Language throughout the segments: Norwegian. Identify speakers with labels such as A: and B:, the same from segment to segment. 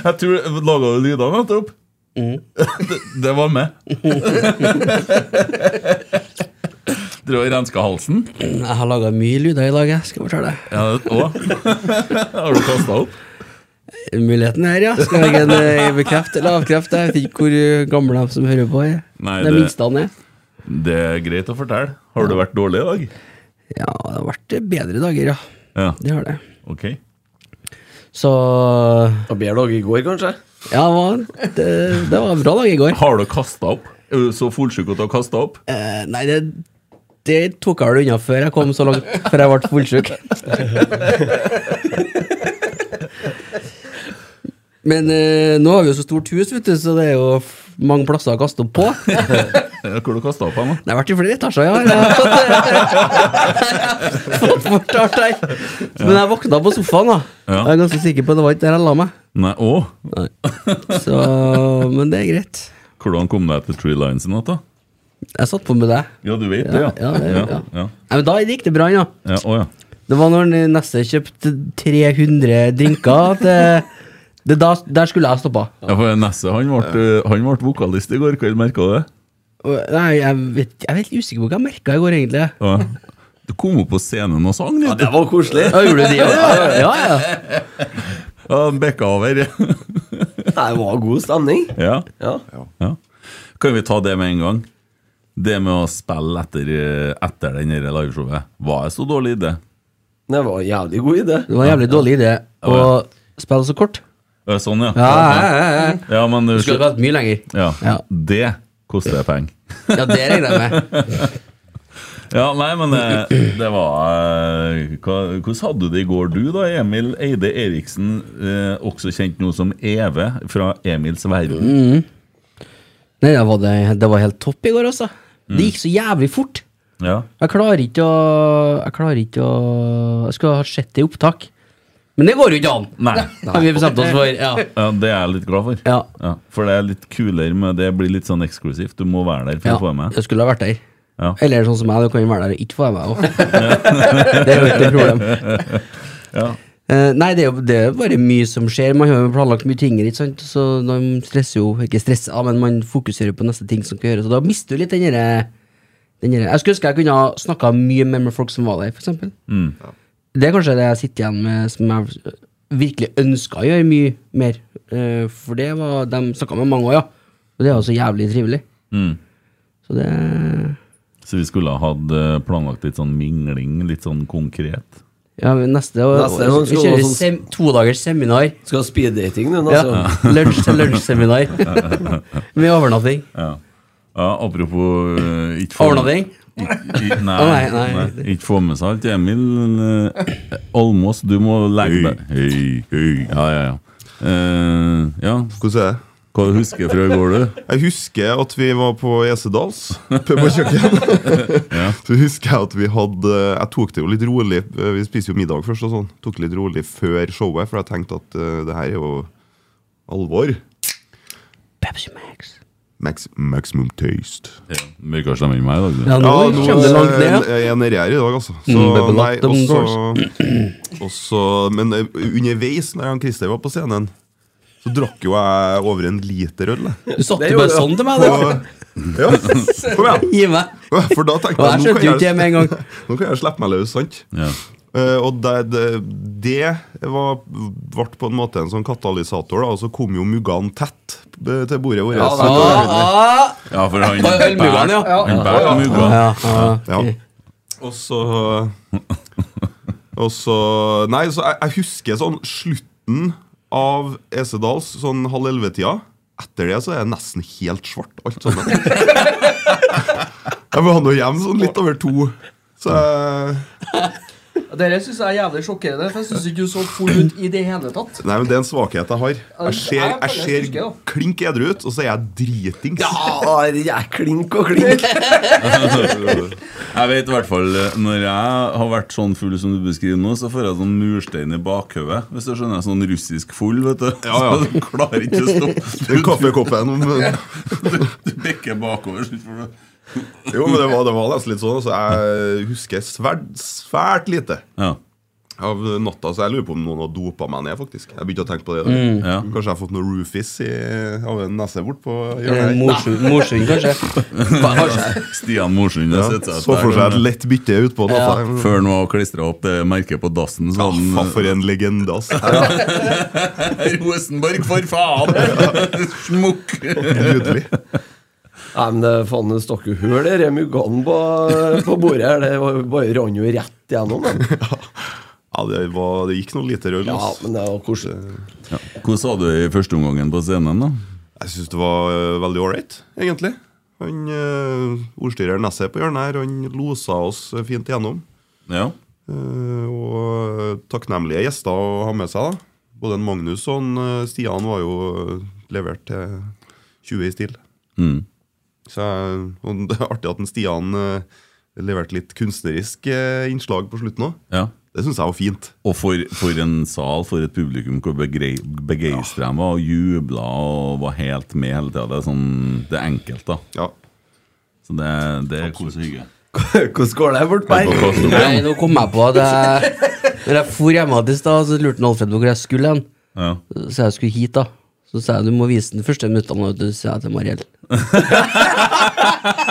A: Jeg tror Laga du lyder nettopp?
B: Mm.
A: det, det var meg. Drev og renska halsen.
B: Jeg har laga mye lyder i dag, jeg. Skal jeg fortelle deg.
A: Ja, det òg. Har du kasta opp?
B: Muligheten her, ja. Skal verken eh, bekrefte eller avkrefte. Jeg vet ikke hvor eh, gamle de som hører på, er.
A: Nei,
B: de
A: det-
B: minste han er.
A: Det er greit å fortelle. Har du vært dårlig i dag?
B: Ja, det har vært eh, bedre dager, ja.
A: Ja,
B: Det har det.
A: ok.
B: Så
C: Og bedre dag i går, kanskje?
B: Ja, det var, det, det var en bra dag i går.
A: Har du kasta opp? Er du så fullsjuk at du har kasta opp?
B: Eh, nei, det, det tok jeg vel unna før jeg kom så langt, før jeg ble fullsjuk. Men eh, nå har vi jo så stort hus, vet du, så det er jo f- mange plasser å kaste opp på. Det
A: Ja, Hvor du kastet opp hen? da?
B: har vært i flere etasjer, ja. Jeg har fått, fått fortalt her. Men jeg våkna på sofaen, da.
A: Ja.
B: Jeg er ganske sikker på at det var ikke der jeg la meg.
A: Nei, å?
B: Så, men det er greit.
A: Hvordan kom du deg til Tree Lines i natt, da?
B: Jeg satt på med deg.
A: Ja, du vet det,
B: Ja, ja, det, ja.
A: ja.
B: Nei, men da gikk det bra, ja.
A: Ja, å, ja.
B: Det var når Nesse kjøpte 300 drinker at eh, det da, Der skulle jeg stoppa.
A: ja, for Nesse han ble, han ble vokalist i går kveld, merka du det?
B: Og- Nei, jeg, vet, jeg er helt usikker på hva jeg merka i går, egentlig.
A: Ja. Du kom opp på scenen og sang,
C: Ja,
A: du.
C: det var koselig.
B: Ja, gjorde du det? Ja, ja, ja.
A: Ja, Bekka over.
C: Nei, Det var god stemning.
A: ja.
C: Ja.
A: ja. Kan vi ta det med en gang? Det med å spille etter, etter den her liveshowet, var en så dårlig idé?
C: Det var en jævlig god idé.
B: Det var en jævlig dårlig idé å spille så kort.
A: Ja, Sånn, ja.
B: Ja, ja, ja, ja.
A: Ja, men du
B: Du skulle spilt mye lenger.
A: ja.
B: Ja.
A: Det koster penger.
B: Ja, det regner jeg med.
A: Ja, nei, men det, det var eh, hva, Hvordan hadde du det i går, du da, Emil Eide Eriksen, eh, også kjent nå som Eve fra Emils verden?
B: Nei, det var, det, det var helt topp i går, altså. Det gikk så jævlig fort.
A: Ja.
B: Jeg klarer ikke å Jeg klarer ikke å Jeg skulle ha sett det i opptak. Men det går jo ikke an!
A: Nei.
B: Har vi bestemt oss for. Ja.
A: ja, det er jeg litt glad for.
B: Ja.
A: for det er litt kulere, men det blir litt sånn eksklusivt. Du må være der for
B: Ja,
A: å få med.
B: jeg skulle ha vært der.
A: Ja.
B: Eller sånn som meg, du kan jo være der og ikke få deg med òg. det er jo ikke et problem.
A: Ja.
B: Eh, nei, det er jo det er jo bare mye som skjer. Man har jo planlagt mye ting, her, ikke sant? så man stresser jo Ikke stresser, ja, men man fokuserer jo på neste ting som skal gjøres, og da mister du litt den derre den derre- Jeg skulle ønske jeg kunne ha snakka mye mer med folk som var der, f.eks.
A: Mm.
B: Det er kanskje det jeg sitter igjen med som jeg virkelig ønska å gjøre mye mer. Eh, for det var De snakka med mange òg, ja. Og det er jo så jævlig trivelig.
A: Mm.
B: Så det
A: Så vi skulle ha hatt eh, planlagt litt sånn mingling, litt sånn konkret.
B: Ja, men neste år
C: Neste gang
B: Vi kjører
C: skal det være sånn-
B: sem to dagers seminar.
C: Skal ha speeddating nå,
B: Ja.
C: altså.
B: Lunsj til lunsj-seminar. Med overnatting.
A: Ja, ja Apropos eh, ikke få-
B: Overnatting?
A: Ikke- ikke- Nei,
B: Å, nei,
A: nei,
B: nei.
A: ikke få med seg alt. Emil eh, Almås, du må legge deg Hei, hei. Ja, ja, ja. Eh, ja.
D: Hvordan er det?
A: Hva du husker fra i går, du?
D: Jeg husker at vi var på Esedals pub og kjøkken. Så husker jeg at vi hadde Jeg tok det jo litt rolig. Vi spiser jo middag først og sånn. Tok det litt rolig før showet, for jeg tenkte at eh, det her er jo alvor.
B: Pepsi Max.
D: Max, maximum taste. eh,
A: Ja, Mørkere stemme enn meg i dag. du.
B: Ja, nå kommer det langt ned. ja.
D: Jeg er nedi her i dag, altså. Så,
B: Mm, bubble
D: nei,
B: up them
D: også, også, men eh, underveis, når han Christer var på scenen, så drakk jo jeg over en liter øl. jeg.
B: Du satte
C: Det
B: bare
C: gjorde
B: sånn til meg,
D: Og,
B: du.
D: ja, kom igjen.
B: Gi meg.
D: For da
B: Og
D: tenkte
B: jeg
D: jeg nå
B: skjønte jo
D: kan
B: ikke det
D: jeg,
B: med en gang.
D: nå kan jeg slippe meg løs, sant?
A: Ja.
D: Eh, og det, det, det var, ble på en måte en sånn katalysator, da, og så kom jo muggene tett eh, til bordet vårt.
C: Ja,
D: Så
C: da-
D: det var
B: Ah,
D: nydelig.
B: ah.
A: ja, for han
B: Var det ølmuggene, ja?
A: bært- han bært mugga.
B: Ja, ja.
D: Ja. Og så Og så Nei, så jeg, jeg husker sånn slutten av Esedals, sånn halv elleve-tida. Etter det så er det nesten helt svart, alt sammen. jeg var nå hjemme sånn litt over to. Så jeg,
E: Dere syns jeg er jævlig sjokkerende, for jeg syns ikke du så full ut i det hele tatt.
D: nei, men det er en svakhet jeg har. Jeg ser, jeg ser
E: husker,
D: klink edru ut, og så er jeg dritings.
C: Ja, jeg er klink og klink.
A: Jeg vet i hvert fall eh, Når jeg har vært sånn full som du beskriver nå, så får jeg sånn murstein i bakhodet. Hvis du skjønner, sånn russisk full, vet du.
D: Ja, ja.
A: Så du klarer ikke å stoppe.
D: Den kaffekoppen om
A: Du, du bikker bakover. så får du-
D: Jo, men det var, det var nesten litt sånn. Så jeg husker svært, svært lite.
A: Ja.
D: av natta, så jeg lurer på om noen har dopa meg ned, faktisk. Jeg begynte å tenke på det. i dag.
A: Mm. Ja.
D: Kanskje jeg har fått noe roofies i, av en nese bort på
B: Eller
D: hjørnet. her.
B: Morsund, Morsund, kanskje.
A: Stian Morsund
D: Ja,
A: har sett seg
D: Så for seg et
A: der.
D: lett bytte utpå natta.
A: Før han var klistra opp det merket på dassen.
D: Ja,
A: Sånn,
D: faen, for en legende, ass.
A: Rosenborg, for faen! Smukk!
D: Nydelig.
C: Nei, men det faen det stakk jo hull i remuganen på, på bordet her. Det var jo bare rann jo rett gjennom. da.
D: Ja, det, var, det gikk noe lite røll.
C: Ja,
D: ass.
C: men det var koselig.
A: Hvordan sa du det i første omgangen på scenen, da?
D: Jeg syns det var eh, veldig ålreit, egentlig. Han eh, ordstyreren Nesse på hjørnet her, han losa oss eh, fint gjennom.
A: Ja.
D: Eh, og takknemlige gjester å ha med seg. da. Både en Magnus og en eh, Stian var jo eh, levert til 20 i stil.
A: Mm.
D: Så jeg- og det er artig at en Stian eh, leverte litt kunstnerisk eh, innslag på slutten òg.
A: ja.
D: Det syns jeg var fint.
A: Og for, for en sal, for et publikum, hvor begeistra de var og jubla og var helt med hele tida. Det er sånn, det er enkelt, da.
D: Ja.
A: Så det, det er kos og hygge.
C: Hvordan går det bort der?
B: Nei, nå kom jeg på at jeg Når jeg for hjemme til stad, så lurte han Alfred på hvor jeg skulle hen.
A: Ja.
B: Så sa jeg skulle hit, da. Så sa jeg du må vise den første minuttene, og du sa jeg til Mariell.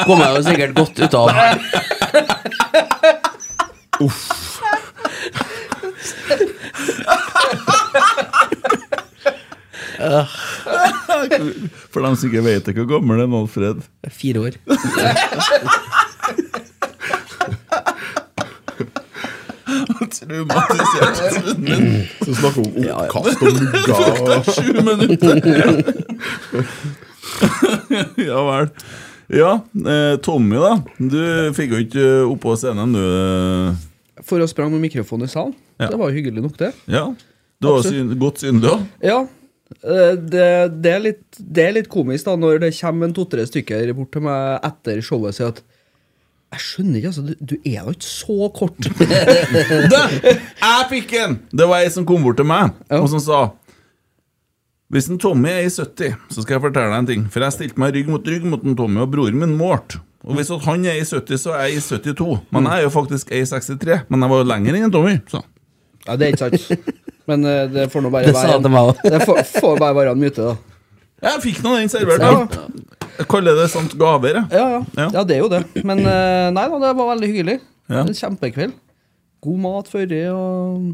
B: Kom jeg jo sikkert godt ut av.
A: For dem som ikke vet det, hvor gammel er Alfred?
B: Fire år.
A: Traumatisert
D: Så snakker hun om oppkast og mugger. og-
A: sju minutter! ja vel. Ja, eh, Tommy, da. Du fikk jo ikke eh, opp på scenen, du.
E: For å sprang med mikrofon i salen.
A: Ja.
E: Det var jo hyggelig nok, det.
A: Ja. Du var syn godt synlig òg.
E: Ja. eh, Det, det, er litt, det er litt komisk da når det kommer en to-tre stykker bort til meg etter showet og sier at Jeg skjønner ikke, altså. Du, du er jo ikke så kort.
A: Jeg fikk en! Det var ei som kom bort til meg
E: Ja.
A: og som sa Hvis en Tommy er i 70, så skal jeg fortelle deg en ting. For jeg stilte meg rygg mot rygg mot en Tommy og broren min målte. Og hvis at han er i 70, så er jeg i 72. Men jeg er jo faktisk i 63. Men jeg var jo lenger enn en Tommy. Så.
E: Ja, det er ikke sant. Men eh, det får nå bare
B: Det sa
E: være
B: han til meg òg.
E: Det får, får bare være en myte, da.
A: Jeg fikk nå den servert. da. Jeg kaller det sånt gaver, jeg.
E: Ja, ja.
A: Ja.
E: ja, det er jo det. Men eh, nei da, det var veldig hyggelig.
A: Ja.
E: En kjempekveld. God mat førre og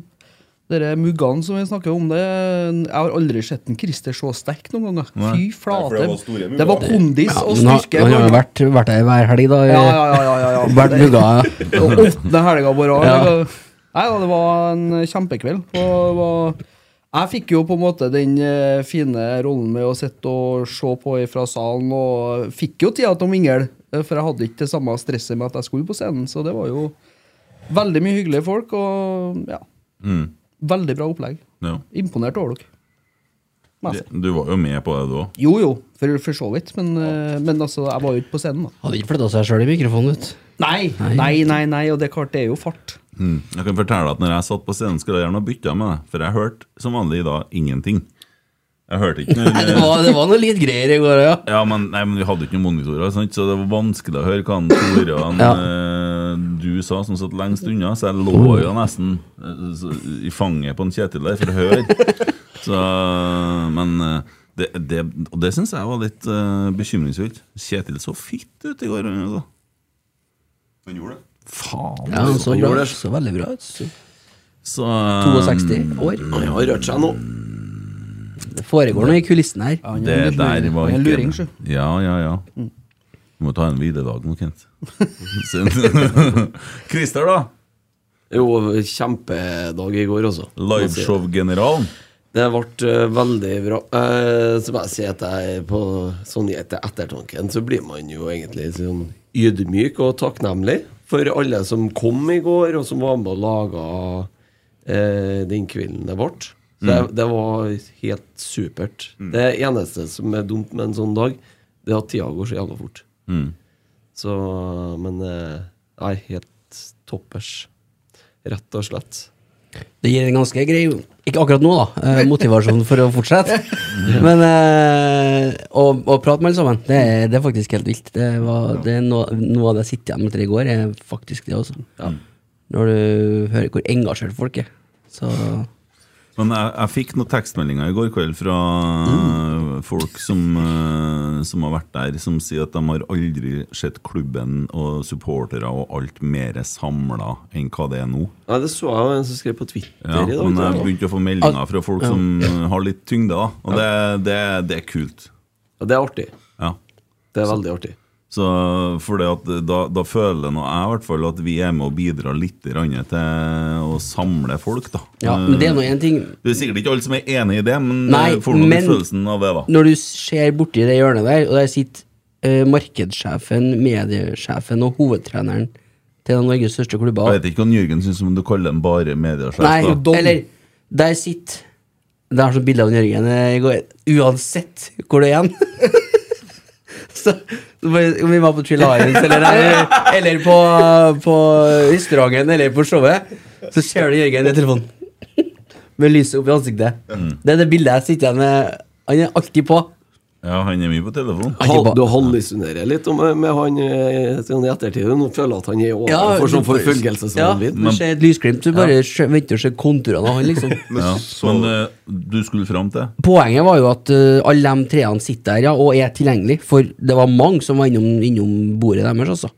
E: Dere muggene som vi snakker om det Jeg har aldri sett en Christer så sterk noen ganger. Fy flate.
D: Nei, for det var store mugger.
E: Det var kondis og
B: Men han
E: styrke.
B: han har jo vært, vært der hver helg, da. i-
E: Ja, ja, ja, ja, ja, ja.
B: Vært mugga. ja.
E: Det- og Åttende helga på rad.
B: Ja.
E: Det var- Nei da, det var en kjempekveld. Og det var, jeg fikk jo på en måte den eh, fine rollen med å sitte og se på fra salen, og fikk jo tida til å mingle, eh, for jeg hadde ikke det samme stresset med at jeg skulle på scenen. Så det var jo veldig mye hyggelige folk, og ja. Veldig bra opplegg.
A: Mm, Ja.
E: Imponert over dere. må jeg si.
A: Du var jo med på det, du òg.
E: Jo jo, for, for så vidt, men, eh, men altså, jeg var jo ikke på scenen, da.
B: Hadde ikke flytta seg sjøl i mikrofonen, vet du.
E: Nei, nei, nei, nei, og det er klart, det er jo fart.
A: Mm. Jeg kan fortelle at når jeg satt på scenen, skulle jeg gjerne ha bytta med deg. For jeg hørte som vanlig i dag ingenting. Jeg hørte ikke når
B: Det var, det var noe litt greier i går, ja.
A: Ja, men, nei, men vi hadde ikke noen monitorer, sant? så det var vanskelig å høre hva han Tore og han,
B: Ja.
A: eh, du sa, som satt lengst unna. Så jeg
B: Oh.
A: lå jo nesten eh, så, i fanget på en Kjetil der for å høre. Så, men eh, det, det, og det syns jeg var litt eh, bekymringsfullt. Kjetil så fitt ut i går. Altså.
D: Han gjorde det.
A: Faen. altså.
B: ja han så,
C: Han
B: bra,
C: gjorde det.
B: så veldig bra ut. Så-
A: Så, eh,
B: 62 år.
C: Han har rørt seg nå.
B: Det foregår noe i kulissen her.
E: Ja, han er
A: Det
E: en luring.
A: der var
E: Han
A: ikke
E: er en luring, Mm. sjø.
A: Ja, ja, ja. Du må ta en hviledag nå, Kent. Så- Christer, da?
C: Jo, kjempedag i går
B: altså.
C: også.
A: Liveshow-generalen.
C: Det ble eh, veldig bra. Eh, som jeg sier at jeg er på sånn etter ettertanken, så blir man jo egentlig sånn ydmyk og takknemlig for alle som kom i går, og som var med og laga eh, den kvelden det ble. Så det, det var helt supert. Det eneste som er dumt med en sånn dag, det er at tida går så jævla fort. Så Men eh, nei, helt toppers. Rett og slett.
B: Det gir en ganske grei Ikke akkurat nå, da. eh, Motivasjon for å fortsette. Men eh, å, å prate med alle sammen, det er, det er faktisk helt vilt. Det, var, det er noe, noe av det jeg sitter igjen med etter i går, er faktisk det også. Når du hører hvor engasjert folk er. Så
A: Men jeg, jeg fikk noen tekstmeldinger i går kveld fra
E: Mm.
A: eh, folk som, eh, som har vært der, som sier at de har aldri sett klubben og supportere og alt mer samla enn hva det er nå.
C: Nei, det så jeg jo en som skrev på Twitter
A: Ja,
C: i dag.
A: men jeg
C: tror jeg.
A: begynte å få meldinger fra folk som eh, har litt tyngde, da. Og det, det, det er kult.
C: Ja, det er artig.
A: Ja.
C: Det er veldig artig.
A: Så for det at da, da føler nå jeg i hvert fall at vi er med og bidrar litt grann til å samle folk, da. Eh,
B: ja, men det er nå én ting.
A: Det er sikkert ikke alle som er enig i det, men
B: Nei,
A: eh, får nå
B: men-
A: litt følelsen av det, da.
B: Når du ser borti det hjørnet der, og der sitter eh, markedssjefen, mediesjefen og hovedtreneren til en av Norges største klubber
A: Jeg vet ikke hva Jørgen syns om du kaller den bare mediesjef.
B: Nei,
A: da.
E: Don.
B: eller der sitter Det er sånn bilde av Jørgen eh, i går. Uansett hvor du er igjen. Så, så bare- om vi var på Trill Islands eller, der, eller på, på restauranten eller på showet, så ser du Jørgen i telefonen med lyset opp i ansiktet.
C: Mm.
B: Det er det bildet jeg sitter igjen med. Han er alltid på.
A: Ja, han er mye på telefon.
B: Ikke
C: Han,
B: ba-
C: du hallusinerer litt om, med han eh, sånn i ettertid. Du føler at han er over
B: Ja,
C: for sånn
B: du-
C: forfølgelse som
B: ja,
C: han vil.
B: du ser et lysglimt, du bare skjø- venter og ser konturene av han, liksom.
D: Men
A: Ja.
D: så,
A: Men eh, du skulle fram til
B: Poenget var jo at eh, alle de treene sitter der ja, og er tilgjengelig, for det var mange som var innom, innom bordet deres, altså.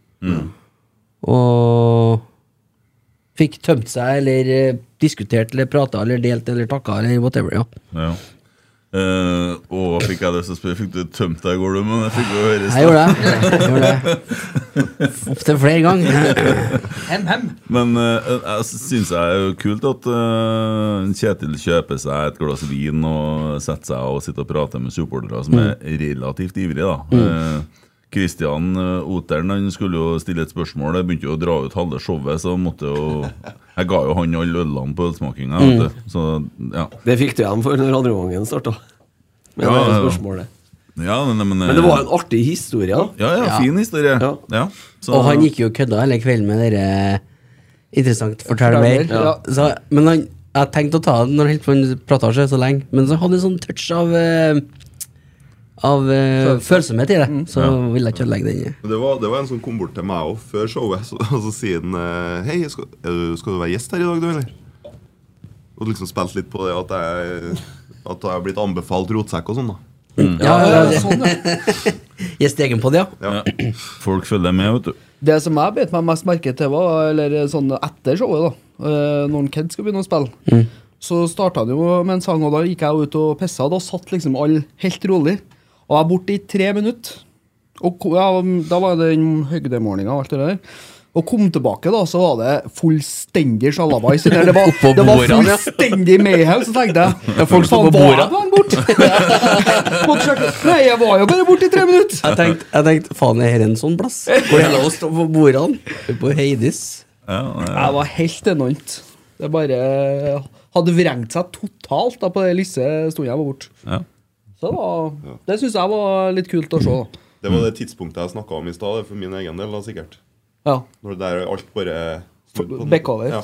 B: Og fikk tømt seg, eller eh, diskutert, eller prata, eller delt, eller takka, eller whatever. ja.
A: ja. Eh, å, fikk jeg lyst til å spørre Fikk du tømt deg i går, du? Men jeg fikk jo høre i
B: Jeg
A: stad.
B: gjorde det. Jeg gjorde det. Opptil flere ganger.
E: Hem, hem.
A: Men eh, jeg syns det er jo kult at eh, Kjetil kjøper seg et glass vin og setter seg og sitter og prater med supportere som er relativt ivrige, da. Eh, Kristian eh, Oteren han skulle jo stille et spørsmål. Jeg begynte jo å dra ut halve showet, så måtte jo Jeg ga jo han alle ølene på ølsmakinga. vet du. Så ja.
C: Det fikk du igjen for når andre gangen starta.
A: Ja,
C: Men, det er
A: ja, ja.
C: spørsmålet.
A: ja men, men, eh,
C: men det var en artig historie. da.
A: ja, ja, fin historie.
C: Ja.
A: Ja. Så-
B: Og han gikk jo og kødda hele kvelden med dere Interessant, fortell
E: Fortell
B: mer.
E: mer, ja.
B: Så, men han, jeg tenkte å ta den når han holdt på med platasje så lenge, men så hadde han en sånn touch av eh, Av eh, følsomhet i det,
E: Mm.
B: så ville jeg ikke ødelegge den.
D: Men Det var, det var en som kom bort til meg også, før showet, så, og så sier han eh, Hei, skal, er du- skal du være gjest her i dag, du, eller? Og liksom spilte litt på det at jeg, at jeg har blitt anbefalt rotsekk og sånn, da.
B: Ja, ja,
E: Ja,
B: ja,
E: sånn, ja.
B: Jeg steg inn på det, ja.
A: ja. Folk følger med, vet du.
E: Det som jeg bet meg mest merke til, var eller sånn etter showet, da eh, når Ked skal begynne å spille,
B: Mm.
E: så starta han jo med en sang, og da gikk jeg ut og pissa. Da satt liksom alle helt rolig. Og jeg var borte i tre minutter. Og ko- ja, da var det den høydemorgenen og alt det der. Og kom tilbake, da, så var det fullstendig sjalabais. Det, var-
B: Oppå
E: det var
B: bordene, ja.
E: fullstendig mayhem, så tenkte jeg.
B: Ja, folk sto
E: "Faen,
B: på
E: var
B: bordene."
E: jeg bare borte? Måtte sjekke. Nei, jeg var jo bare borte i tre minutter.
B: Jeg tenkte, jeg tenkte faen, er dette en sånn plass? Hvor er det å stå på bordene? På Heidis?
A: Ja, ja.
E: Jeg var helt enormt. Det bare hadde vrengt seg totalt da på den lyse stunden jeg var borte.
A: Ja.
E: Så det, var, det syns jeg var litt kult å se. da.
D: Det var det tidspunktet jeg snakka om i stad, det er for min egen del, da, sikkert.
E: Ja.
D: Når det der alt bare snudde på den.
E: Bekk over.
D: Ja.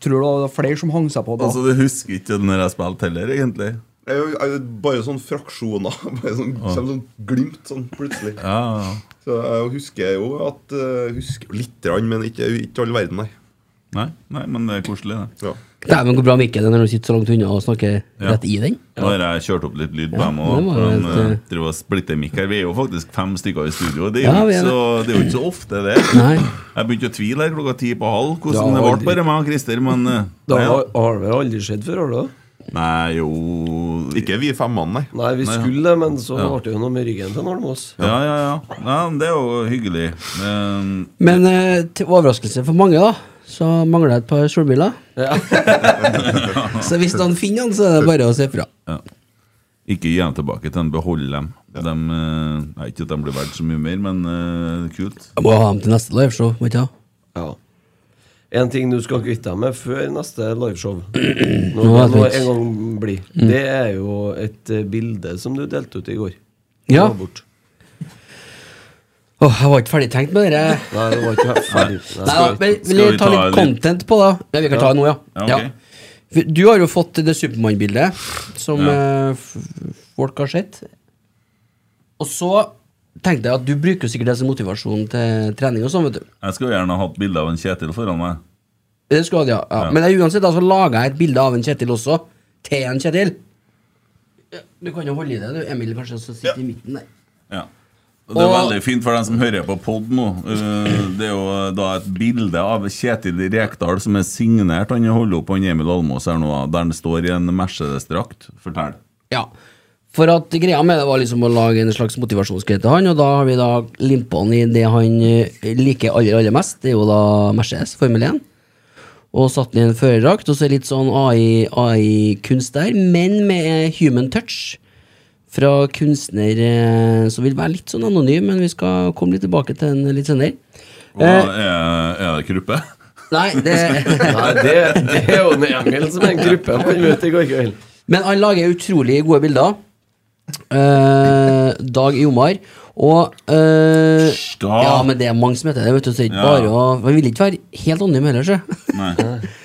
E: Tror du det var flere som hang seg på da?
A: Altså, du husker ikke når jeg spilte heller, egentlig.
D: Det er jo- er jo Bare sånn fraksjoner. Bare sånn, kommer sånn glimt sånn plutselig.
A: Ja, ja.
D: Så jeg husker jo at eh, Husker jo litt, grann, men ikke, ikke all verden, nei.
A: Nei, nei, men det er koselig, det.
D: Ja.
B: Dæven, hvor bra mikken er når du sitter så langt unna og snakker
A: Ja.
B: rett i den.
A: Da har jeg kjørt opp litt lyd på dem
B: det
A: òg.
B: var
A: De
B: helt,
A: eh,
B: eh,
A: driver og splitter mikk her. Vi er jo faktisk fem stykker i studio. Det er
B: Ja,
A: jo
B: vi
A: ikke
B: er
A: så, det er jo ikke så ofte, det.
B: Nei.
A: Jeg begynte å tvile her klokka ti på halv. Hvordan
C: Ja,
A: det
C: aldri.
A: ble bare meg og Christer, men eh,
C: Det
A: nei,
C: har, har det aldri skjedd før, har det?
A: nei, jo
D: Ikke vi femmene, nei.
C: Nei, vi
A: Nei, ja.
C: skulle det, men så ble det jo noe med ryggen til en Almås.
A: Ja, ja, ja. ja men det er jo hyggelig. Men,
B: Men eh, til overraskelse for mange, da, så mangler jeg et par solbriller.
C: Ja.
B: Så hvis han finner han, så er det bare å se fra.
A: ikke gi dem tilbake til en behold dem. Dem, eh, nei, ikke at de blir verdt så mye mer, men eh, kult.
B: Jeg må ha dem til neste liveshow. må ikke jeg?
C: ja. En ting du skal kvitte deg med før neste liveshow,
B: Nå
C: når
B: er det
C: det nå
B: fint.
C: en gang blir,
B: Mm.
C: det er jo et eh, bilde som du delte ut i går.
B: Ja.
C: Det var bort.
B: Åh, jeg var ikke ferdig tenkt med dere.
C: Nei, det var ikke ferdig. Nei,
B: Nei, da, men
A: Skal
B: vil
A: vi
B: jeg ta
A: ta
B: litt
A: litt-
B: content på, da? Ja, vi kan ta det nå, ja.
A: Ja, ok.
B: For Du har jo fått det Supermann-bildet som eh, f- f- folk har sett. Og så tenkte jeg at du bruker jo sikkert det som motivasjon til trening og sånn, vet du.
A: Jeg skulle gjerne hatt bilde av en Kjetil foran meg.
B: Det skulle jeg hatt, ja. ja. Men jeg, uansett, da, så laga jeg et bilde av en Kjetil også. Til en Kjetil. Ja, Du kan jo holde i det, du, Emil, kanskje, som sitter i midten der.
A: Ja. Og Det er
B: Og-
A: veldig fint for den som hører på pod nå. Eh, Det er jo da et bilde av Kjetil Rekdal som er signert. Han holder opp han Emil Almås her nå, da, der han står i en Mercedes-drakt. Fortell.
B: Ja. For at greia med det var liksom å lage en slags motivasjonsgreie til han, og da har vi da limpa han i det han eh, liker aller, aller mest, det er jo da Mercedes Formel 1. Og satt han i en førerdrakt, og så litt sånn AI-kunst der, men med human touch. Fra kunstner eh, som vil være litt sånn anonym, men vi skal komme litt tilbake til den litt senere.
A: Og
B: Eh.
A: er, er det kruppe?
B: Nei, det
C: Nei, det, det er jo en Emil som er en gruppe man møtte i går kveld.
B: Men han lager utrolig gode bilder. Eh, Dag Jomar. Og eh,
A: Hysj, da!
B: Ja, men det er mange som heter det. Vet du, så det er ikke
A: Ja.
B: bare å Man vil ikke være helt anonym heller, sjø.
A: Nei.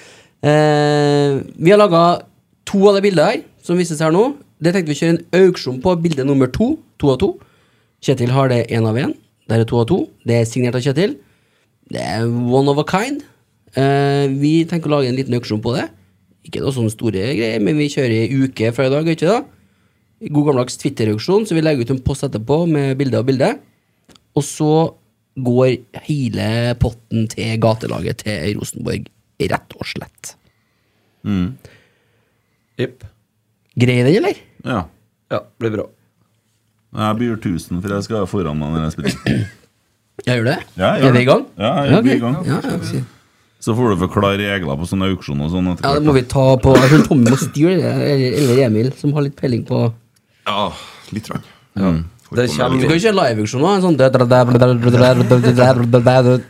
B: Eh, vi har laga to av de bildene her, som vises her nå. Det tenkte vi å kjøre en auksjon på bilde nummer to. To av to. Kjetil har det én av én. Der er to av to. Det er signert av Kjetil. Det er one of a kind. Eh, vi tenker å lage en liten auksjon på det. Ikke noe sånne store greier, men vi kjører ei uke fra i dag, gjør ikke det? God gammeldags Twitter-auksjon, så vi legger ut en post etterpå med bilde av bilde. Og så går hele potten til gatelaget til Rosenborg, rett og slett.
C: Jepp.
B: Greier den, eller?
A: Ja.
C: Ja, blir bra.
A: Jeg byr 1000, for jeg skal være foran meg når jeg spiller.
B: Jeg gjør det?
A: Ja, jeg gjør
B: er vi i
A: det.
B: gang?
A: Ja, jeg er
B: ok.
A: vi i gang.
B: Ja, ja, ok.
A: Så får du forklare regler på sånne auksjoner og sånn. etter
B: ja, det
A: hvert,
B: må
A: da.
B: vi ta på Jeg tror Tommy må styre det, eller, eller Emil, som har litt peiling på
D: Ja, litt. Mm. Rann.
C: Det
B: Vi kan
C: kommer
B: jo kjøre liveauksjon nå, en sånn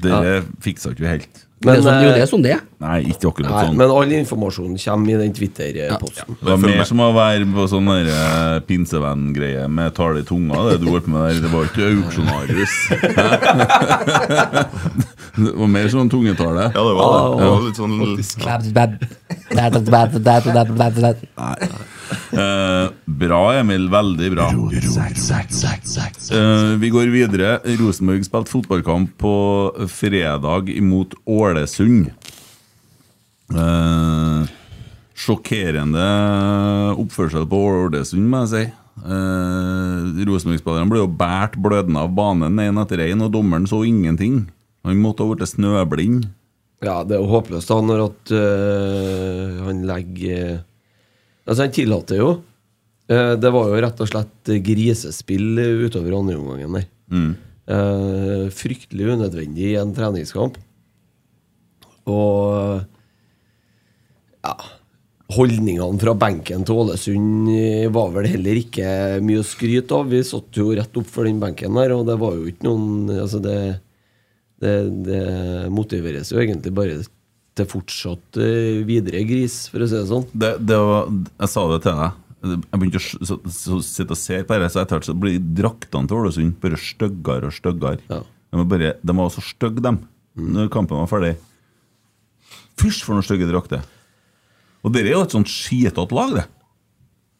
A: Dere fiksa ikke vi helt.
B: Men, det er
C: Men,
B: sånn, jo, det
C: eh,
B: er sånn det er.
A: Nei, ikke akkurat
C: Nei,
A: sånn.
C: men all informasjon kommer i den Twitter-posten.
A: Det var mer som å være på sånn der, eh, pinsevenn-greie med tale i tunga. Det du holdt på med der, det var ikke auksjonarius. det var mer sånn tungetale.
D: Ja, det var det. det var litt sånn
A: Eh, bra, Emil. Veldig bra. Eh, vi går videre. Rosenborg spilte fotballkamp på fredag imot Ålesund. Eh, sjokkerende oppførsel på Ålesund, må jeg si. Eh, Rosenborg-spillerne ble jo båret blødende av banen én etter én, og dommeren så ingenting. Han måtte ha blitt snøblind.
C: Ja, det er jo håpløst da når at øh, han legger Altså, han tillater jo. Eh, det var jo rett og slett grisespill utover andre omgangen der. Eh, fryktelig unødvendig i en treningskamp. Og ja Holdningene fra benken til Ålesund eh, var vel heller ikke mye å skryte av. Vi satt jo rett opp for den benken der, og det var jo ikke noen Altså, det det, det motiveres jo egentlig bare til fortsatt eh, videre gris, for å si det sånn.
A: det, det var, jeg sa det til deg. Jeg begynte å s- så, så sitte og se på dette, så etter hvert så blir draktene til Ålesund bare styggere og styggere.
C: Ja.
A: De, var bare- de var så stygge, dem, når kampen var ferdig. Fysj, for noen stygge drakter! Og dere er jo et sånt skitete lag, det.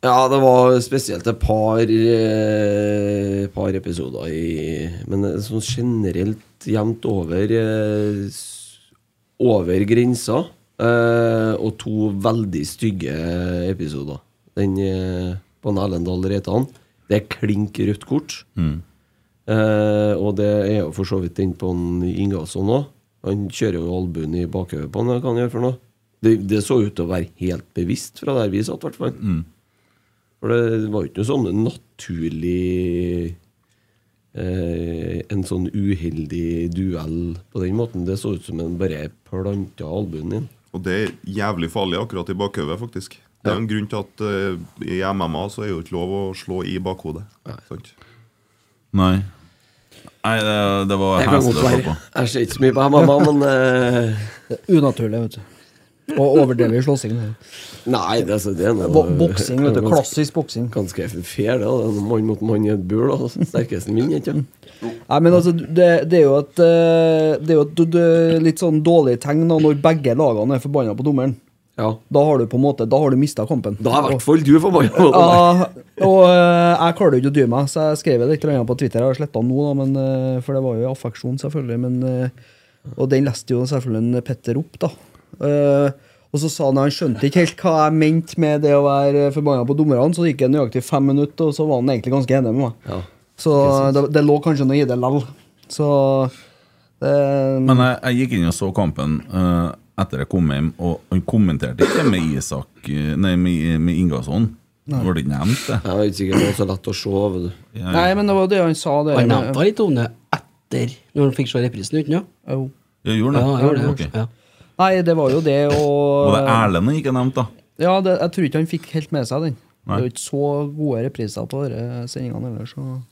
C: Ja, det var spesielt et par, eh, par episoder i Men eh, sånn generelt jevnt over eh, s- Over grensa. Eh, og to veldig stygge episoder. Den eh, på en Erlend Dahl Reitan. Det er klink rødt kort. Eh, og det er jo for så vidt den på en Ingasson òg. Han kjører jo albuen i bakhodet på han, hva kan han gjøre for noe? Det, det så ut til å være helt bevisst fra der vi satt, i hvert fall. For det var jo ikke noe sånn naturlig eh, En sånn uheldig duell på den måten. Det så ut som en bare planta albuen inn.
D: Og det er jævlig farlig akkurat i bakhodet, faktisk. Det er jo en grunn til at eh, i MMA så er jo ikke lov å slå i bakhodet. Sant?
A: Nei. Nei, det, det var
C: Det kan
A: heslig å
C: godt
A: se
C: være.
A: på.
C: Jeg ser ikke så mye på MMA, men eh,
E: Det er unaturlig, vet du. Og overdrevet slåssing. det.
C: Nei, det, altså, det er noe-
E: Bo- Boksing, vet du.
C: ganske-
E: Klassisk boksing.
C: Ganske fair, det. da. Mann mot mann i et bur, da. Sterkesten vinner, ikke sant?
E: Nei, men altså, det, det er jo et, eh, det er jo et d- d- litt sånn dårlig tegn da, når begge lagene er forbanna på dommeren.
C: Ja.
E: Da har du på en måte, da har du mista kampen.
C: Da er i hvert fall du forbanna. på det.
E: Ja, og eh, jeg klarte jo ikke å dy meg, så jeg skrev det litt grann på Twitter. Jeg har sletta den nå, da, men, eh, for det var jo i affeksjon, selvfølgelig. Men eh, Og den leste jo selvfølgelig en Petter opp, da. Eh, og så sa han han skjønte ikke helt hva jeg mente med det å være forbanna på dommerne, så gikk det nøyaktig fem minutter, og så var han egentlig ganske enig med meg.
C: Ja.
E: Så det, det lå kanskje noe i det lell. Så det-
A: Men jeg, jeg gikk inn og så kampen eh, etter jeg kom hjem, og han kommenterte ikke med Isak eh, Nei, med, med Ingasson. Det ble ikke nevnt, det.
C: Jeg er ikke sikker på om det er så lett å se. Vet du.
A: Jeg-
E: Nei, men det var det han sa. Det,
B: Han nevnte litt om det etter, når han fikk se reprisen uten, ja.
E: Jo.
A: Jeg gjorde det?
B: Ja, jeg gjorde det.
A: Ok.
B: Ja.
E: Nei, det var jo det, og
A: Var det Erlend han ikke nevnte, da?
E: Ja, det, jeg tror ikke han fikk helt med seg den.
A: Nei.
E: Det er jo ikke så gode repriser på disse sendingene ellers. så-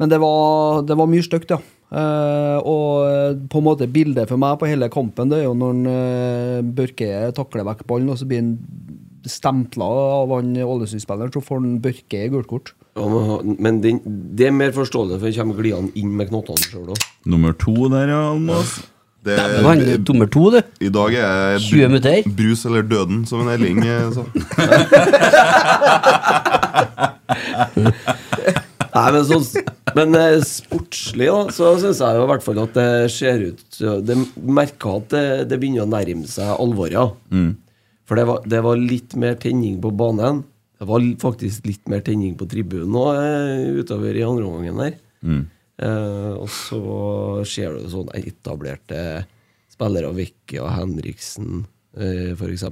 E: Men det var, det var mye stygt, ja. Eh, og eh, på en måte bildet for meg på hele kampen, det er jo når han, eh, Børke takler vekk ballen, og så blir han stempla av han Ålesund-spilleren, så får han Børke i gult kort.
C: Ja, men ha- men den, det er mer forståelig, for han kommer gliene inn med knottene sjøl òg.
A: Nummer to der, ja, Almås.
D: Det,
B: Det var han nummer to, du.
D: I dag er
B: 20 minutter.
D: brus eller døden, som en Elling eh, sa.
C: Nei, men, sånn- men eh, sportslig, da, så syns jeg jo i hvert fall at det ser ut Det merker at det, det begynner å nærme seg alvoret. ja. For det var, det var litt mer tenning på banen. Det var l- faktisk litt mer tenning på tribunen òg eh, utover i andre omgangen her. Eh, og så ser du sånn etablerte spillere, Vicky og Henriksen eh, f.eks.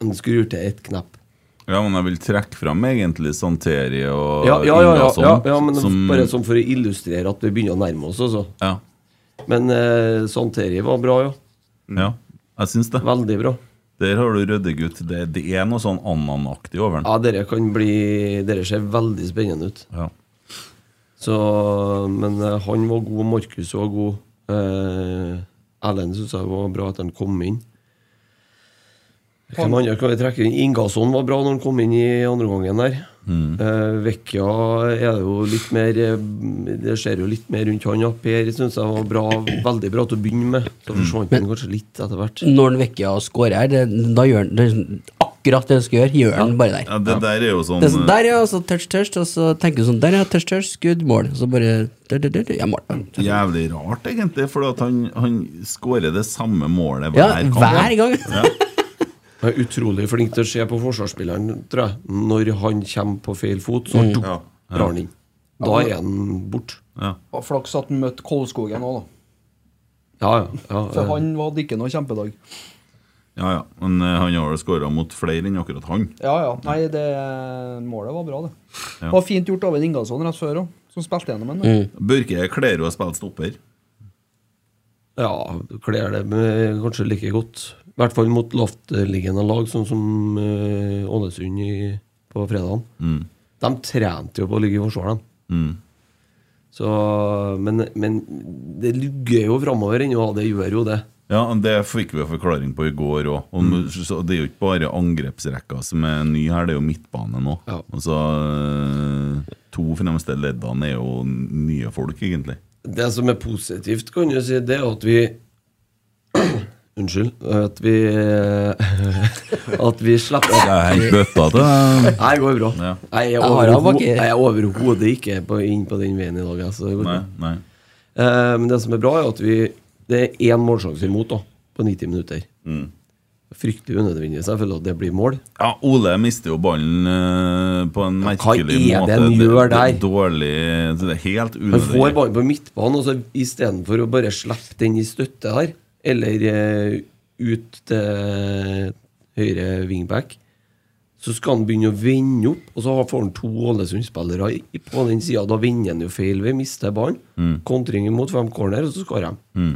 C: De skrur til ett knepp.
A: Ja, men jeg vil trekke fram egentlig Santeri og
C: Ja, ja, ja, ja,
A: Ingasson.
C: ja, ja men
A: som-
C: bare sånn for å illustrere at vi begynner å nærme oss, altså.
A: ja,
C: Men eh, Santeri var bra, ja.
A: ja, jeg syns det.
C: Veldig bra.
A: Der har du ryddegutt. Det, det er noe sånn ananaktig over den.
C: Ja, dere kan bli Dere ser veldig spennende ut.
A: Ja.
C: Så, men eh, han var god, Markus var god. Eh, Erlend syns jeg var bra at han kom inn. Hvem andre kan vi trekke inn? Ingasson var bra når han kom inn i andre gangen der. Eh, Vecchia er det jo litt mer eh, Det skjer jo litt mer rundt han. Ja. Per syns jeg var bra, veldig bra til å begynne med. Så forsvant han kanskje litt etter hvert.
B: Når han vekker og scorer her, det, da gjør han det, er akkurat det han skal gjøre. Gjør han bare der.
A: ja, det der er jo sånn
B: Det er sånn, der, ja, og så touch, touch, og så tenker du sånn Der, ja, touch, touch, skudd, mål. Så bare der, der, der, Ja, mål.
A: eh, jævlig rart, egentlig, for at han, han skårer det samme målet
B: Ja,
A: hver kamp.
B: hver gang.
C: Han er utrolig flink til å se på forsvarsspilleren, tror jeg. Når han kommer på feil fot, så dunk, drar han inn. Da er han borte.
E: Og flaks at han møtte Kolskogen òg, da.
C: Ja, ja. ja,
E: For
C: ja.
E: han hadde ikke noe kjempedag.
A: Ja, ja. Men eh, han har jo skåra mot flere enn akkurat han.
E: Ja, ja. Nei, det målet var bra, det.
A: Ja.
E: Det var fint gjort av en Ingasson rett før òg, som spilte gjennom en. Mm.
A: Børke kler jo å spille stopper.
C: ja du kler det med kanskje like godt. I hvert fall mot lavtliggende lag, sånn som eh, Ålesund i- på fredagen. De trente jo på å ligge i forsvar, de.
A: Mm.
C: Så, men, men det lugger jo framover ennå, det gjør jo det.
A: Ja, Det fikk vi jo forklaring på i går òg.
C: Mm.
A: Det er jo ikke bare angrepsrekka som er ny her, det er jo midtbanen òg.
C: Ja.
A: Altså, eh, to fremste leddene er jo nye folk, egentlig.
C: Det som er positivt, kan du si, det er at vi Unnskyld. At vi At vi slipper
A: Jeg henter bøtta til deg.
C: Nei, det går bra.
A: Ja.
C: Jeg er
B: Jeg har
C: overho-
B: av bakke.
C: jeg er overhodet ikke på, inn på den veien i dag. Altså, det går
A: Nei,
C: bra.
A: nei.
C: Eh, Men det som er bra, er at vi Det er én målsjanse imot da på 90 minutter.
A: Mm.
C: Fryktelig unødvendig, selvfølgelig, at det blir mål.
A: Ja, Ole mister jo ballen eh, på en
C: hva er
A: merkelig
C: det
A: måte.
C: han gjør
A: det
C: der?
A: er dårlig Det er helt
C: Han får
A: unødvendig.
C: ballen på midtbanen, altså, og så istedenfor å bare slippe den i støtte her, eller eh, ut til høyre wingback, så skal han begynne å vende opp, og så har- får han to Ålesund-spillere i- på den sida. Da vinner han jo feil ved, mister ballen.
A: Mm.
C: Kontring imot fem corner, og så skårer de.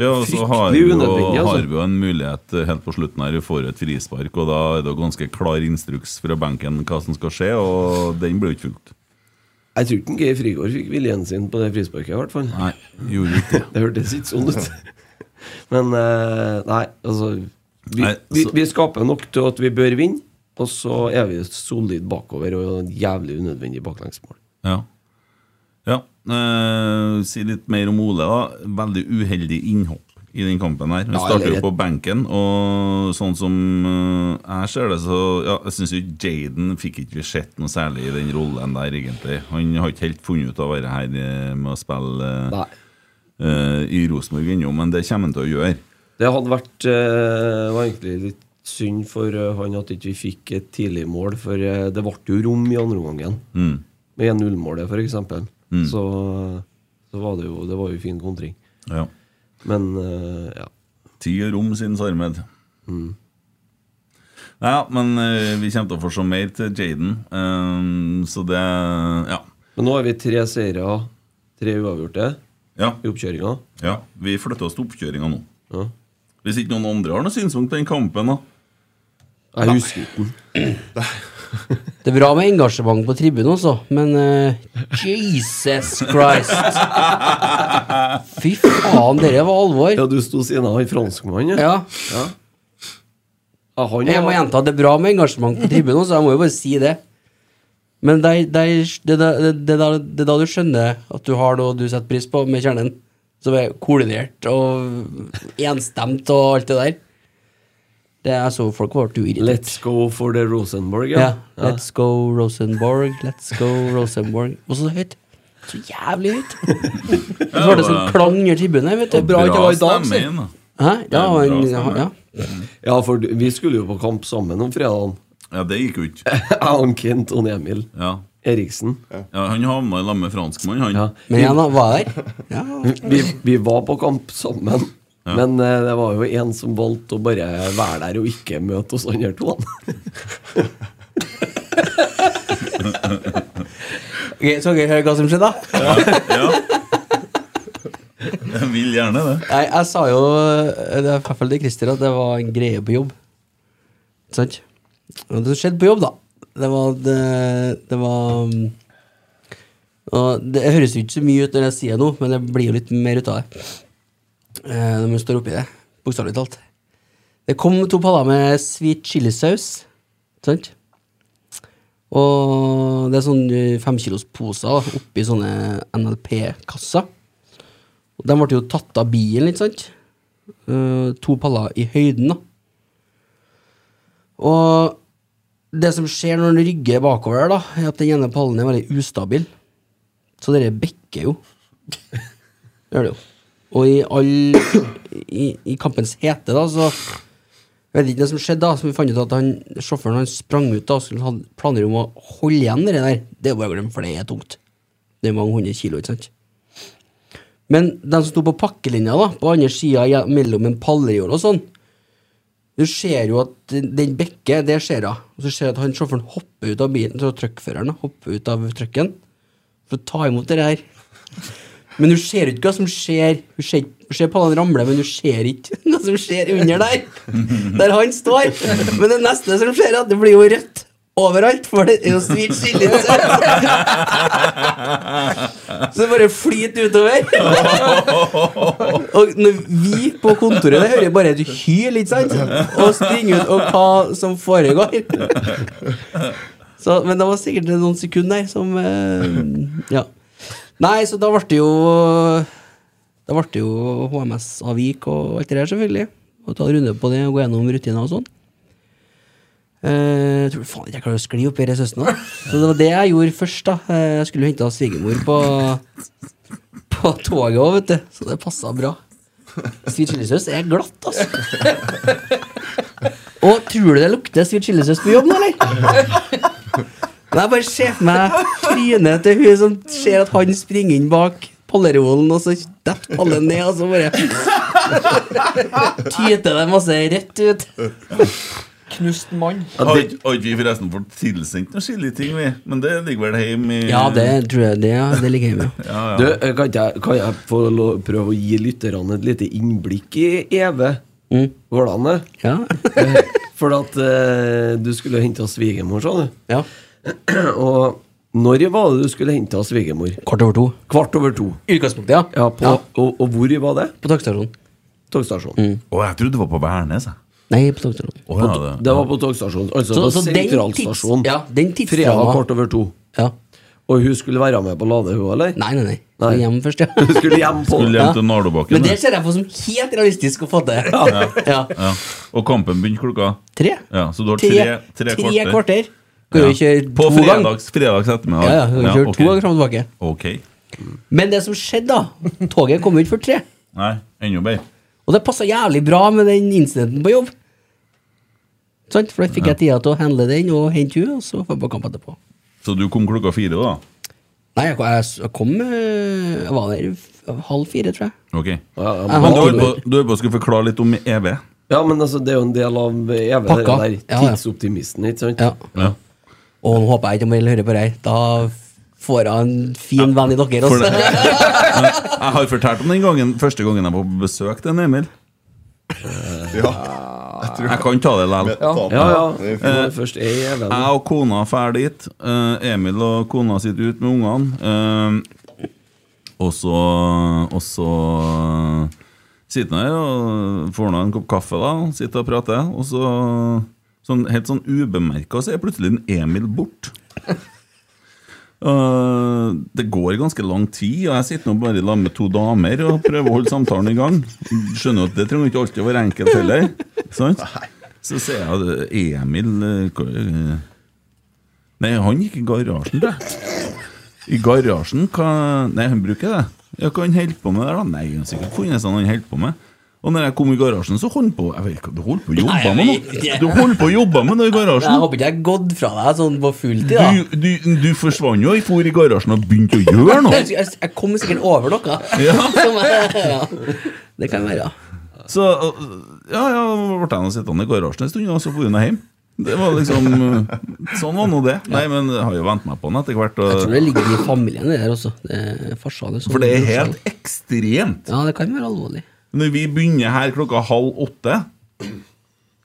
A: Ja, og så har vi,
C: Fryktelig
A: jo,
C: unødvendig, altså.
A: har vi jo en mulighet eh, helt på slutten her. Vi får et frispark, og da er det jo ganske klar instruks fra benken hva som skal skje, og den blir jo ikke fulgt.
C: Jeg tror ikke Geir Frigård fikk viljen sin på det frisparket, i hvert fall.
A: Nei, gjorde ikke det.
C: Det hørtes ikke sånn ut. Men eh, nei, altså vi,
A: Nei,
C: vi,
A: så-
C: vi skaper nok til at vi bør vinne, og så er vi solid bakover og jævlig unødvendig baklengsmål.
A: Ja. ja. Eh, si litt mer om Ole. da Veldig uheldig innhopp i den kampen. her Han
C: Ja,
A: starter jo
C: eller-
A: på benken, og sånn som eh, jeg ser det, så ja, Jeg syns Jaden fikk ikke sett noe særlig i den rollen der, egentlig. Han har ikke helt funnet ut av å være her eh, med å spille eh,
C: Nei.
A: eh, i Rosenborg ennå, men det kommer han til å gjøre.
C: Det hadde vært eh, var egentlig litt synd for eh, han at ikke vi fikk et tidlig mål, for eh, det ble jo rom i andre omgangen.
A: Mm.
C: Med 1-0-målet, f.eks. Så, så var det jo Det var jo fin kontring.
A: Ja.
C: Men eh, ja.
A: Tid og rom, siden Sarmed. Ja, men eh, vi kommer til å få se mer til Jaden, eh, så det Ja.
C: Men nå har vi tre seire, tre uavgjorte
A: ja.
C: i oppkjøringa.
A: Ja, vi flytter oss til oppkjøringa nå.
C: Ja.
A: Hvis ikke noen andre har noe synspunkt på den kampen, da.
C: Jeg husker ikke den.
B: Det er bra med engasjement på tribunen også, men eh, Jesus Christ! Fy faen, dere var alvor.
C: Ja, du sto siden av han franskmannen.
B: Ja.
C: Ja. Ja, han
B: Jeg må
C: var-
B: gjenta at det er bra med engasjement på tribunen også, jeg må jo bare si det. Men det er, det, er, det, er, da- det, er da, det er da du skjønner at du har noe du setter pris på med kjernen. Som er koordinert og enstemt og alt det der. Det er så folk ble jo irritert.
C: Let's go for the Rosenborg,
B: Ja.
C: ja. ja.
B: Let's go Rosenborg, let's go Rosenborg. Og så høyt. Så jævlig høyt. Og så var det sånn klang i tribunen, vet du.
E: Bra ikke det var i dag,
A: stemme
E: si.
A: inn, da.
B: Hæ? Ja,
A: Det er bra
B: han,
A: stemme.
B: ja.
C: ja, for du- vi skulle jo på kamp sammen om fredagen.
A: Ja, det gikk jo ikke.
C: Han Kent og Emil
A: Ja.
C: Eriksen.
A: Ja, han havna i lag med franskmann, han.
C: Ja.
B: Men igjen, da, var jeg der? Ja.
C: Vi, vi var på kamp sammen, men eh, det var jo en som valgte å bare være der og ikke møte oss andre to.
B: Ok, Skal dere høre hva som skjedde, da?
A: Jeg vil gjerne det.
B: Nei, jeg sa jo eh, det er i hvert fall til Christer at det var en greie på jobb. Ikke sant? Og det skjedde på jobb, da. Det var Det, det var mm, og Det høres jo ikke så mye ut når jeg sier noe, men det blir jo litt mer ut av det. Eh, når man står oppi det, bokstavelig talt. Det kom to paller med sweet chilisaus. Ikke sant? Og det er sånn, sånne femkilosposer da, oppi sånne NLP-kasser. Og De ble jo tatt av bilen, ikke sant? Eh, to paller i høyden, da. Og det som skjer når den rygger bakover, der, da, er at den ene pallen er veldig ustabil. Så dere bekker jo. Gjør det jo. Og i all i, I kampens hete, da, så Jeg vet ikke det som skjedde, da, så vi fant ut at han, sjåføren han sprang ut da, og skulle ha planer om å holde igjen det der. Det er jo bare å glemme, for det er tungt. Det er mange hundre kilo, ikke sant? Men de som sto på pakkelinja, da, på andre sida mellom en pallejord og sånn Du ser jo at den- den bekker, det ser jeg. Og så ser jeg at han sjåføren hopper ut av bilen, så truckføreren da, hopper ut av trucken for å ta imot det her. Men du ser jo ikke hva som skjer. Du ser, du ser pallene ramle, men du ser ikke hva som skjer under der. Der han står. Men det neste som skjer, er at det blir jo rødt overalt, for det er jo svirt chili. Så det bare flyter utover. og når vi på kontoret det hører jeg bare et hyl, ikke sant? Og springer ut og hva som foregår. Så, men det var sikkert noen sekunder der som eh, Ja. Nei, så da ble det jo Da ble det jo HMS-avvik og alt det der, selvfølgelig. Og ta en runde på det og gå gjennom rutiner og sånn. Eh, Jeg tror faen ikke jeg klarer å skli opp i det søsten nå. Så det var det jeg gjorde først. da Eh, Jeg skulle hente svigermor på, på toget òg, vet du. Så det passa bra. Sweet chilisaus er glatt, altså. Og tror du det lukter sweet chilisaus på jobb nå, eller? Men jeg bare ser for meg trynet til hun som ser at han springer inn bak pollerolen, og så detter pallen ned, og så bare tyter det masse rett ut.
E: Knust mann.
A: Har ikke- har ikke vi forresten fått tilsendt noen chiliting, vi? Men det ligger vel hjemme i
B: Ja, det tror jeg det, det ligger hjemme. ja.
A: Ja,
C: Du,
A: ja.
C: eh, kan, ikke jeg, kan jeg få lov, prøve å gi lytterne et lite innblikk i Eve?
B: Mm.
C: Går det an, det?
B: Ja.
C: For at eh, du skulle hente av svigermor, sa du.
B: ja.
C: Og når var det du skulle hente av svigermor?
B: Kvart over to.
C: Kvart over to.
B: Utgangspunktet, ja.
C: Ja, på, Og, og hvor var det?
B: På togstasjonen.
C: Togstasjonen.
B: Mm.
A: Å, jeg trodde det var på Værnes, jeg.
B: Nei, på togstasjonen.
A: Å, ja, det.
C: Det var på togstasjonen, altså
B: Så-
C: på
B: så den tids-
C: sentralstasjonen.
B: ja, den tidsramma.
C: Fredag kvart over to.
B: Ja.
C: Og hun skulle være med på Lade, hun, eller?
B: Nei, nei, nei.
C: Nei.
B: Skal hjem først,
C: Hun
B: ja.
C: skulle hjem på
A: Skulle
B: Ja.
A: hjem til Nardobakken.
B: Men det
A: det.
B: ser jeg på som helt realistisk å få til. Ja.
A: Ja. Og kampen begynte klokka
B: Tre.
A: Ja, så du har tre, tre, kvarter.
B: kvarter. Kan jo
A: Ja.
B: kjøre
A: På
B: to ganger.
A: fredags, fredags ettermiddag.
B: Ja, ja. Kan jo kjøre
A: ok.
B: to ganger fram og tilbake.
A: Ok.
B: Men det som skjedde, da Toget kom jo ikke før tre.
A: Nei, enda bedre.
B: Og det passa jævlig bra med den incidenten på jobb. Sant? For da fikk jeg tida til å handle den og hente henne, og så var jeg på kamp etterpå.
A: Så du kom klokka fire, da?
B: Nei, jeg, jeg, jeg kom eh, Jeg var der f- halv fire, tror jeg.
A: Ok.
C: Ja, ja,
B: Jeg
C: men,
A: Men du
B: har-
A: er på, du er på å skulle forklare litt om E EV.
C: ja, men altså, det er jo en del av evig det
B: Pakka.
C: der
B: Ja, ja.
C: tidsoptimisten, ikke sant?
B: Ja.
A: Ja.
B: Og nå håper jeg ikke Amel hører på deg. Da får jeg en fin venn i dere.
A: For
B: Også.
A: det, Men jeg har fortalt om den gangen, første gangen jeg var på besøk til en Emil.
D: Ja.
A: Jeg kan ta det likevel.
D: Med- ta-
C: Ja, ja.
D: Det er fint.
C: Når det først er i evig
A: Jeg og kona drar dit. eh, Emil og kona sitter ute med ungene. eh, og så Og så sitter han her og får nå en kopp kaffe, da. Sitter og prater. Og så, sånn, helt sånn ubemerka, så er plutselig en Emil borte. Eh, det går ganske lang tid, og jeg sitter nå bare sammen med to damer og prøver å holde samtalen i gang. Skjønner at det trenger ikke alltid å være enkelt heller. Sant? Så ser jeg at Emil eh, hva- eh, Nei, han gikk i garasjen, da. I garasjen? Hva Nei, han bruker det. Ja, hva han holder på med der, da? Nei, han har sikkert funnet seg noe han holder på med. Og når jeg kom i garasjen, så holdt han på Jeg vet ikke, Du holdt på å jobbe med noe Du holdt på å jobbe med noe i garasjen!
B: Jeg håper ikke jeg har gått fra deg sånn på fulltid. da
A: sånn- Du, du, du forsvant jo, jeg for i garasjen og begynte å gjøre noe.
B: Jeg, jeg, jeg kommer sikkert over noe.
A: Ja.
B: Som jeg, ja. Det kan være.
A: Så øh, ja, ja, ble jeg nå sittende i garasjen en stund, og så dro jeg hjem. Det var liksom øh, Sånn var nå det. Nei, men jeg har jo vent meg på den etter hvert.
B: Jeg tror
A: Og,
B: det ligger i familien, det der også. Det er farsan, det er sånn.
A: for det er helt ekstremt.
B: Ja, det kan være alvorlig.
A: Når vi begynner her klokka halv åtte,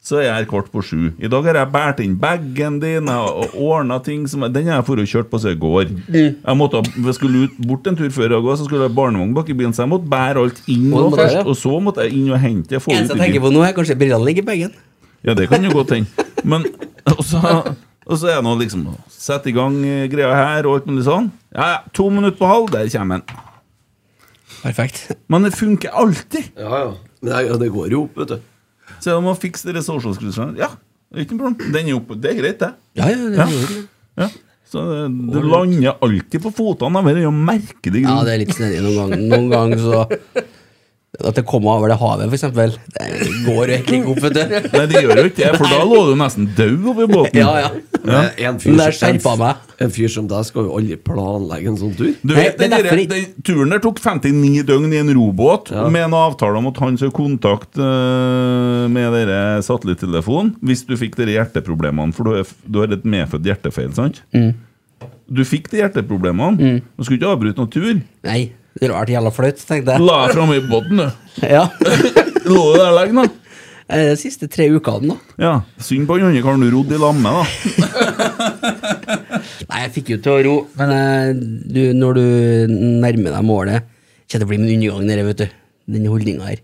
A: så er jeg her kvart på sju. I dag har jeg båret inn bagen din og ordna ting som Den har jeg for og kjørt på seg i går. Jeg måtte, ha- jeg skulle ut bort en tur før jeg går, så skulle jeg ha barnevogn bak i bilen, så jeg måtte bære alt inn
B: Og
A: nå
B: du måtte
A: først.
B: det, ja.
A: Og så måtte jeg inn og hente. Få
B: Eneste
A: ut
B: jeg tenker på nå, er kanskje brillene ligger i bagen.
A: Ja, det kan jo godt hende. Men og så, og så er det nå liksom å Sette i gang eh, greia her og alt mulig sånn. Ja, ja, to minutter på halv, der kommer den.
B: Perfekt.
A: Men det funker alltid!
C: Ja, ja. Men det, ja, det går jo opp, vet du.
A: Så jeg må fikse de social-skrussene. Ja, det er ikke noe problem. Den er oppe. Det er greit, det.
B: Ja, ja, det,
A: Ja.
B: er i orden.
A: Ja. Så det, det lander alltid på fotene. Det er jo merkelig
B: ja,
A: grunn.
B: det er litt snedig noen ganger. Noen ganger så At det kommer over det havet, for eksempel. Det går jo egentlig ikke opp, vet du.
A: Nei, det gjør jo ikke det, for da lå du nesten død oppi båten.
B: Ja, ja.
C: Men Eh, En fyr,
B: Men det er
C: som- en
B: skjerpa
C: f-
B: meg.
C: En fyr som deg skal jo aldri planlegge en sånn tur.
A: Du
B: Nei,
A: vet,
B: det er
A: den, der,
B: derfor
A: den turen der tok 59 døgn i en robåt med en avtale om at han skulle kontakte øh, med dere satellittelefonen hvis du fikk dere hjerteproblemene, for du, er, f- du har et medfødt hjertefeil, sant?
B: Mm.
A: Du fikk de hjerteproblemene. Du skulle ikke avbryte noen tur.
B: Nei, det rart jævla flaut, tenkte jeg.
A: La jeg framme i båten, du.
B: Ja.
A: Lå du der lenge, da?
B: Eh, De siste tre ukene, da.
A: Ja. Synd på han andre karen du rodde i lag med, da.
B: Nei, jeg fikk jo til å ro, men eh, du, når du nærmer deg målet Kjenner det blir min undergang nede, vet du. Den holdninga her.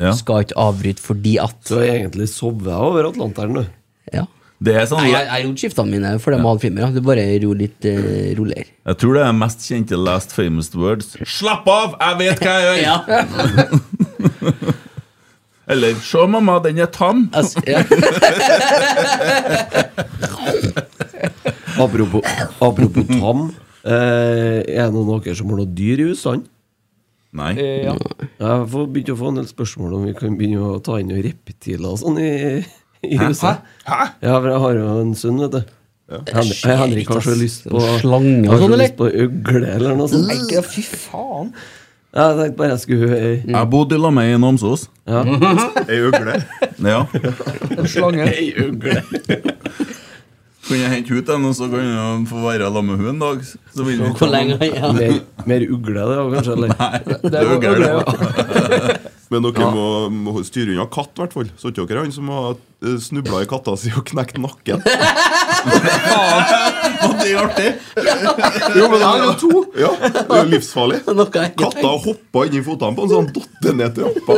A: Ja.
B: Skal ikke avbryte fordi at
C: Så egentlig sover jeg over Atlanteren, du.
B: Ja.
A: Det er sånn
B: Nei, jeg, jeg rodde skiftene mine for dem halvfilmer. Ja. Du bare ro litt eh, roligere.
A: Jeg tror det er mest kjente last famous words. Slapp av! Jeg vet hva jeg gjør!
B: Ja.
A: Eller Se, mamma, den er tam.
B: Altså, ja.
C: Apropos, apropos tam. Eh, er det noen av dere som har noe dyr i husene?
A: Nei.
E: Eh, ja.
C: Jeg får begynt å få en del spørsmål om vi kan begynne å ta inn noen reptiler og sånn i, i huset. Hæ? Ja, for jeg har jo en sønn, vet du. Hen
B: skjer
C: Henrik
B: ikke,
C: har så
B: ass.
C: lyst på
B: Slange og
C: har så
B: sånn,
C: lyst på ugle eller noe sånt.
E: Nei, ja, fy faen.
C: Jeg tenkte bare jeg skulle eh,
A: Jeg bodde i lag med ei i Namsos.
D: Ei ugle.
A: Ja.
E: En slange.
A: Kan jeg hente ut den, og så kan jeg få være sammen med henne en dag? Så vil vi
B: Hvor lenge ja.
C: mer, mer ugle, det var kanskje? Eller?
A: Nei, det
E: Det
A: er jo
E: var-
A: gærent.
E: det var-
D: Men dere må, må styre unna katt, i hvert fall. Så ikke dere han som har snubla i katta si og knekt nakken?
A: Og det er artig!
D: Jo, men det her er to! Ja, det er jo livsfarlig.
B: Noe jeg ikke
D: Katta hoppa inn i fotene på en sånn datt ned trappa.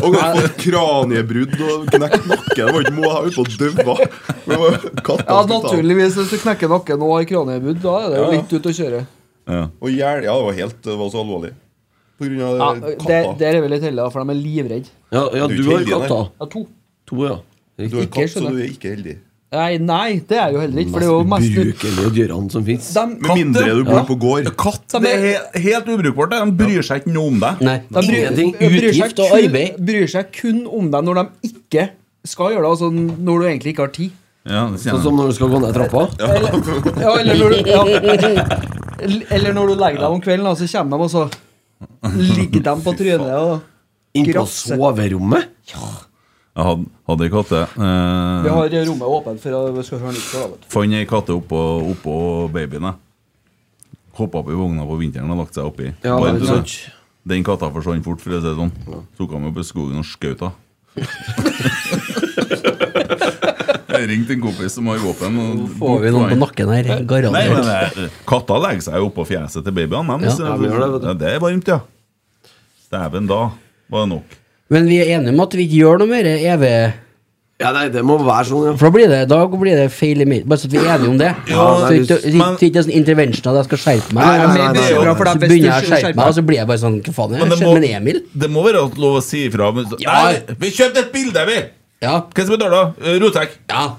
D: Og har fått kraniebrudd og knekt nakken. Det var ikke må ha ut og daua. Men det var- katta
E: Ja,
D: skulle ta-
E: naturligvis. Hvis du knekker nakken og har kraniebrudd, da er det jo litt ut å kjøre.
D: Og hjel, ja, det var helt det var så alvorlig. På grunn av
E: Ja,
D: katta.
E: der, der er vi litt heldige, for de er livredde.
C: Ja, ja,
D: Du er
C: du
D: ikke
C: har
D: heldig, nei.
C: katter.
E: Ja, to.
C: To, ja.
D: du er
E: ikke,
D: katt, så
E: skjønner
D: du er ikke heldig.
E: Nei, nei, det er jo heller ikke. For det er jo mest
C: brukelige dyrene som fins.
E: de,
D: Med mindre du bor på gård.
A: Katt det er he- helt ubrukbart. det. De bryr seg ikke noe om deg.
B: Nei.
E: de bryr,
C: Ingenting.
E: bryr seg
B: Utgift og
E: kun-
B: arbeid.
E: Bryr seg kun om deg når de ikke skal gjøre det. Altså når du egentlig ikke har tid.
A: Ja, det sier
C: Sånn
A: jeg.
C: som når du skal gå ned trappa.
E: Eller, ja, eller, når du, ja. eller når du legger deg om kvelden, da, så kommer de, og så ligger de på trynet. Og
C: Inn på
E: Grafse.
C: soverommet.
A: Jeg hadde, hadde ei katte.
E: vi
A: Eh,
E: har rommet åpent for at vi skal høre nytt. fra, da, vet du.
A: Fant ei katte oppå, oppå babyen. jeg. Hoppa opp i vogna på vinteren og lagt seg oppi.
C: Ja,
A: Varmt,
C: det
A: vet du.
C: er sant.
A: Den katta forsvant fort, for å si det sånn. Tok han med opp i skogen og skjøt henne. Jeg ringte en kompis som har våpen. og-
B: Får vi noen på nakken
A: Nei,
B: her?
A: men
B: Garantert.
A: eh, Katta legger seg jo oppå fjeset til babyene. dem,
B: Ja.
A: så-
C: Ja, vi gjør det, vet du.
A: Ja, det er varmt, ja. Dæven, da var det nok.
B: Men vi er enige om at vi ikke gjør noe mer EV.
C: Ja, nei, det må være sånn, ja.
B: For da blir det, da blir det feil i mitt. Bare så at vi er enige om det.
C: Ja,
B: så
C: nei,
B: ikke så
A: men-
B: ikke det er sånn intervention at jeg skal skjerpe meg.
C: Nei, nei, nei,
A: nei,
C: nei,
A: nei.
E: Bra, for det
B: Så
E: er best Altså,
B: begynner
E: å
B: jeg å skjerpe meg, og så blir jeg bare sånn Hva faen er
A: Men
B: det?
A: det
B: skjer
A: må-
B: med Emil?
A: Det må være lov å si ifra. Men, så-
B: Ja.
A: Nei, vi kjøpte et bilde, vi!
B: Ja.
A: Hvem som betaler? Eh, Rotek.
B: ja.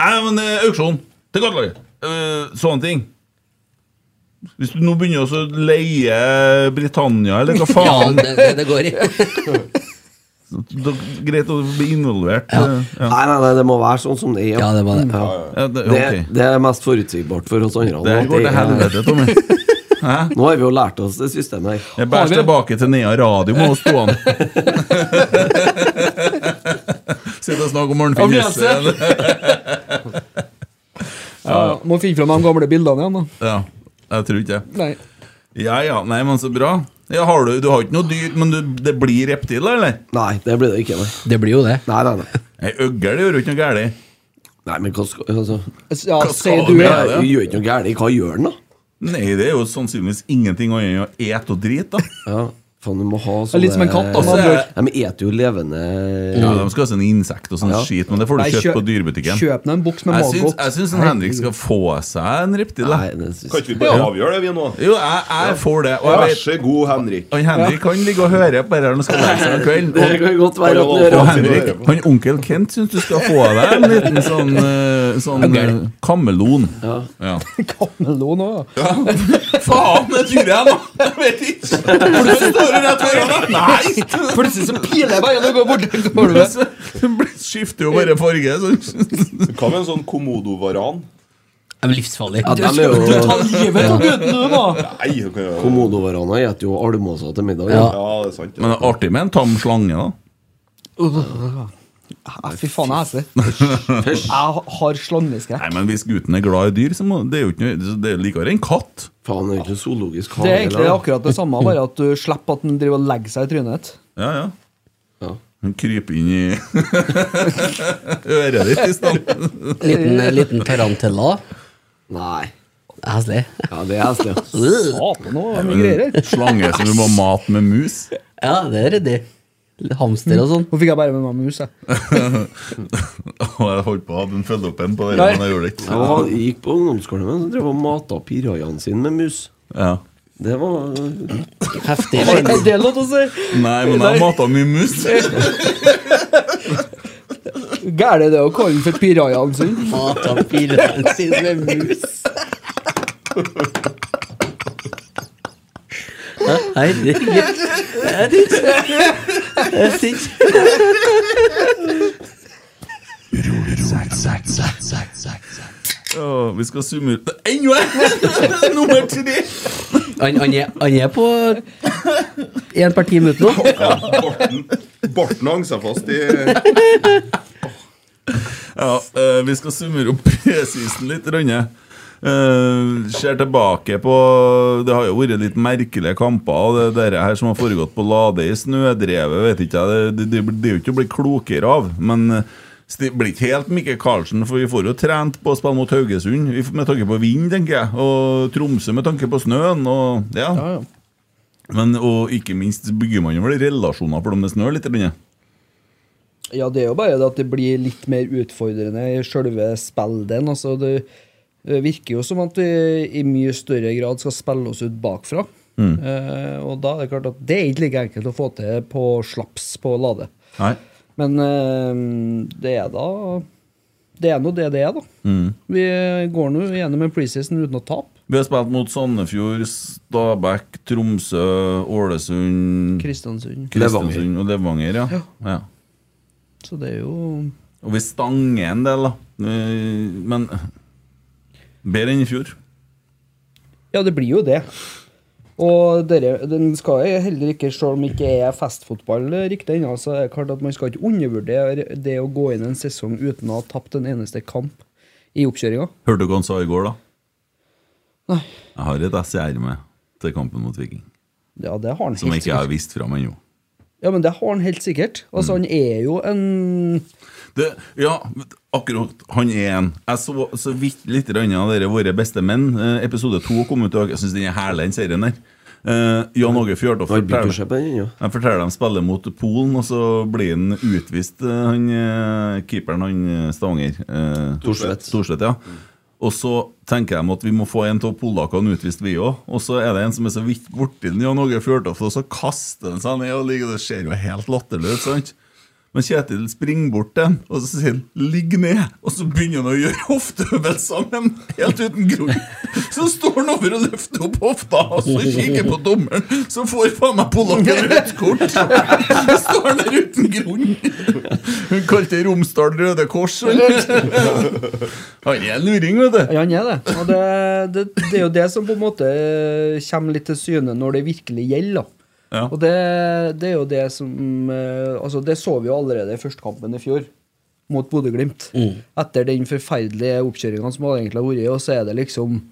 A: Nei, men eh, auksjon til kattelaget. Eh, sånne ting. Hvis du nå begynner også å leie Britannia, eller hva
B: ja
A: faen
B: det, det, det går i.
A: da, Greit å bli involvert. eh, Ja.
C: Nei, nei, nei, det må være sånn som det er.
B: Ja, det var det.
C: Ja.
A: Ja, det,
C: Det,
A: ok.
C: det er mest forutsigbart for oss andre.
A: det her
C: at
A: går til
C: det er-
A: helvete, Tommy. Hæ?
C: Nå har vi jo lært oss det systemet her.
A: Jeg bæsjer tilbake til Nea Radio med oss to. Sitte og snakke om Arnfinn
E: Ambulanse.
A: Jesse.
E: Ja, ja. Må finne fram de gamle bildene igjen, da.
A: Ja, jeg tror ikke det.
E: Nei.
A: Ja ja, nei, men så bra. Ja, har du, du har ikke noe dyrt, men du, det blir reptiler, eller?
C: Nei, det blir det ikke. Nei,
B: Det blir jo det.
C: nei, nei. nei.
A: Ei øgle gjør jo ikke noe galt.
C: nei men hva skal altså,
E: Ja,
A: Hva
E: sier
A: skal
E: du
A: vi
E: det?
A: med?
C: jeg, Gjør ikke noe gærent. Hva gjør den, da?
A: Nei, det er jo sannsynligvis ingenting annet enn å ete og drite, da.
C: Ja, faen, du må ha
E: er
C: sånne
E: litt som en katt, da,
A: med andre ord.
C: Ja, men eter jo levende
A: Ja, de skal ha sånn insekt og sånn
C: Ja.
A: skit, men det får du
E: Nei,
A: kjøpt
E: kjøp-
A: på dyrebutikken.
E: Kjøp deg en boks med
A: Jeg syns,
E: maggodt.
A: jeg syns en Henrik skal få seg en reptil.
C: Nei,
A: da.
C: det syns
D: Kan ikke vi bare avgjøre det, vi nå?
A: Jo, jeg, jeg får det. Og jeg
D: Vær
A: vet,
D: så god, Henrik.
A: han Henrik kan ligge og høre på dette når han skal legge seg en kveld.
C: Det
A: Og,
C: kan godt være at den gjør
A: og
C: det.
A: Henrik, han onkel Kent syns du skal få deg en liten sånn, eh, sånn eh, kameleon.
C: Ja.
A: Ja.
E: Kamelon òg, da.
A: Faen, det tror jeg nå! Jeg vet ikke! For du står jo rett foran deg. Nei!
E: Plutselig så piler jeg veien og går bort til gulvet.
A: Så- så Skifter jo bare farge. Så.
D: Hva med en sånn komodovaran?
B: Det er livsfarlig.
C: Ja, dem er
E: Du
C: jo
E: tar livet av gutten, du, da!
D: Nei, du kan jo
C: Komodovarana spiser jo almåser til middag.
B: Ja.
D: Ja, det er sant.
A: Men det er artig med en tam slange, da.
E: Ja, Fy faen, jeg er heslig. Jeg har slangeskrekk.
A: Nei, men Hvis gutten er glad i dyr, så må, det er jo ikke noe, det er likere enn katt.
C: Faen, det er jo ikke noe zoologisk
E: Det er
C: hage,
E: egentlig
C: eller?
E: akkurat det samme, bare at du slipper at den driver og legger seg i trynet ditt.
A: Ja, ja.
C: Ja.
A: Hun kryper inn i øret ditt i stedet.
B: Liten, eh, liten tarantella.
C: Nei.
B: Heslig.
C: Ja, det er heslig. ja.
B: Mm.
E: Satan, nå er det mye greier her.
A: Slange som du må mate med mus.
B: Ja, det er ryddig. Hamster og sånn.
E: Nå fikk jeg bare med meg mus, jeg.
A: Og jeg holdt på å ha den følge opp en på det,
E: Nei.
A: men jeg gjorde det ikke.
C: Ja, han gikk på ungdomsskolen, men så drev han og mata pirajaen sin med mus.
A: Ja.
C: Det var
B: Heftig.
E: Er det lov til å si?
A: Nei, men jeg mata mye mus.
E: Gæren er det å kalle den for pirajaen sin.
B: Mat av pirene sine med mus. Herregud. Jeg syns Jeg syns
A: Ja, vi skal summe ut Ennå en! Nummer tre!
B: Han, han, er, han er på én per ti minutter nå.
D: Borten, Borten hang seg fast i
A: Ja, eh, vi skal summere opp presisen litt, Rønne. Eh, ser tilbake på Det har jo vært litt merkelige kamper. Og det dette her som har foregått på Lade i snødrevet, vet ikke jeg. Det, det, det, det er jo ikke å bli klokere av. Men eh, det blir ikke helt Mikke Karlsen, for vi får jo trent på å spille mot Haugesund. vi- Med tanke på vind, tenker jeg. Og Tromsø med tanke på snøen. Og, ja.
E: Ja, ja.
A: Men, og ikke minst bygger man jo vel relasjoner for dem med snø litt. Rønne.
E: Ja, det er jo bare det at det blir litt mer utfordrende i sjølve spillden. Altså, det eh, virker jo som at vi i mye større grad skal spille oss ut bakfra. Eh, og da er det klart at det er ikke like enkelt å få til på slaps på Lade.
A: Nei.
E: Men eh, det er da det er nå det det er, da. Vi går nå gjennom en preseason uten å tape.
A: Vi har spilt mot Sandefjord, Stabæk, Tromsø, Ålesund,
E: Kristiansund.
A: Kristiansund og Levanger. Ja. Ja.
E: Så det er jo
A: Og vi stanger en del, da. Eh, Men bedre enn i fjor.
E: Ja, det blir jo det. Og dere, den skal jeg heller ikke, selv om ikke er festfotball eh, riktig ennå, så er det klart at man skal ikke undervurdere det å gå inn en sesong uten å ha tapt en eneste kamp i oppkjøringa.
A: Hørte du hva han sa i går, da?
E: Nei.
A: Jeg har et S i ermet til kampen mot Viking.
E: Ja, det har han
A: Som
E: helt
A: jeg ikke har
E: sikkert.
A: vist fram ennå.
E: Ja, men det har han helt sikkert.
A: Mm.
E: Altså, han er jo en
A: Det, ja, akkurat. Han er en. Jeg så så vidt litt grann av dere Våre beste menn. Eh, episode to kom ut i dag. Jeg syns den er herlig, den serien der. Eh, Jan Åge Fjørtoft
C: Har begynt å
A: forteller
C: se på den ennå.
A: jeg forteller dem spiller mot Polen, og så blir han utvist, eh, han eh, keeperen, han eh, Stavanger. eh,
C: Thorstvedt.
A: Thorstvedt, ja. Og så tenker de at vi må få en av polakkene utvist, vi òg. Og så er det en som er så vidt borti den, Jan Åge Fjørtoft, og så kaster han seg ned og ligger Det ser jo helt latterlig ut, sant? Men Kjetil springer bort til ham og så sier han 'ligg ned', og så begynner han å gjøre hofteøvelser med ham, helt uten grunn. Så står han over og løfter opp hofta, og så kikker på dommeren, så får faen meg polakken rødt kort! Så står han der uten grunn! Hun kalte Romsdal Røde Kors. eller? Han er en luring, vet du.
E: Ja, han er det. Og det, det, det er jo det som på en måte eh, kommer litt til syne når det virkelig gjelder. da.
A: Ja.
E: Og det, det er jo det som eh, Altså, det så vi jo allerede i førstekampen i fjor, mot Bodø-Glimt.
C: Mm.
E: Etter den forferdelige oppkjøringa som det egentlig har vært, og så er det liksom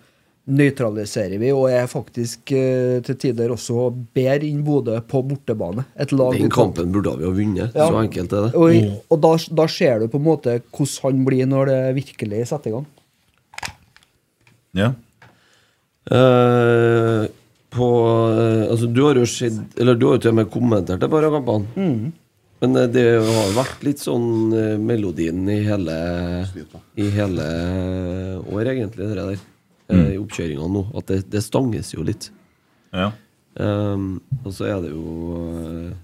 E: Nøytraliserer vi, og er faktisk eh, til tider også bedre enn Bodø på bortebane. Et lag
C: Den
E: uten-
C: kampen burde vi ha vunnet.
E: Ja.
C: Så enkelt er det. Mm.
E: Og, og da, da ser du på en måte hvordan han blir når det virkelig setter i gang.
A: Ja.
C: Eh, på, eh, altså, du har jo sett, eller du har jo til og med kommentert det bare kampene. Men eh, det har vært litt sånn eh, melodien i hele, i hele år, egentlig, det der. eh, I oppkjøringa nå. At det, det stanges jo litt.
A: ja.
C: Ehm, og så er det jo eh,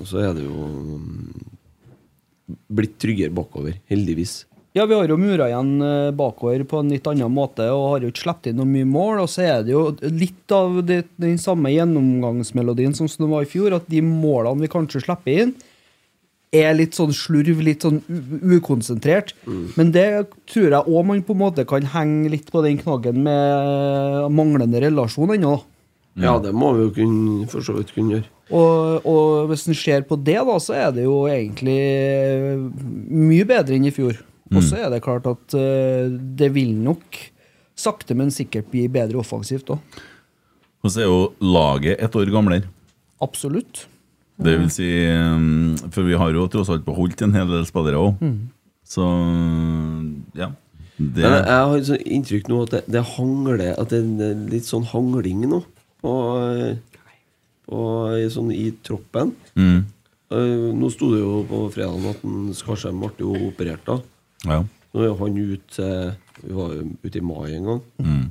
C: Og så er det jo mm, blitt tryggere bakover, heldigvis.
E: Ja, vi har jo mura igjen eh, bakover på en litt annen måte og har jo ikke sluppet inn noe mye mål. Og så er det jo litt av det, den samme gjennomgangsmelodien som det var i fjor, at de målene vi kanskje slipper inn, er litt sånn slurv, litt sånn u ukonsentrert. Men det tror jeg òg man på en måte kan henge litt på den knaggen med manglende relasjon ennå. da.
C: Ja, det må vi jo kunne, for så vidt kunne gjøre.
E: Og, og hvis en ser på det, da, så er det jo egentlig eh, mye bedre enn i fjor. Og så er det klart at eh, det vil nok sakte, men sikkert bli bedre offensivt òg.
A: Og så er jo laget et år gamlere.
E: Absolutt.
A: Det vil si um, For vi har jo tross alt beholdt en hel del spillere òg. Så ja. Det,
C: Men jeg, jeg har et sånt inntrykk nå at det, det hangler At det er en litt sånn hangling nå. Og, og i sånn i troppen.
A: mm,
C: Eh, Nå sto det jo på fredagen at en Skarsheim ble jo operert, da.
A: ja.
C: Nå er jo han ute eh, Vi var jo ute i mai en gang.
A: Mm.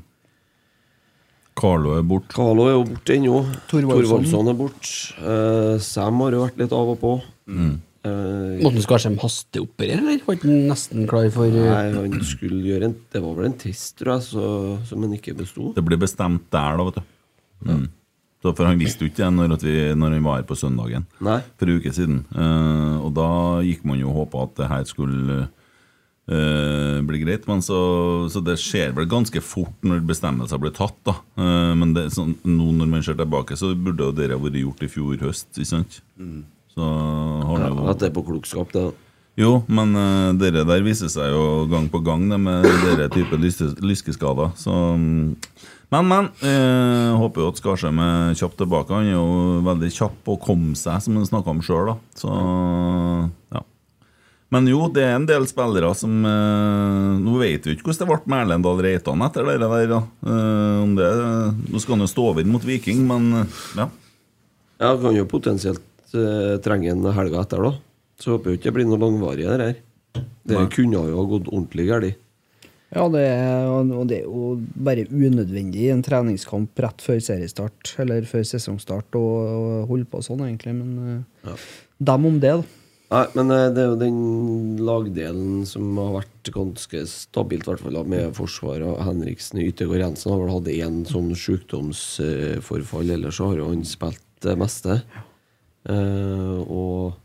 A: Carlo er borte.
C: Kalo er jo borte ennå.
E: Thorvaldsson.
C: Thorvaldsson er borte. Eh, Sam har jo vært litt av og på.
A: Mm.
C: Eh,
B: Måtte han Skarsheim hasteoperere, eller? Var ikke han nesten klar for eh,
C: nei, han skulle gjøre en Det var vel en test, tror jeg, så, som han ikke besto.
A: Det ble bestemt der, da, vet du. Mm. Så for han visste jo ikke det når, at vi, når han var her på søndagen
C: Nei.
A: for en uke siden. Eh, og da gikk man jo og håpa at det her skulle eh, bli greit. Men så, så det skjer vel ganske fort når bestemmelser blir tatt, da. Eh, men det, er sånn, nå når man ser tilbake, så burde jo det ha vært gjort i fjor høst, ikke sant? Så har
C: Mm. Ja,
A: det jo
C: at det er på klokskap, det. da.
A: jo, men uh, dere der viser seg jo gang på gang det med dere type lyste- lyskeskader. Så, mm. men, men. eh, håper jo at Skarsheim er kjapt tilbake. Han er jo veldig kjapp og kom seg, som han snakka om sjøl. Så ja. Men jo, det er en del spillere som eh, Nå vet vi ikke hvordan det ble med Erlend Dahl Reitan etter det der. Da. Eh, om det, nå skal han jo stå over mot Viking, men eh, ja.
C: Ja, kan jo potensielt eh, trenge en helga etter, da. Så håper jo ikke det blir noe langvarig, det her. Det kunne jo ha gått ordentlig galt.
E: Ja, det er, og det er jo bare unødvendig i en treningskamp rett før seriestart, eller før sesongstart, å å holde på sånn, egentlig. Men eh, dem om det, da.
C: Nei, men eh, det er jo den lagdelen som har vært ganske stabilt, i hvert fall da, med forsvar og Henriksen. Yttergård Jensen har vel hatt én sånn sykdomsforfall, ellers så har jo han spilt det meste. Eh, og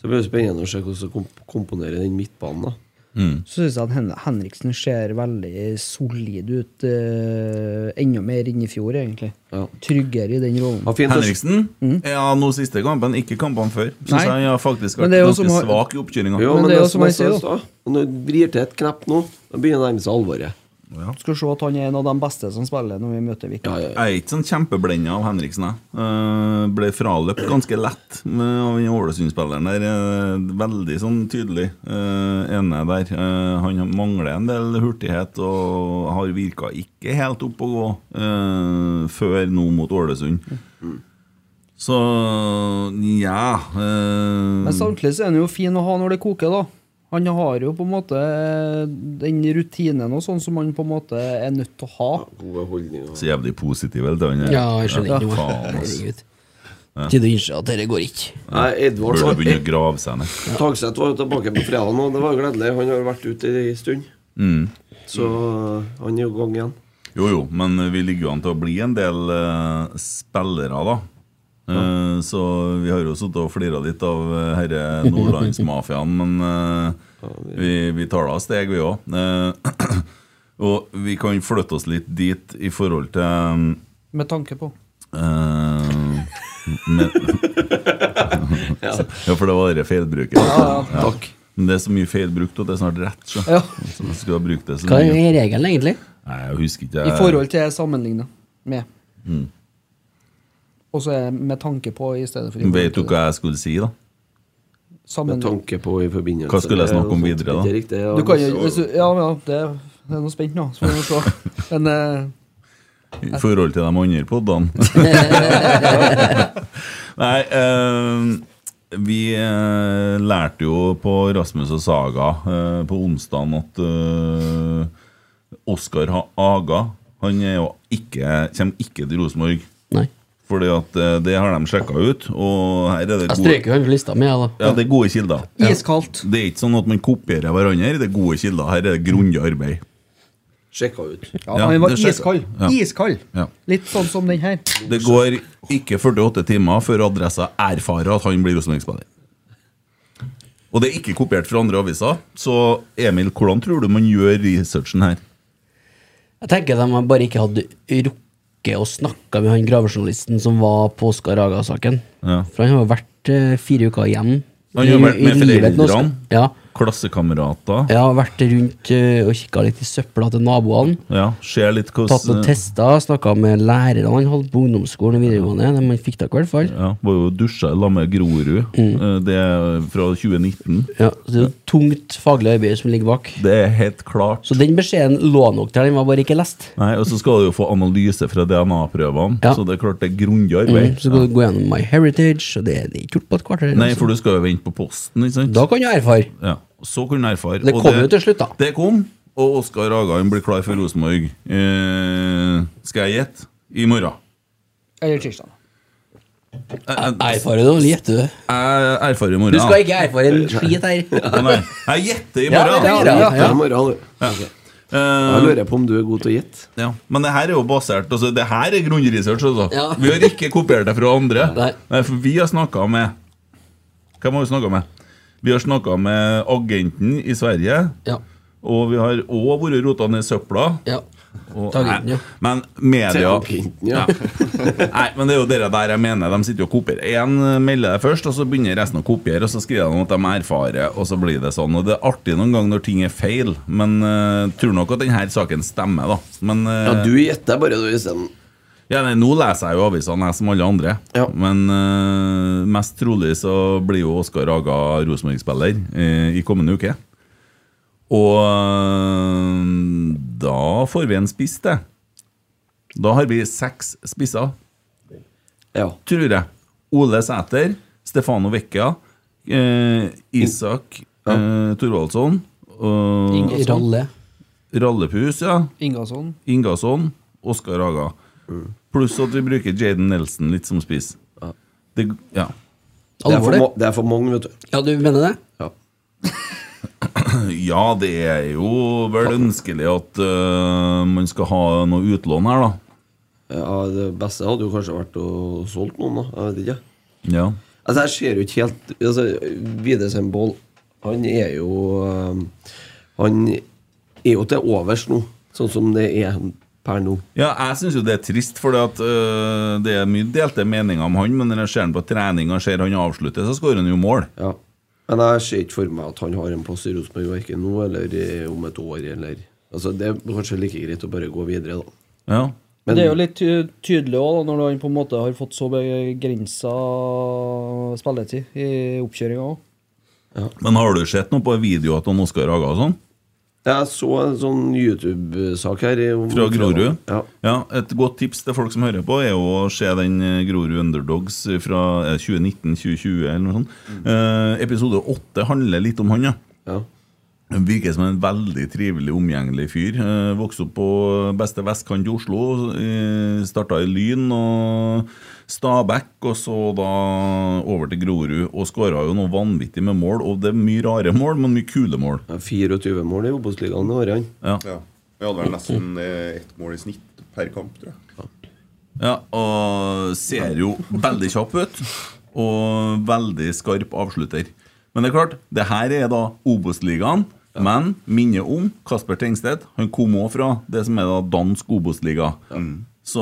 C: så blir det spennende å se hvordan de komp komponerer den midtbanen, da.
E: Mm.
F: Så syns jeg at Hen Henriksen ser veldig solid ut. eh, enda mer enn i fjor, egentlig.
C: Ja.
F: Tryggere i den rollen.
C: Ja, fint å-
A: Henriksen? Ja, nå siste kampen, ikke kampene før. Syns
F: Mm. Nei.
A: jeg har faktisk
F: Men
A: vært
F: det er jo
A: ganske
F: som har-
A: svak i oppkjøringa.
F: Men
C: Jo, men,
F: det
C: det
F: er jo
C: som
F: som
C: jeg
F: jeg
C: sier,
F: sier,
C: da. Når du vrir til et knepp nå, da begynner det å nærme seg alvoret.
F: Skal se at han er en av de beste som spiller når vi møter Vik.
C: Ja, ja, ja.
A: Jeg er ikke sånn kjempeblenda av Henriksen. Jeg. Eh, ble fraløpt ganske lett med- av den Ålesund-spilleren der. eh, veldig sånn tydelig eh, ene der. Eh, han mangler en del hurtighet og har virka ikke helt opp å gå eh, før nå mot Ålesund. Så nja
F: Mm.
A: eh,
E: Men samtidig så er han jo fin å ha når det koker, da. Han har jo på en måte eh, den rutinen og sånn som han på en måte er nødt til å ha.
C: Gode holdninger.
A: Så jævlig positiv hele tiden.
B: Ja, jeg skjønner ikke noe.
A: faen, altså.
B: Herregud. Tid å innse at dette går ikke.
C: Nei, Edvard
A: Burde
C: var,
A: begynne å grave seg ned.
C: Tagseth var jo tilbake på fredag nå. Det var gledelig. Han har jo vært ute en stund. Så han er jo i gang igjen.
A: Mm. Jo, jo, men vi ligger jo an til å bli en del eh, spillere, da. Eh, Så vi har jo sittet og flira litt av eh, herre nordlandsmafiaen, men eh, vi, vi tar da steg, vi òg. og vi kan flytte oss litt dit i forhold til
E: Med tanke på.
A: eh, med, ja, for det var det feilbruket.
C: Takk.
A: Men det er så mye feilbrukt, og det er snart rett. Så.
E: Ja.
A: så man skulle ha brukt det så
B: Hva
A: mye.
B: er regelen, egentlig?
A: Nei, jeg husker ikke.
E: I forhold til sammenligna med.
A: Mm.
E: Og så er det med tanke på i stedet for i forhold
A: Vet du
E: til.
A: hva jeg skulle si, da?
C: Med
E: Sammen-
C: tanke på i forbindelse
A: Hva skulle jeg snakke om
C: med-
A: videre, da?
C: Det er riktig, ja.
E: Du kan jo hvis du- Ja, ja, det, det er noe spent nå, så får vi se. Men eh,
A: I forhold til de andre podene. Nei, eh, vi eh, lærte jo på Rasmus og Saga eh, på onsdagen at eh, Oskar Ha- Aga Han er jo ikke, kommer ikke til Rosenborg.
B: Nei.
A: Fordi at eh, det har de sjekka ut, og her er det
B: Jeg
A: gode,
B: strøker han på lista mi, jeg, da.
A: ja, det er gode kilder.
E: iskaldt.
A: Det er ikke sånn at man kopierer hverandre. Det er gode kilder. Her er det grundig arbeid.
C: Sjekka ut.
E: Ja,
A: Ja,
E: han var
A: det skjer-
E: iskald.
A: ja.
E: Iskald.
A: Ja.
E: Litt sånn som den her.
A: Det går ikke 48 timer før adressa erfarer at han blir Rosenborg-spiller. Og det er ikke kopiert fra andre aviser. Så Emil, hvordan tror du man gjør researchen her?
B: Jeg tenker de har bare ikke hadde rukket å snakke med han gravejournalisten som var på Oskar Haga-saken.
A: Ja.
B: For han har jo vært eh, fire uker igjen.
A: Han har
B: i-
A: vært
B: i
A: med
B: livet til
A: foreldrene.
B: Oscar. Ja.
A: Klassekamerater?
B: ja, vært rundt eh, og kikka litt i søpla til naboene.
A: Ja, ser litt
B: Tatt noen
A: hvordan
B: tester, snakka med lærerne han holdt på ungdomsskolen og videregående. De han fikk tak i hvert fall.
A: ja, Var jo dusja i lag med Grorud.
B: Mm.
A: Eh, Det er fra 2019.
B: Ja, så det er jo tungt faglig arbeid som ligger bak.
A: Det er helt klart.
B: Så den beskjeden lå nok der, den var bare ikke lest.
A: Nei, Og så skal du jo få analyse fra DNA-prøvene,
B: Ja.
A: så det er klart det er grundig
B: Mm,
A: arbeid.
B: så skal du gå gjennom My Heritage, og det er ikke gjort på et kvarter.
A: Nei,
B: altså.
A: for du skal jo vente på posten, ikke sant?
B: Da kan du erfare.
A: Ja, så kunne jeg erfare.
B: Det
A: og
B: kom jo til slutt, da.
A: Det kom, og Oskar Hagan blir klar for Rosenborg. Eh, skal jeg gjette? I morgen.
E: Eller tirsdag.
A: Jeg, jeg,
B: Erfare det, eller gjette det?
A: jeg erfarer i morgen.
B: Du skal ikke erfare en skit her.
A: Å, Nei, jeg gjetter i
B: Ja, det
A: morgen.
B: kan
A: Ja,
B: jeg gjøre.
C: Ja,
B: Ja.
C: i morgen. Ok. Jeg
A: Eh,
C: lurer på om du er god til å gjette.
A: ja. Men det her er jo basert altså, Det her er grunnresearch. Altså.
B: Ja.
A: Vi har ikke kopiert det fra andre.
B: Nei.
A: for vi har snakka med Hvem har vi snakka med? Vi har snakka med agenten i Sverige.
B: Ja.
A: Og vi har òg vært rota ned i søpla.
B: ja.
A: Og,
B: Ta den,
A: nei,
B: ja.
A: men media
C: Agenten, ja.
A: Nei, men det er jo dere der jeg mener. De sitter jo og kopierer. Én melder det først, og så begynner resten å kopiere. Og så skriver de at de erfarer, og så blir det sånn. Og det er artig noen ganger når ting er feil, men eh, tror nok at denne saken stemmer, da. Men eh,
C: Ja, du gjetter bare du isteden.
A: ja, nei, nå leser jeg jo avisene, jeg som alle andre.
C: Ja.
A: Men eh, mest trolig så blir jo Oskar Aga Rosenborg-spiller eh, i kommende uke. Og eh, da får vi en spiss, det. Da har vi seks spisser,
C: Ja.
A: tror jeg. Ole Sæter, Stefano Vecchia, eh, Isak eh, Thorvaldsson, og
E: Ingasson.
B: Ralle.
A: Rallepus, ja.
E: Ingasson.
A: Ingasson, Oskar Haga. Pluss at vi bruker Jaden Nelson litt som spiss. Det, ja.
C: Det er, for,
B: Alvorlig?
C: ma- det er for mange, vet du.
B: Ja, du mener det?
C: Ja.
A: Ja, det er jo vel ønskelig at øh, man skal ha noe utlån her, da.
C: Ja, det beste hadde jo kanskje vært å solgt noen, da. Jeg vet ikke.
A: Ja.
C: Altså, jeg ser jo ikke helt altså, Vidar Sembol, han er jo øhm, Han er jo til overs nå, sånn som det er per nå.
A: Ja, jeg syns jo det er trist, for det er mye delte meninger om han. Men når jeg ser han på trening og ser han avslutte, så skårer han jo mål.
C: Ja. Men jeg ser ikke for meg at han har en plass i Rosenborg, verken nå eller i- om et år, eller Altså, det er kanskje like greit å bare gå videre, da.
A: Ja.
C: Men-
F: det er jo litt ty- tydelig òg, når han på en måte har fått så begrensa spilletid i oppkjøringa òg.
A: Men har du sett noe på video at han Oskar Haga og sånn?
C: Jeg så en sånn YouTube-sak her. i- om-
A: Fra Grorud?
C: Ja.
A: Et godt tips til folk som hører på, er jo å se den eh, Grorud Underdogs fra eh, 2019-2020 eller noe sånt. Eh, episode åtte handler litt om han, ja.
C: ja.
A: Han Virker som en veldig trivelig, omgjengelig fyr. Eh, Vokste opp på beste vestkant i Oslo. eh, Starta i Lyn og Stabæk, og så da over til Grorud. Og skåra jo noe vanvittig med mål. Og det er mye rare mål, men mye kule mål.
C: Ja, 24 mål i Obos-ligaen i år, han.
A: Ja.
D: Ja. Vi hadde vel nesten eh, ett mål i snitt per kamp, tror jeg.
A: Ja, og ser jo veldig kjapp ut. Og veldig skarp avslutter. Men det er klart, det her er da Obos-ligaen. Men minner om Kasper Tengstedt. Han kom òg fra det som er da dansk Obos-liga. Så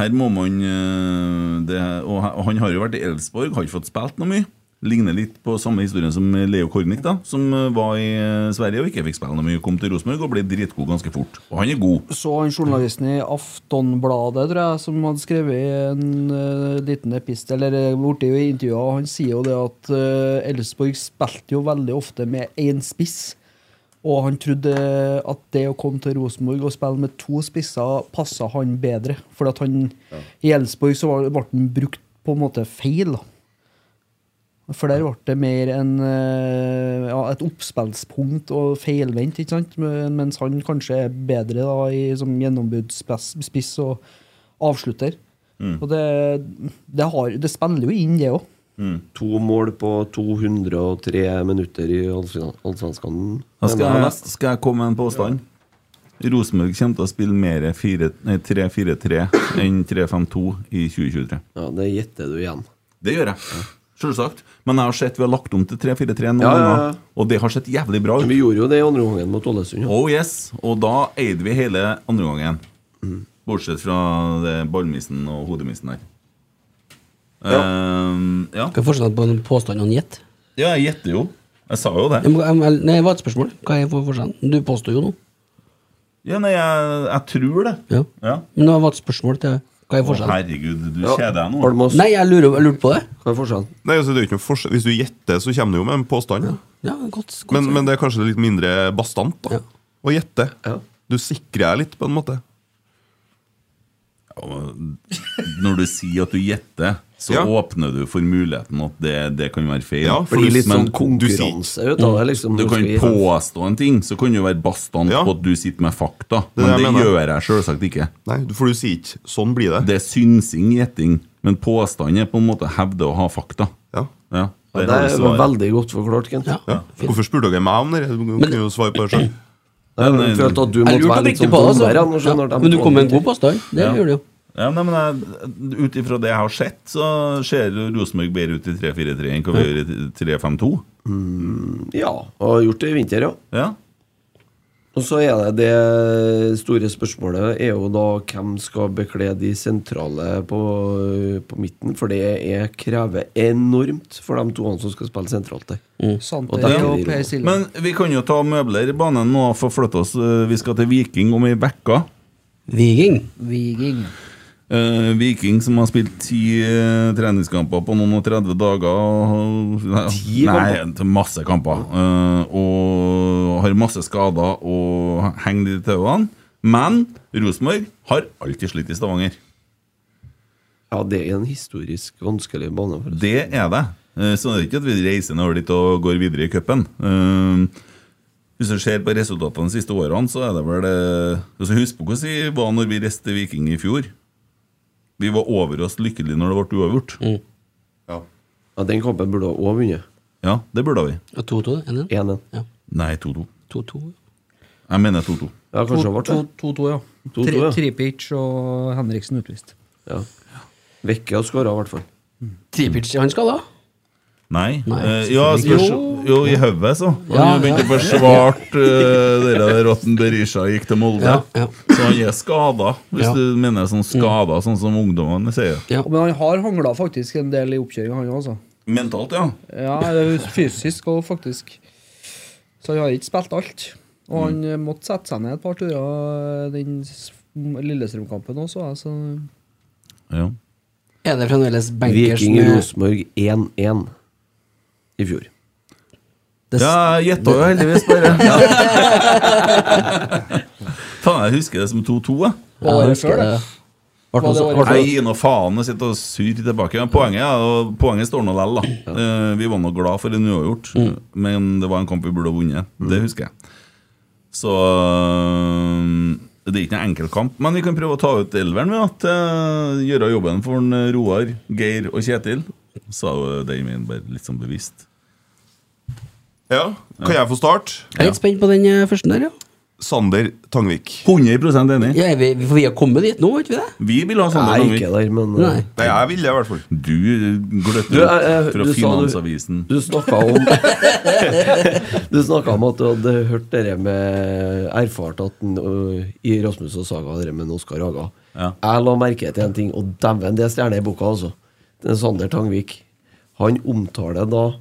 A: her må man eh, det, Og he- og han har jo vært i Elsborg, har ikke fått spilt noe mye. Ligner litt på samme historien som Leo Kornic, da, som eh, var i eh, Sverige og ikke fikk spille noe mye. Kom til Rosenborg og ble dritgod ganske fort. Og han er god.
F: Så han journalisten i Aftonbladet, tror jeg, som hadde skrevet en eh, liten epist, eller eh, borti i intervjuet, han sier jo det at eh, Elfsborg spilte jo veldig ofte med én spiss. Og han trodde at det å komme til Rosenborg og spille med to spisser passa han bedre. For at han, i Elfsborg så var- ble han brukt på en måte feil. da. For der ble det mer en, eh, ja, et oppspillspunkt og feilvendt, ikke sant? Men- mens han kanskje er bedre da, i, som gjennombudsspiss og avslutter. Og det, det, har, det spiller jo inn, det òg.
A: Mm.
C: To mål på 203 minutter i Allsven- Allsvenskan. eh,
A: Da skal,
C: Det var
A: jeg,
C: mest.
A: skal jeg komme med en påstand. Rosenborg kommer til å spille mer fire- nei, 3-4-3 enn 3-5-2 i 2023.
C: Ja, det gjetter du igjen.
A: Det gjør jeg. Selvsagt. Men jeg har sett vi har lagt om til 3-4-3 noen
C: Ja, ja, ja.
A: ganger, og det har sett jævlig bra ut.
C: Vi gjorde jo det i andre omgangen mot Ålesund. ja.
A: Oh yes, Og da eide vi hele andre gangen.
C: Mm.
A: Bortsett fra det ballmissen og hodemissen der. Ja. ja.
B: Hva er forskjellen på en påstand og en gjett?
A: ja, jeg gjetter jo. Jeg sa jo det.
B: Jeg må- jeg må- Nei, det var et spørsmål. Hva er for- forskjellen? Du påstår jo noe.
A: Ja, nei, jeg, jeg tror det.
B: Ja.
A: Ja.
B: Men det var et spørsmål til Hva er
A: Å,
B: forskjellen?
A: herregud, du
C: Ja,
A: kjeder deg nå.
C: Almås,
B: Nei, jeg lurer, jeg lurte på det.
C: hva er forskjellen?
D: Nei, altså, det er jo ikke noe forskjell. Hvis du gjetter, så kommer du jo med en påstand.
B: Ja, godt, godt
D: Men,
B: svar.
D: men det er kanskje litt mindre bastant da,
B: Ja.
D: å gjette.
C: Ja.
D: Du sikrer deg litt, på en måte.
A: Når du sier at du gjetter, så
D: Ja.
A: åpner du for muligheten at det, det kan være feil.
D: Ja,
A: Pluss,
D: fordi
C: Blir litt
A: men Mm.
C: sånn konkurranse ut av det. liksom
A: du
C: Nå
A: kan
C: skal vi-
A: påstå en ting, så kan du være bastant
D: Ja.
A: på at du sitter med fakta.
D: Det er
A: Men
D: det
A: det,
D: jeg mener.
A: gjør jeg selvsagt ikke.
D: Nei, du- for du sier ikke 'sånn blir det'.
A: Det er synsing, gjetting. Men påstand er på en måte hevde å ha fakta.
D: Ja.
A: Ja,
C: Ja,
A: der
C: det
A: har du
C: er
A: svaret.
C: veldig godt forklart, Kent.
B: Ja.
D: Ja. Hvorfor spurte dere meg om det? Du kunne jo svare på det selv.
C: Jeg følte at du
B: Jeg
C: måtte
B: lurte
C: være litt
B: oppriktig
C: sånn
B: på det.
C: dommer. ja, nå
B: Altså. Ja,
C: skjønner jeg at de
B: men du kom med en
C: tåler
B: god påstand. Det
A: Ja.
B: gjorde du jo.
A: Ja, nei, men jeg- Ut ifra det jeg har sett, så ser jo Rosenborg bedre ut i 3-4-3 enn hva vi gjør i 3-5-2.
C: ikke. Ja, og har gjort det i vinter, ja.
A: Ja.
C: Og så er det det store spørsmålet er jo da hvem skal bekle de sentrale på, på midten, for det er, krever enormt for de to som skal spille sentralt der.
B: Mm.
C: Og
F: Santer og
C: der er det
F: Per
C: ro.
F: Silva.
A: Men vi kan jo ta møbler i banen nå og forflytte oss. Eh, Vi skal til Viking om ei uke.
B: Viking.
F: Viging.
A: Eh, Viking som har spilt ti eh, treningskamper på noen og 30 dager. og-
C: Ti
A: Nei, masse kamper. Eh, og har masse skader og henger i tauene. Men Rosenborg har alltid slitt i Stavanger.
C: Ja, det er en historisk vanskelig bane for oss.
A: Det er det. Eh, Så det er ikke at vi reiser nedover dit og går videre i cupen. Eh, Hvis du ser på resultatene de siste årene, så er det vel eh, altså Husk på hvordan vi var når vi reiste Viking
B: Mm.
A: i fjor. Vi var over oss lykkelig når det ble uavgjort.
D: Ja.
C: Ja, den kampen burde òg vunnet.
A: Ja, det burde vi.
B: 2-2, er det?
C: 1-1.
A: Nei, 2-2.
B: 2-2.
A: Jeg mener 2-2.
C: Ja, kanskje det ble det.
F: 2-2, ja.
C: 2-2,
F: Tri-
C: ja.
F: Tripic og Henriksen utvist.
C: Ja. Vekke har skåra, i hvert fall.
B: Tripic, han skal da?
A: Nei.
B: Nei,
A: eh, ja, spørs, jo, i hodet, så.
B: Ja,
A: Han begynte å forsvare eh, det der at en Berisha gikk til Molde.
B: Ja, ja.
A: Så han er skada, hvis
B: Ja.
A: du mener sånn skada, sånn som ungdommene sier.
B: Ja.
F: Men han har hangla faktisk en del i oppkjøringa, han òg, altså.
A: Mentalt, ja.
F: Ja, eller fysisk og faktisk. Så han har ikke spilt alt. Og han eh, måtte sette seg ned et par turer eh, den s- Lillestrøm-kampen også. Altså.
A: ja.
B: Er det fremdeles bankers
C: Viking
B: med
C: Rosenborg 1-1 i fjor.
B: det,
A: Ja, jeg gjetta jo heldigvis bare. Faen, jeg husker det som 2-2. jeg.
B: Ja, jeg husker det. Var det også- var det-
A: Jeg gir nå faen og sitter og syr tilbake. Men Poenget, er, og poenget står nå lell, da. Eh, Vi var nå glad for en uavgjort, men det var en kamp vi burde ha vunnet. Det husker jeg. Så øh, det er ikke noen enkel kamp, men vi kan prøve å ta ut elveren ved at uh, gjøre jobben for en eh, Roar, Geir og Kjetil. Sa jo Damien bare litt sånn bevisst.
D: Ja, Kan jeg få start?
B: Jeg er litt spent på den eh, første der, ja.
D: Sander Tangvik.
A: 100 enig.
B: ja er vi, vi- for vi har kommet dit nå, har ikke vi det?
A: Vi vil ha sånne
C: Nei,
A: ganger.
C: ikke der, men eh,
B: Nei.
D: Nei, jeg ville det, i hvert fall.
A: Du gløtter
C: Du, jeg- jeg-
A: ut fra
C: du sa du-
A: Finansavisen.
C: Du snakka om Du snakka om at du hadde hørt det med erfart at den, ø, i Rasmus og Saga det med Oskar Haga.
A: Ja.
C: Jeg la merke til en ting, og dæven, det er stjerne i boka, altså. Det er Sander Tangvik. Han omtaler da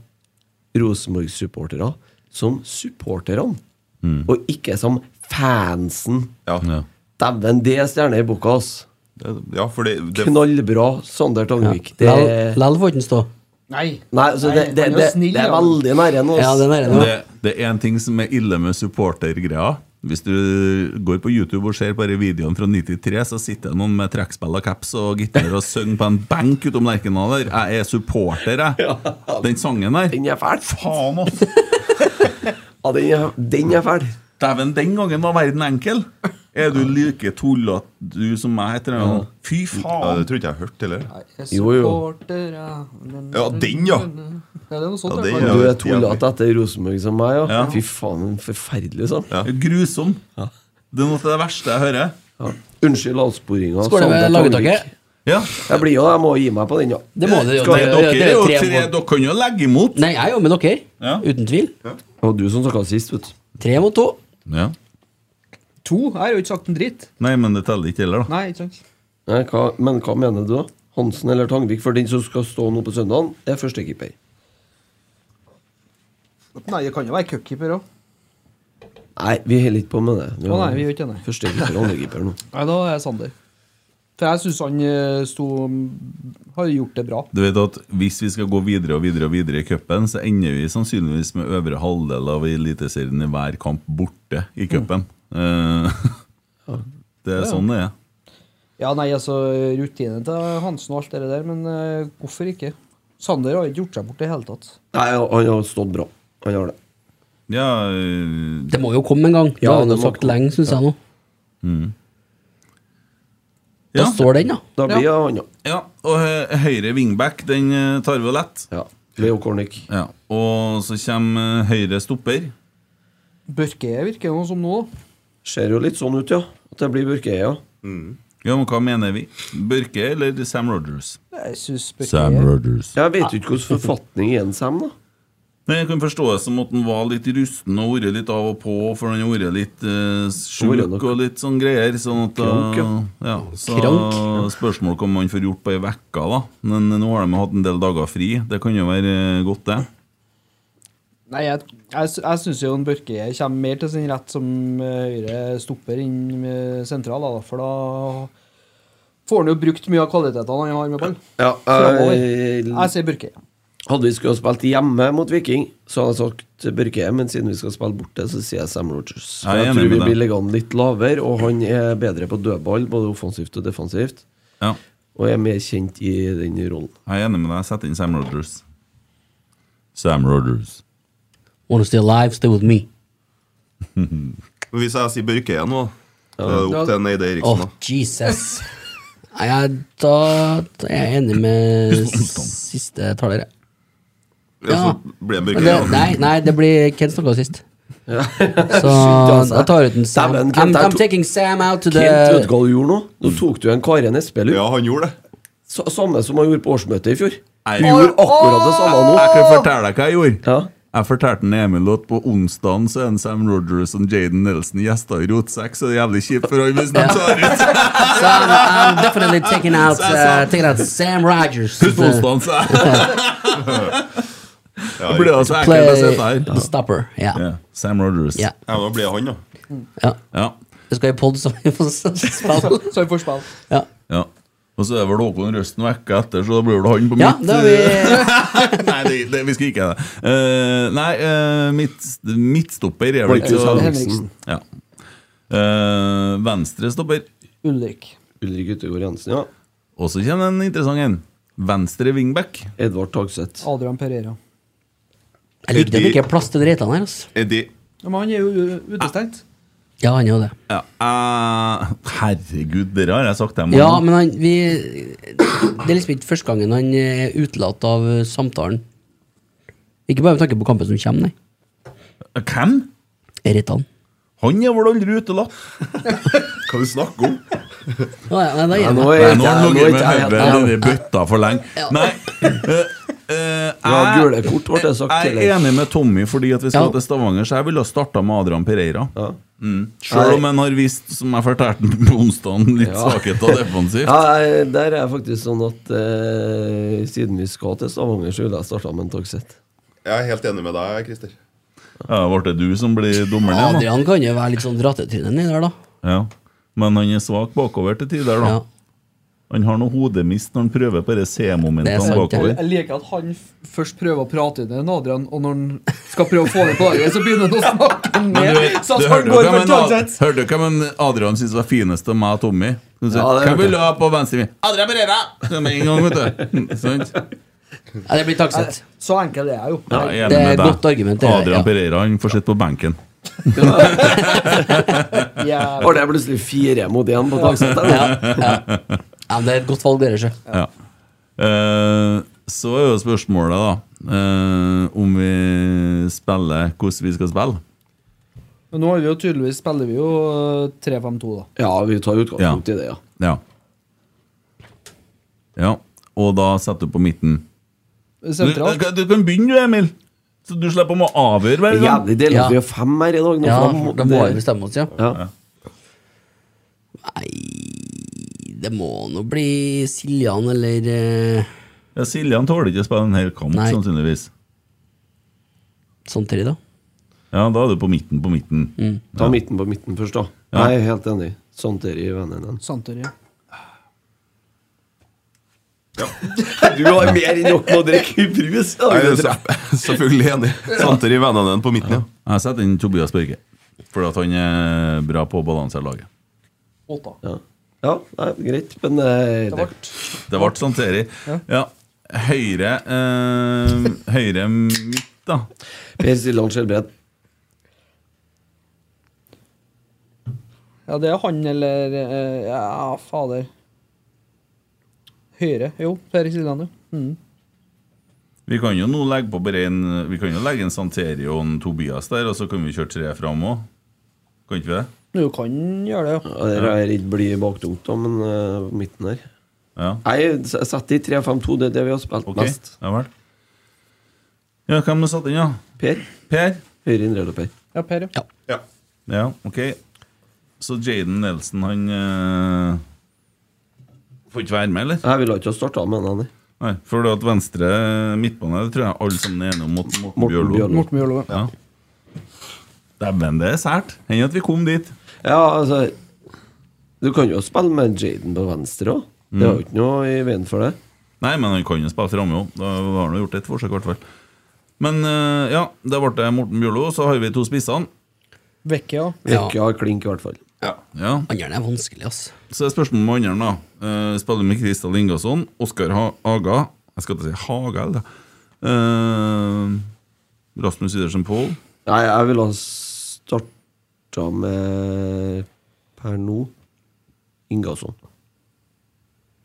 C: Rosenborg-supportere som supporterne,
A: Mm.
C: og ikke som fansen.
D: Ja,
A: Ja.
C: Dæven, det er stjerne i boka, ass.
D: Det- ja for det, det
C: Knallbra, Sander Tangvik. Det
B: Lell
C: er
B: lell får ikke den stå.
E: Nei.
C: Nei, altså, det, det,
E: han er jo
C: det,
E: snill,
C: det er
E: han.
C: veldig nære nå.
B: Ja, den er det nå.
A: Det, det er en ting som er ille med supportergreia. Hvis du går på YouTube og ser bare videoen fra 93, så sitter det noen med trekkspill og caps og gitar og synger på en benk utom Lerkendal der. Jeg er supporter, jeg. Den sangen der.
C: Den er fæl.
A: Faen, ass!
C: Ja, den er, den er fæl.
A: Dæven, den gangen var verden enkel. Er du like tullete, du som meg, etter en gang? Fy
D: ja,
A: faen!
D: det tror ikke jeg har hørt heller.
C: Jo, jo.
D: Ja, den, ja!
F: Ja, det er noe sånt.
D: Ja,
F: Ja,
D: det-
C: Du er
D: vet jeg.
C: tullete etter Rosenborg som meg, ja.
A: Ja.
C: Fy faen, en forferdelig sånn. sang.
A: Grusom. Det er noe av det verste jeg hører.
C: Ja. Unnskyld sånn, avsporinga.
B: Skål det med
C: Sander Tangvik.
B: lagetaket.
A: Ja.
C: Jeg blir jo jeg må gi meg på den, ja.
B: Det må det jo.
A: Skal
B: det-
A: dere,
B: det-
A: er jo
B: det er
A: tre,
B: mot-
A: dere kan jo legge imot.
B: Nei, jeg er jo med dere.
A: Ja.
B: Uten tvil.
C: Det var du som snakka sist, vet du.
B: Tre mot to.
A: Ja.
F: To? Jeg har jo ikke sagt en dritt.
A: Nei, men det teller ikke heller, da.
F: Nei, ikke sant.
C: Nei, hva, men hva mener du, da? Hansen eller Tangvik? For den som skal stå nå på søndagen, er førstekeeper.
F: Nei, det kan jo være cupkeeper òg.
C: Nei, vi holder ikke på med det.
F: Å nei, vi gjør ikke det, nei.
C: Førstekeeper og andrekeeper nå.
F: Nei, da er jeg Sander. For jeg syns han eh, sto har gjort det bra.
A: Du vet at Hvis vi skal gå videre og videre og videre i cupen, så ender vi sannsynligvis med øvre halvdel av Eliteserien i hver kamp borte i cupen. Eh, det er sånn det er.
F: Ja, nei, altså rutinen til Hansen og alt det der, men eh, hvorfor ikke? Sander har ikke gjort seg bort i det hele tatt.
C: Nei, han har stått bra. Han har det.
A: Ja, eh,
B: Det må jo komme en gang. Det
C: Ja,
B: har vi
C: det
B: nå
C: må
B: sagt
C: komme.
B: lenge, syns jeg nå. Da
A: ja.
B: står den, ja.
C: Da blir det han, ja.
A: ja. Og hø- høyre wingback, den eh, tar vi jo lett.
C: ja. Leo Kornic.
A: Ja. Og så kommer eh, høyre stopper.
F: Børke virker noe som nå. da.
C: Ser jo litt sånn ut, ja. At det blir Børkeøya.
A: Ja, men hva mener vi? Børke eller Sam Rogers?
F: Jeg syns
A: Sam
F: Børke
A: Rogers.
C: Jeg vet jo ikke hvordan forfatning er en Sam, da.
A: Nei, Jeg kan forstå det som at han var litt rusten og vært litt av og på, for han har vært litt eh, sjuk
C: Vært nok.
A: og litt sånn greier. Sånn at,
C: Krank, ja.
A: eh, ja. Så
B: Krank,
A: spørsmål om han får gjort på ei uke, da. Men eh, nå har de hatt en del dager fri. Det kan jo være eh, godt, det.
F: Nei, jeg, jeg, sy- jeg syns jo en Børke kommer mer til sin rett som eh, høyre stopper inn eh, sentral, da, for da får han jo brukt mye av kvalitetene han har med ball.
C: Ja,
F: Fremover.
C: eh,
F: Jeg sier Børke.
C: Hadde vi skulle ha spilt hjemme mot Viking, så hadde jeg sagt Børke, men siden vi skal spille borte, så sier jeg Sam Rogers.
A: Jeg er
C: Jeg, jeg
A: enig
C: tror vi
A: med deg.
C: blir liggende litt lavere, og han er bedre på dødball, både offensivt og defensivt,
A: Ja,
C: og er mer kjent i den rollen.
A: jeg er enig med deg. Sett inn Sam Rogers. Sam Rogers.
B: Wanna stay alive, stay with me.
D: Men Hvis jeg sier Børke igjen nå, da er det opp til en Eide
B: Åh,
D: Eriksen. da
B: Oh, Jesus. Nei, jeg, da, da er jeg enig med siste taler, jeg. Ja.
D: Så blir det
B: Men det,
D: mørkere.
B: nei, nei, det blir Ken snakka sist. Så
C: altså.
B: jeg tar ut en Sam.
C: Dæven, Kent,
B: I'm,
C: jeg
B: I'm
C: tok-
B: taking Sam out to the
C: Kent, vet du hva du gjorde nå? Nå
A: Mm.
C: tok du en Karen Espelund.
D: Ja, han gjorde det.
C: Sa- Samme som han gjorde på årsmøtet i fjor.
A: Nei.
C: Du gjorde akkurat det samme nå.
A: Jeg kan fortelle deg hva jeg gjorde.
C: Ja.
A: Jeg fortalte en Emil at på onsdagen så er en Sam Rogers og Jaden Nelson gjester i Rotsekk, så det er jævlig kjipt for han hvis han tar ut.
B: So I'm, I'm definitely taking out, uh, taking out Sam Rogers.
A: Husk på onsdagen, så jeg.
D: Ja,
A: Det blir
D: ja,
A: altså ekkelt å
B: Play
A: sitte her.
B: the stopper. Ja.
A: Ja, Sam Rogers.
B: Ja.
D: men da blir det han, da.
B: ja.
A: Ja.
B: Det skal i pod, så vi får spille.
F: Så vi får spille.
B: Ja.
A: ja. Og så er vel Håkon Røsten vekke etter, så da blir det han på
B: ja,
A: mitt
B: da har vi
A: nei, det, det, vi skal ikke ha det. Eh, nei, eh, mitt, midtstopper er vel ikke
C: Markus
A: så
F: Henriksen.
A: Ja. Eh, venstre stopper.
F: Ulrik.
C: Ulrik Utegård Jensen, ja.
A: Og så kommer en interessant en. Venstre wingback.
C: Edvard Tagseth.
F: Adrian Pereira.
B: Jeg
A: eh,
B: liker det at det ikke er plass til Reitan her. Altså.
D: Eddie.
F: Ja, Men han er jo u- utestengt.
B: Ja, han er jo det.
A: Ja, eh, herregud, dere har jeg sagt dem.
B: Ja, men han, vi, det er liksom ikke første gangen han er utelatt av eh, samtalen. Ikke bare med tanke på kampen som kommer, nei.
A: Hvem?
B: Reitan.
A: Han er vel aldri utelatt?
D: Hva du snakker om?
B: Å, ja, nei, da gir
C: Ja,
B: jeg
C: nå
A: Nei,
B: meg.
C: er jeg
A: nå
C: ikke-
A: har han
C: nå er
A: ligget
C: ikke
A: med
C: jeg
A: hodet
C: helt-
A: nedi bøtta for lenge. Nei eh, eh,
C: Ja,
A: jeg-
C: gule kort ble det sagt
A: Jeg er
C: tidligere.
A: enig med Tommy, fordi at vi skal
B: Ja.
A: til Stavanger, så jeg ville ha starta med Adrian Pereira.
C: Ja.
A: Mm. Selv om han har vist, som jeg fortalte den på onsdag, litt
C: Ja.
A: svakhet og defensivt.
C: Ja, jeg- der er jeg faktisk sånn at eh, siden vi skal til Stavanger, så ville jeg starta med en Tagseth.
D: Jeg er helt enig med deg, Christer.
A: Ja, Ble det du som blir dommeren igjen,
B: Adrian kan jo være litt sånn drattetryne nedi der, da.
A: da? Ja. Men han er svak bakover til tider, da.
B: Ja.
A: Han har noe hodemist når han prøver på de
B: Det er
A: C-momentene
B: sant,
A: bakover.
F: Jeg liker at han f- først prøver å prate inn en Adrian, og når han skal prøve å få det på laget, så begynner han å snakke
A: Men
F: ned.
A: du,
F: Så
A: du
F: at han
A: hørte jo
F: går
A: hva
F: for
A: men Ad-
F: Tagseth.
A: hørte jo hva men Adrian syntes var finest av meg og Tommy. Hun sa,
C: Ja, det hørte
A: Hvem vil du ha på venstre min? Adrian Pereira! Så Med en gang, vet du. Mm, Sant?
B: Ja, det blir taksett.
F: Så enkel er jeg jo.
A: Ja, jeg
B: Det
A: enig
B: er
A: med
B: et
A: deg.
B: godt argument, det er,
A: Adrian
B: ja.
A: Pereira han får sitte på benken.
F: Jeg,
C: Har det plutselig fire mot én på Tagseth?
B: Ja,
C: eller?
B: ja. ja, men det er et godt valg, dere, sjø.
A: Ja. Eh, så er jo spørsmålet, da, eh, om vi spiller hvordan vi skal spille.
F: men nå har vi jo tydeligvis spiller vi jo øh, 3-5-2, da.
C: Ja, vi tar utgangspunkt i det, ja.
A: Ja. ja. Og da setter du på midten. Du,
F: Sentralt.
A: du kan begynne, du, Emil. Så du slipper å må avgjøre hver
C: Det er
A: gang.
C: Jævlig deilig
B: Ja.
C: at vi er fem her i dag. Nå,
B: Ja,
C: for må-
B: da må vi
C: det-
B: bestemme oss, ja.
C: ja.
B: Nei, det må nå bli Siljan eller eh,
A: Ja, Siljan tåler ikke å spille en hel kamp,
B: Nei.
A: sannsynligvis.
B: Santeri, da.
A: Ja, Da er du på midten på midten.
C: Ta midten på midten først, da.
A: Ja.
C: Jeg er helt enig. Santeri i vennene.
F: Santori.
C: Du har mer enn nok med å drikke brus! da,
D: Jeg er
C: gutter.
D: se- selvfølgelig enig. Samtidig vennene dine på midten, ja.
A: Jeg setter inn Tobias Børge, fordi at han er bra på å balansere laget.
F: Åtta.
C: Ja, ja nei, greit, men eh, det,
A: Det ble Santeri. Ja. Høyre eh, Høyre midt, da.
C: Per Siljan Skjelbred.
F: Ja, det er han eller
E: eh,
F: øh, Ja, fader. Høyre. Jo, Per Siljan, jo. Mm.
A: Vi kan jo nå legge på bare en Vi kan jo legge en Santeri og en Tobias der, og så kan vi kjøre tre fram òg. Kan ikke vi det?
F: Du kan gjøre det, jo.
C: Ja, Der er jeg eh, redd blir baktungt, da, men eh, på midten her
A: Ja.
C: Nei, s- sett i 3-5-2. Det er det vi har spilt
A: Ok.
C: mest.
A: Ja vel. Ja, hvem har satt inn, da?
C: Per.
A: Per?
C: Høyre indreløper.
F: Ja, Per, ja.
A: Ja, ok Så Jaden Nelson, han eh, Får ikke være med, eller?
C: Jeg ville ikke ha starta med den. nei.
A: Nei, for det at venstre midtbane Det tror jeg alle sammen er enige om Morten, Morten,
C: Morten
A: Bjørlo
C: Bjørlo.
F: Morten Bjørlo.
A: Ja Dæven, det er sært Hender at vi kom dit
C: Ja, altså Du kan jo spille med Jaden på venstre òg. Det
A: Mm.
C: er jo ikke noe i veien for det.
A: Nei, men han kan jo spille fremme også Da har han jo gjort et forsøk i hvert fall Men eh, ja, det ble det Morten Bjørlo Så har vi to spissene
F: Vekke, ja.
B: Ja.
C: Ikke har klink, i hvert fall.
A: Ja,
B: Andre er vanskelig, altså.
A: så er spørsmålet med andre da Eh, Spiller med Kristian Ingasson Oskar ha Haga Jeg skal ikke si Haga, eller Eh, Rasmus Idersen Pål
C: Nei, jeg ville ha starta med per nå Ingasson.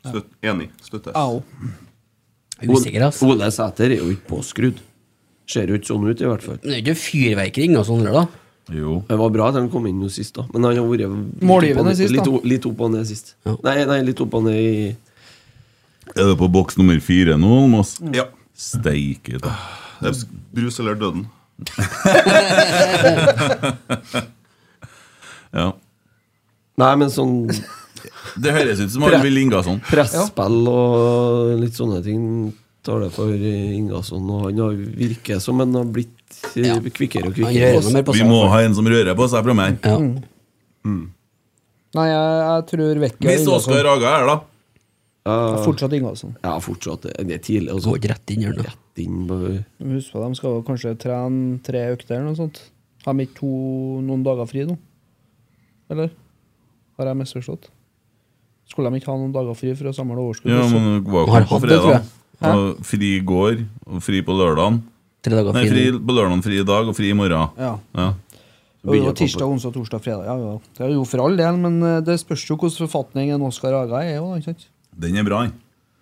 D: Støtt, enig. Støttes.
F: Au.
B: Usikker, altså.
C: Ole Sæter er jo ikke påskrudd. Ser jo ikke sånn ut, i hvert fall.
B: Men det er ikke fyrverkeri inne hos andre, da?
A: Jo.
C: Det var bra at han kom inn nå sist, da. Men han har vært litt
E: Målgivende
C: opp og ned-
E: sist, da.
C: litt, o- litt opp og ned sist.
B: Ja.
C: Nei, nei, litt opp og ned i
A: Er det på boks nummer fire nå, Almås?
B: Mm.
D: Ja.
A: Steike ta.
D: Det er brus eller døden.
A: Ja.
C: Nei, men sånn
A: Det høres ut som Arvid Ingasson.
C: presspill og litt sånne ting tar det for eh, Ingasson. Og han har virker som han har blitt eh, kvikkere og
B: Han rører
C: kvikkere.
B: noe mer på
A: Vi
B: seg.
A: må ha en som rører på seg framme her.
B: Ja.
E: Nei, jeg, jeg tror Vekke
A: Hvis Oskar Haga er her, da.
C: Ja,
E: Fortsatt Ingasson.
C: ja, fortsatt. Det det er tidlig.
B: Gå
C: Altså.
B: ikke rett inn i hjørnet.
C: Rett inn på
E: Husk på, de skal jo kanskje trene tre økter eller noe sånt. Har de ikke to noen dager fri nå? Eller? Har jeg misforstått? Skulle de ikke ha noen dager fri for å samle overskudd?
A: Ja, men det var
B: Har
A: jo på
B: hatt det, tror
A: fredag.
B: jeg.
A: Og fri i går, og fri på lørdagen.
B: Tre dager
A: Nei,
B: fri.
A: fri
B: nå.
A: på lørdagen, fri i dag og fri i morgen.
E: Ja.
A: Ja.
E: Det er
C: begynner
E: jo
C: jeg på-
E: tirsdag, onsdag, torsdag, fredag. Ja, ja. Det er jo for all del, men eh, det spørs jo hvordan forfatningen Oskar Haga er. jo, da, ikke sant?
A: Den er bra, den.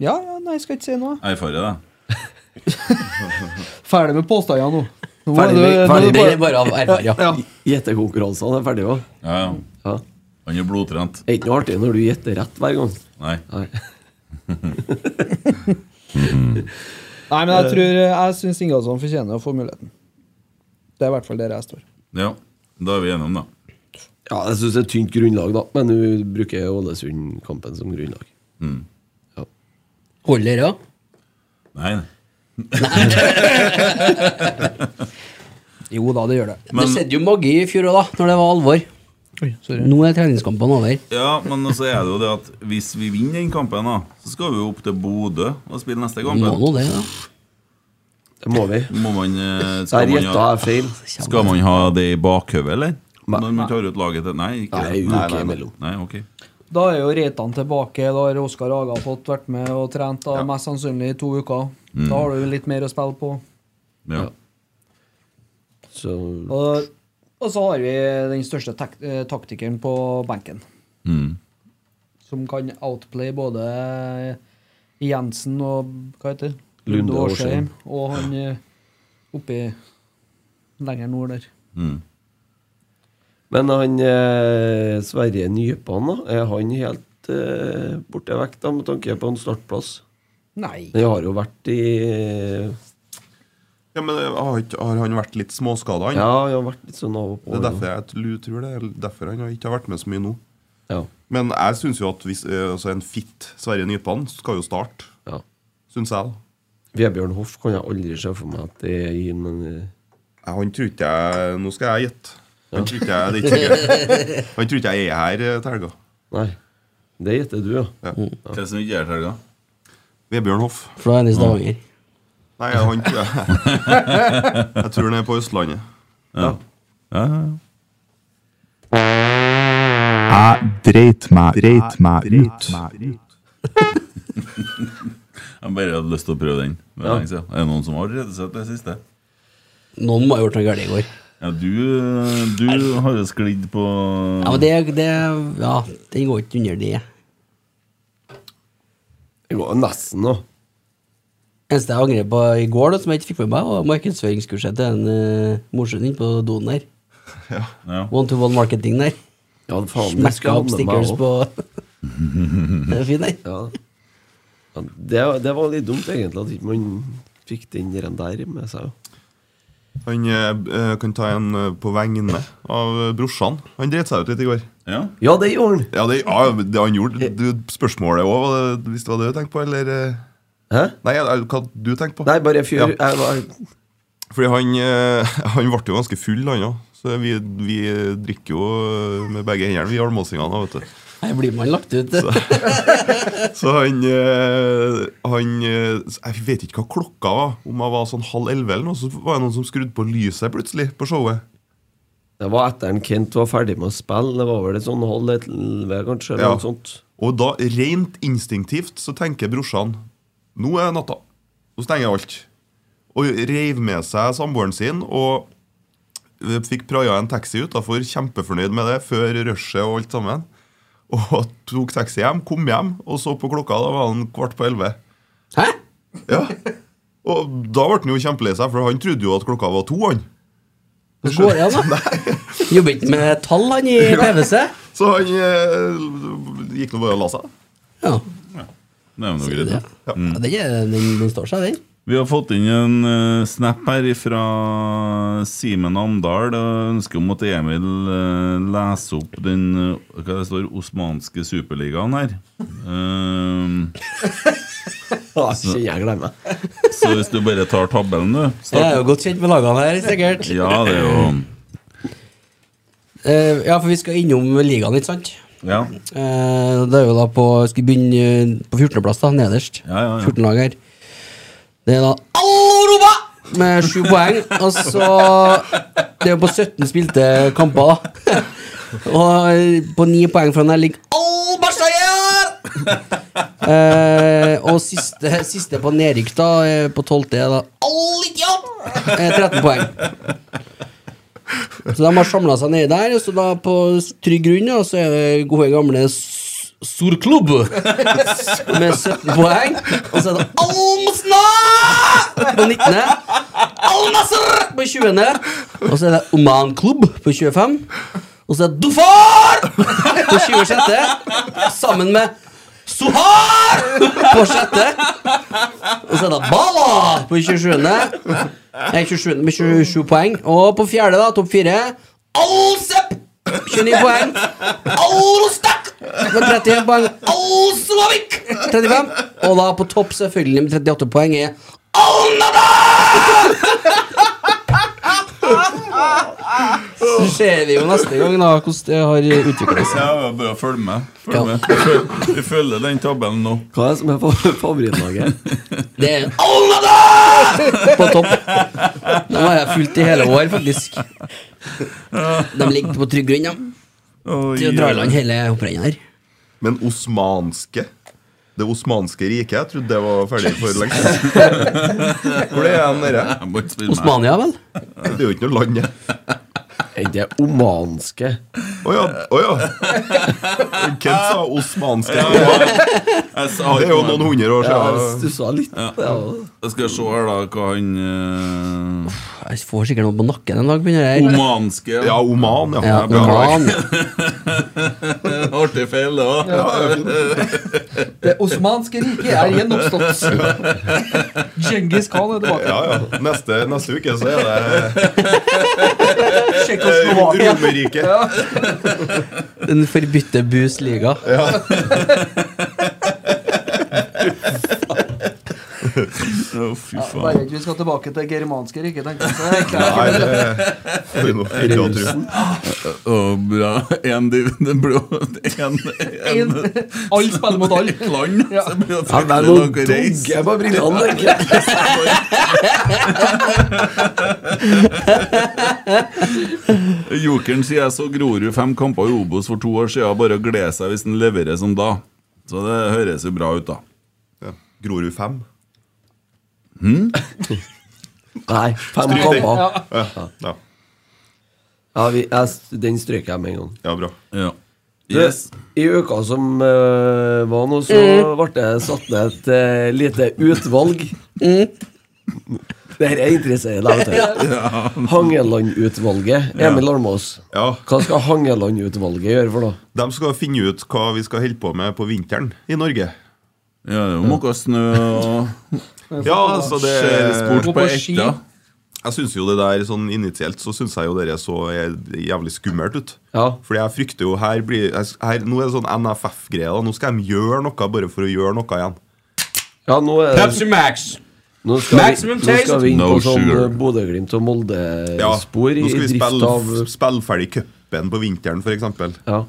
E: Ja, ja, nei, jeg skal ikke si noe.
A: Jeg erfarer det.
E: Ferdig med påstander nå. nå
C: Ferdig med-
E: er det- nå er
C: ferdig
E: det
B: Det
E: bare-
B: er bare av erfaring. Ja.
C: Gjettekonkurransene er ferdige òg.
A: Ja, ja.
C: Ja.
A: Han er blodtrent.
C: Det er ikke noe artig når du gjetter rett hver gang.
A: Nei.
C: Nei.
E: Nei, men jeg tror eh, jeg syns Ingasson fortjener å få muligheten. Det er i hvert fall der jeg står.
A: Ja, da er vi enige om det.
C: Ja, jeg syns det er et tynt grunnlag, da. Men du bruker Ålesund-kampen som grunnlag.
B: Holder, ja.
A: Nei, nei.
E: Jo da, det gjør det.
B: Det skjedde jo magi i fjor òg, da, når det var alvor. Nå er treningskampene over.
A: Ja, men så er det jo det at hvis vi vinner den kampen, da, så skal vi jo opp til Bodø og spille neste kamp.
B: Må nå det, da.
C: Det må vi.
A: Må man, eh, skal,
C: Der
A: man
C: gjetta
A: ha,
C: jeg feil.
A: skal man ha det i bakhodet, eller?
C: Nei.
A: Når man tar ut laget til Nei, ikke
C: Nei, uke imellom.
A: Nei, ok.
E: Da er jo Reitan tilbake. Da har Oskar Haga fått vært med og trent da, mest sannsynlig i to uker.
C: Mm.
E: Da har du jo litt mer å spille på.
A: Ja.
C: Så
E: Og, og så har vi den største tak eh, taktikeren på benken,
A: Mm.
E: som kan outplay både Jensen og hva heter det?
C: Lunde og
E: Åsheim, og han eh, oppi lenger nord der.
A: Mm.
C: Men han eh, Sverre Nypan, da, er han helt eh, borte vekk da, med tanke på en startplass?
E: Nei.
C: Han har jo vært i
D: Ja, men eh, Har, ikke- har han vært litt småskada, han?
C: Ja, han har vært litt sånn av og på.
D: Det er derfor jeg tl- tror det er derfor han ikke har vært med så mye nå.
C: Ja,
D: Men jeg syns jo at hvis, eh, altså en fit Sverre Nypan skal jo starte,
C: ja.
D: syns jeg. da.
C: Vebjørn Hoff kan jeg aldri se for meg at det gir men eh,
D: Ja, Han tror ikke jeg Nå skal jeg gjette. Han tror ikke jeg, det er ikke sikkert. Han tror ikke jeg er her eh, til helga.
C: Nei. Det gjetter du, ja.
D: Ja.
A: Hva som ikke er til helga?
D: Vebjørn Hoff.
B: For da er det Stavanger.
D: Nei, han tror jeg Jeg tror han er på Østlandet.
A: Ja, ja, ja.
G: Jeg Ah, dreit meg, dreit meg ut.
A: Jeg bare hadde lyst til å prøve den. Det er
C: Ja.
A: lenge siden. Er det noen som har reddet seg til det siste?
B: Noen må ha gjort noe galt i går.
A: Ja, du, du har jo sklidd på
B: Ja, men det, det Ja, den går ikke under det.
C: Det går jo nesten, da.
B: Eneste jeg angrer på i går, da, som jeg ikke fikk med meg, var markedsføringskurset til en uh, morsom inne på doen der.
A: Ja.
B: One to one marketing der.
C: Ja, faen, det
B: Merka
C: skal
B: opp
C: jeg ha med
B: stickers
C: meg òg.
B: på Det er fin, der.
C: Ja. Ja, det, det var litt dumt, egentlig, at ikke man fikk den der med seg. ja.
D: Han eh, kan ta en eh, på vegne av eh, brorsan. Han dreit seg ut litt i går.
A: ja.
C: Ja, det gjorde han!
D: Ja, det, ja, det han gjorde du, Spørsmålet òg, hvis det var det du tenkte på, eller eh?
C: Hæ?
D: Nei, eller hva du tenkte på?
C: Nei, bare fyr.
D: Ja.
C: Jeg var
D: Fordi han, eh, han ble jo ganske full, han òg. Så vi, vi drikker jo eh, med begge hendene, vi almåsingene. da, vet du.
B: Her blir man lagt ut.
D: Så han, eh, han eh, Jeg vet ikke hva klokka var, om jeg var sånn halv elleve eller noe, så var det noen som skrudde på lyset plutselig på showet.
C: Det var etter en Kent var ferdig med å spille. Det var vel et sånn halv elleve, kanskje? Eller
D: Ja.
C: noe sånt.
D: Og da, rent instinktivt, så tenker brorsan Nå er natta. Nå stenger jeg alt. Og reiv med seg samboeren sin og fikk praia en taxi utafor, kjempefornøyd med det, før rushet og alt sammen. Og tok taxi hjem, kom hjem, og så på klokka, da var han kvart på elleve.
B: Hæ?
D: Ja. Og da ble han jo kjempelei seg, for han trodde jo at klokka var to. han
B: Hvordan går det an, da? Jobber ikke med tall, han i PwC?
D: Så han eh, gikk nå bare og la seg.
B: Ja.
A: Det er jo noe greit.
B: ja. Mm.
A: da.
B: ja den, er, den, den står seg, den.
A: Vi har fått inn en eh, snap her fra Simen Amdal og ønsker om at Emil eh, leser opp den eh, hva det står, osmanske superligaen her. Ehm,
C: Ah, Kjenner jeg glemmer.
A: så hvis du bare tar tabellen, du
B: Jeg
A: start.
B: er jo godt kjent med lagene her, sikkert.
A: Ja, det er jo
B: Eh, ja, for vi skal innom ligaen, ikke sant?
A: Ja.
B: Eh, det er jo da på Skal begynne eh, på 14.-plass, da, nederst.
A: Ja, ja, ja.
B: 14 lag her. Det er da Alloroba! Med sju poeng. Og så Det er jo på 17 spilte kamper, da. Og eh, på ni poeng fra den her ligger Al-Bashayar! eh, og siste, siste på nedrykk, da, eh, på 12. er da Al-Idiam! Eh, 13 poeng. Så de har samla seg nedi der, så da på s- trygg grunn, ja, så er det gode gamle S- Surklubb med 17 poeng. Og så er det Al-Musna på 19. Al-Nasr på 20. Og så er det Oman Klubb på 25. Og så er det Dufar på 26. Sammen med Suhar på 6. Og så er det Bala på 27. Nei, 27 med 27 poeng. Og på fjerde, da, topp fire, Alsep! 29 poeng. Alstak! Med 31 poeng. Alsvavik! 35. Og da på topp, selvfølgelig, med 38 poeng, er Alnada! Så ser vi jo neste gang da hvordan det har utvikla seg.
A: Ja, bare følg med.
B: Ja.
A: Følg med. Vi følger- Vi følger den tabellen nå.
C: Hva er det som er fa- favorittlaget?
B: Det er Alnada! På topp. Den har jeg fulgt i hele år, faktisk. De ligger på trygg grunn, ja.
A: Oi,
B: Til å dra i land hele hopprennet her.
D: Men osmanske Det osmanske riket, jeg trodde det var ferdig for lenge siden. Hvor er den nede?
A: jeg må ikke spille med.
B: Osmania, vel?
D: Det er jo ikke noe land, det.
C: Er det omanske?
D: Å ja. Å ja. Kent sa osmanske.
A: Jeg sa
D: Det er jo
A: ikke noe.
D: noen hundre år
C: Ja, jeg
D: siden.
C: stussa litt. Ja.
A: Jeg skal se her, da, hva han eh,
B: Jeg får sikkert noe på nakken en dag. begynner jeg.
A: Omanske
D: Ja, Oman, ja.
B: Ja,
D: Det er bra.
B: Oman.
A: Artig feil, det òg.
F: Det osmanske riket er gjenoppstått. Djengis Khan er tilbake.
D: Ja, ja. Neste, neste uke så er det eh,
F: Tsjekkoslovakia.
D: Romerriket.
B: Den forbudte Bus liga.
A: fy
F: Bare
A: faen.
F: ikke vi skal tilbake til germanske riket, tenkte jeg. Så jeg
D: Nei,
F: klarer ikke det.
D: det det er noe fint å tro.
A: Å, bra. En div- Det blir jo en, en,
F: En- Alle spiller mot alle.
A: et land.
F: Ja.
A: Så blir det
C: Ja, det er
A: fryktelig
C: noen
A: nok å reise.
C: dogger på brillene, tenker jeg.
A: Jokeren sier jeg så Grorud fem kamper i Obos for to år siden. Bare å glede seg hvis den leverer som da. Så det høres jo bra ut, da.
D: Ja. Grorud 5.
C: Nei, fem
D: Stryk den.
C: kamper.
D: Ja,
C: Ja, vi, jeg, den stryker jeg med en gang.
D: ja bra.
A: Ja.
C: Du,
A: Yes.
C: I uka som eh, var nå, så ble det satt ned et eh, lite utvalg. Dette interesserer deg, vet du. Hangeland-utvalget. Emil Almås,
D: Ja.
C: hva skal Hangeland-utvalget gjøre for noe?
D: De skal finne ut hva vi skal holde på med på vinteren i Norge.
A: Ja, det er jo noe snø og
D: Ja, så
A: Eh,
D: det
F: Gå
A: skjellsport på
F: på ski.
A: ekta.
D: Jeg syns jo det der sånn initielt så synes jeg jo dere så jævlig skummelt ut.
C: Ja.
D: Fordi jeg frykter jo her blir her, Nå er det sånn NFF-greie. da Nå skal de gjøre noe bare for å gjøre noe igjen.
C: ja, nå er det
B: Max.
C: nå skal, vi,
B: Maximum
C: nå skal vi inn
A: No
C: på sånn
A: sugar.
C: eh, Bodø-Glimt og
D: Ja,
C: Molde-spor
D: nå
C: i
D: skal vi
C: drift
D: spille,
C: av
D: spille ferdig cupen på vinteren, f.eks.
C: Ja.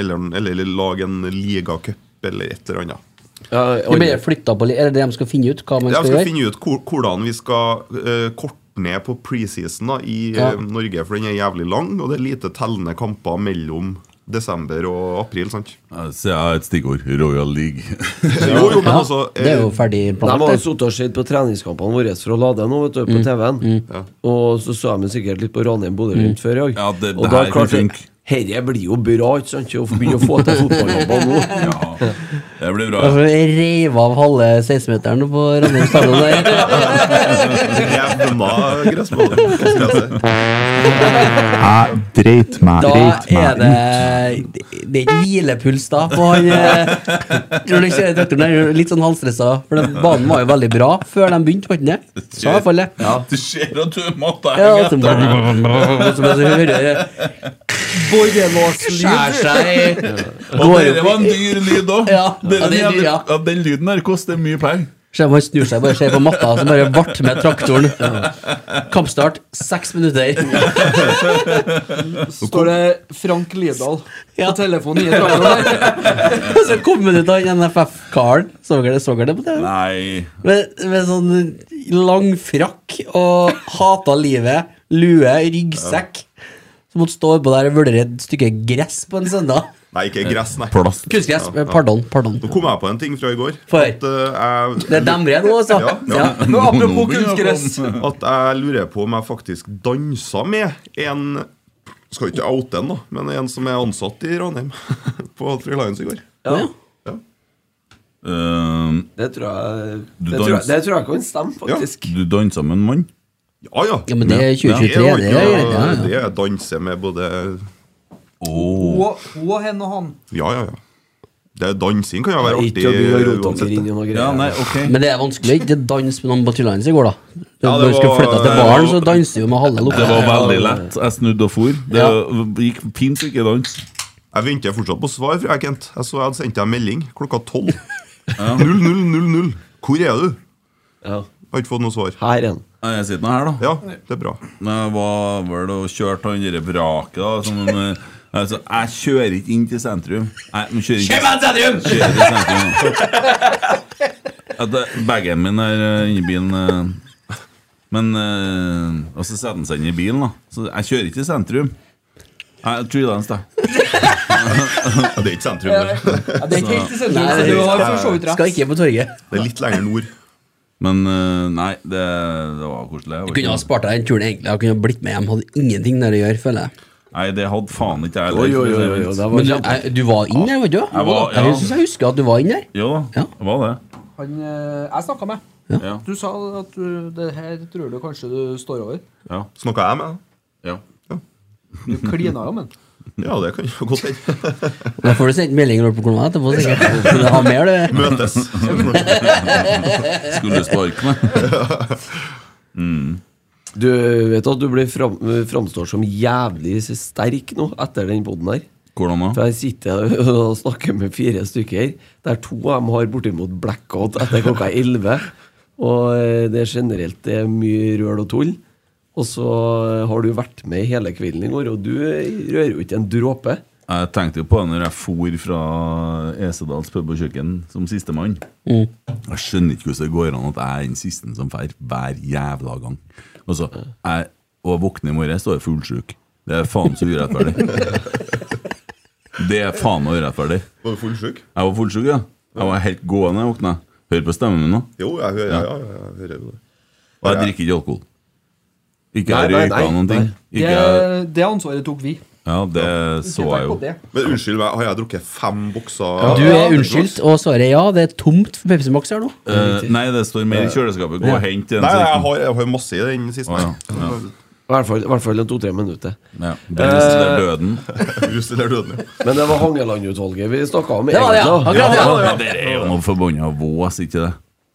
D: Eller, eller lage en ligacup eller et eller annet.
C: ja,
B: De
C: alle-
B: blir flyttet på li- Er det det de skal finne ut? Hva man
D: Jeg
B: skal,
D: skal
B: gjøre?
D: finne ut hvor- hvordan vi skal eh, korte ned på preseason da, i eh,
B: Ja.
D: Norge, for den er jævlig lang, og det er lite tellende kamper mellom desember og april. sant?
A: Så jeg har et stikkord. Royal League.
D: Jo, jo, men altså eh,
B: Det er jo ferdig
C: De har jo
B: planlagt. det.
C: sittet og sett på treningskampene våre fra Lade nå, vet du, på TV-en. Og så så de sikkert litt på Ranheim Bodø Glimt før i dag.
A: Ja, det-
C: og
A: det
C: da
A: her kan
C: klarte
A: funke.
C: Herre blir jo bra, ikke sant? Å begynne å få til fotballkamper nå.
A: Ja, Det blir bra.
B: Altså, jeg reiv av halve 16-meteren på Ranheim stadion der.
D: Altså, Jevna gressmannen.
G: Jeg dreit meg,
B: Da
G: dreit
B: er
G: meg
B: det
G: ut.
B: Det er ikke hvilepuls da på han eh, Når du ser doktoren der, er litt sånn halvstressa, for den banen var jo veldig bra før de begynte på den. Så i hvert fall det.
A: Du ser at du er matta
B: Ja,
A: henge
B: så
A: etter.
B: som jeg så hører Skjærer seg
A: Og
B: Går
A: det
B: opp
A: var en dyr lyd òg.
B: Ja, ja, det er dyr, ja.
A: Den lyden her koster mye penger.
B: Skjer man snur seg, bare ser på matta, som bare vart med traktoren. Kampstart seks minutter.
F: Står det Frank Lidahl
B: Ja.
F: på telefonen i traktoren der?
B: Så kom det ut av NFF-karen. Så dere så dere det på TV?
A: Nei
B: Med, med sånn lang frakk og hata livet, lue, ryggsekk. Så måtte stå på der og vurdere et stykke gress på en søndag.
D: Nei, ikke gress, nei.
A: Plast.
B: Kunstgress. men Pardon. pardon.
D: Nå kom jeg på en ting fra i går.
B: For?
D: At, eh, jeg,
B: Det er dem igjen nå, altså.
D: Ja,
B: Ja.
A: Nå- nå
F: Apropos
A: begynner jeg å
F: kunstgress.
A: komme.
D: at jeg lurer på om jeg faktisk dansa med en Skal ikke oute en, da, men en som er ansatt i Ranheim. På Free Lions i går.
B: Ja.
A: Ehm,
C: Det tror jeg
A: Du
C: Det tror jeg,
A: dans-
C: det tror jeg kan stemme, faktisk.
A: du dansa med en mann?
D: Ja, ja.
B: ja, men det er
A: Ja.
B: 2023,
D: jo
B: det
D: ikke
B: er
D: noe-
B: greit. Ja, ja.
D: det er danse med både
A: Åh
F: Hun hun og henne og han.
D: Ja, ja, ja. Det er dansing kan jo være artig.
C: Ikke å begynne å rote
D: uansett.
C: dere inn i noe
A: Ja,
C: greier.
A: nei, ok.
B: Men det er vanskelig. Det dans med noen på Tylands i går, da.
D: Ja, det
B: Når vi skulle
D: var-
B: flytte til baren, så danser vi med halve
A: Det var
B: lukta.
A: veldig lett. Jeg snudde og for. Det
B: Ja.
A: gikk fint ikke dans.
D: Jeg venter fortsatt på svar fra deg, Kent. Jeg så jeg hadde sendt deg en melding klokka tolv. 0000. Hvor er du?
C: Ja.
D: Jeg har ikke fått noe svar.
C: Her er den.
A: Ja, Jeg sitter nå her, da.
D: Ja, det er bra.
A: Men Jeg var vel og kjørte han derre vraket, da. Som, eh, altså, jeg kjører ikke inn til sentrum. Jeg, men kjører ikke Kjører til sentrum! At det- Bagen min er eh, inni bilen. eh, Men eh, Og så setter han seg inn i bilen, da. Så jeg kjører ikke til sentrum. Jeg Trylance, da.
D: Ja, det er ikke sentrum, det.
F: Ja, det er ikke helt i sentrum,
B: Nei,
F: så du har for så vidt rett.
B: Skal ikke på torget.
D: Det er litt lenger nord.
A: Men eh, nei, det, det var koselig.
B: Jeg kunne ha spart deg den turen, egentlig. Jeg kunne ha blitt med hjem. Hadde ingenting der å gjøre, føler jeg.
A: Nei, det hadde faen ikke jeg
C: Oi, oi, oi, oi, oi, det var
B: Men du,
C: kjempe-
B: jeg, du var inne der, var du?
A: Jeg var- ja.
B: Jeg synes jeg husker at du var inne der.
A: Jo da,
B: Ja.
A: det var det.
F: Han eh, jeg snakka med.
A: Ja.
F: Du sa at du, det her tror du kanskje du står over.
A: Ja.
D: Snakka jeg med deg?
A: Ja.
F: Du klina jo, men.
D: Ja, det kan jo godt hende.
B: Da får du sendt melding når du kommer deg etterpå, sikkert. Du har mer, du.
D: Møtes.
A: Skulle du sparke meg?
C: Du vet at du blir fram, framstår som jævlig sterk nå etter den poden her.
A: Hvordan da?
C: For jeg sitter og snakker med fire stykker, der to av dem har bortimot blackout etter klokka 11. Og eh, det er generelt det er mye røl og tull. Og så har du vært med hele kvelden i går, og du rører jo ikke en dråpe.
A: Jeg tenkte jo på det når jeg for fra Esedals pub og kjøkken som sistemann. Jeg skjønner ikke hvordan det går an at jeg er den siste som drar hver jævla gang. Altså, jeg, og jeg våkner i morges og er fullsjuk. Det er faen så urettferdig. Det er faen meg urettferdig.
D: Var du fullsjuk?
A: Jeg var fullsjuk, ja. Jeg var helt gående da jeg våkna. Hør på stemmen min nå.
D: Jo, jeg hører, ja, ja, jeg hører jo det.
A: Og jeg drikker ikke alkohol. Ikke
C: Nei,
A: jeg
C: nei,
A: røyka
C: nei,
A: noen ting.
C: nei.
A: Ikke
F: Det,
A: jeg,
F: det ansvaret tok vi.
A: ja, det så jeg jo.
F: Det.
D: Men unnskyld meg, har jeg drukket fem bokser
B: Du er unnskyldt, og svaret er ja. Det er tomt for Pepsi Max her nå.
A: Eh, nei, det står mer i kjøleskapet. Gå og hent en. sånn-
D: Nei,
A: så
D: jeg
A: ikke-
D: har, jeg har masse i den siste.
A: Å, ja,
C: I hvert fall, i hvert fall en to-tre minutter.
A: Ja. Brus
B: Eh,
A: eller døden.
D: Rus eller døden, ja.
C: Men det var Hangeland-utvalget vi snakka om.
B: Det var det, ja.
C: egentlig, da.
B: Akkurat, ja.
A: Men det er jo noe forbanna vås, ikke det?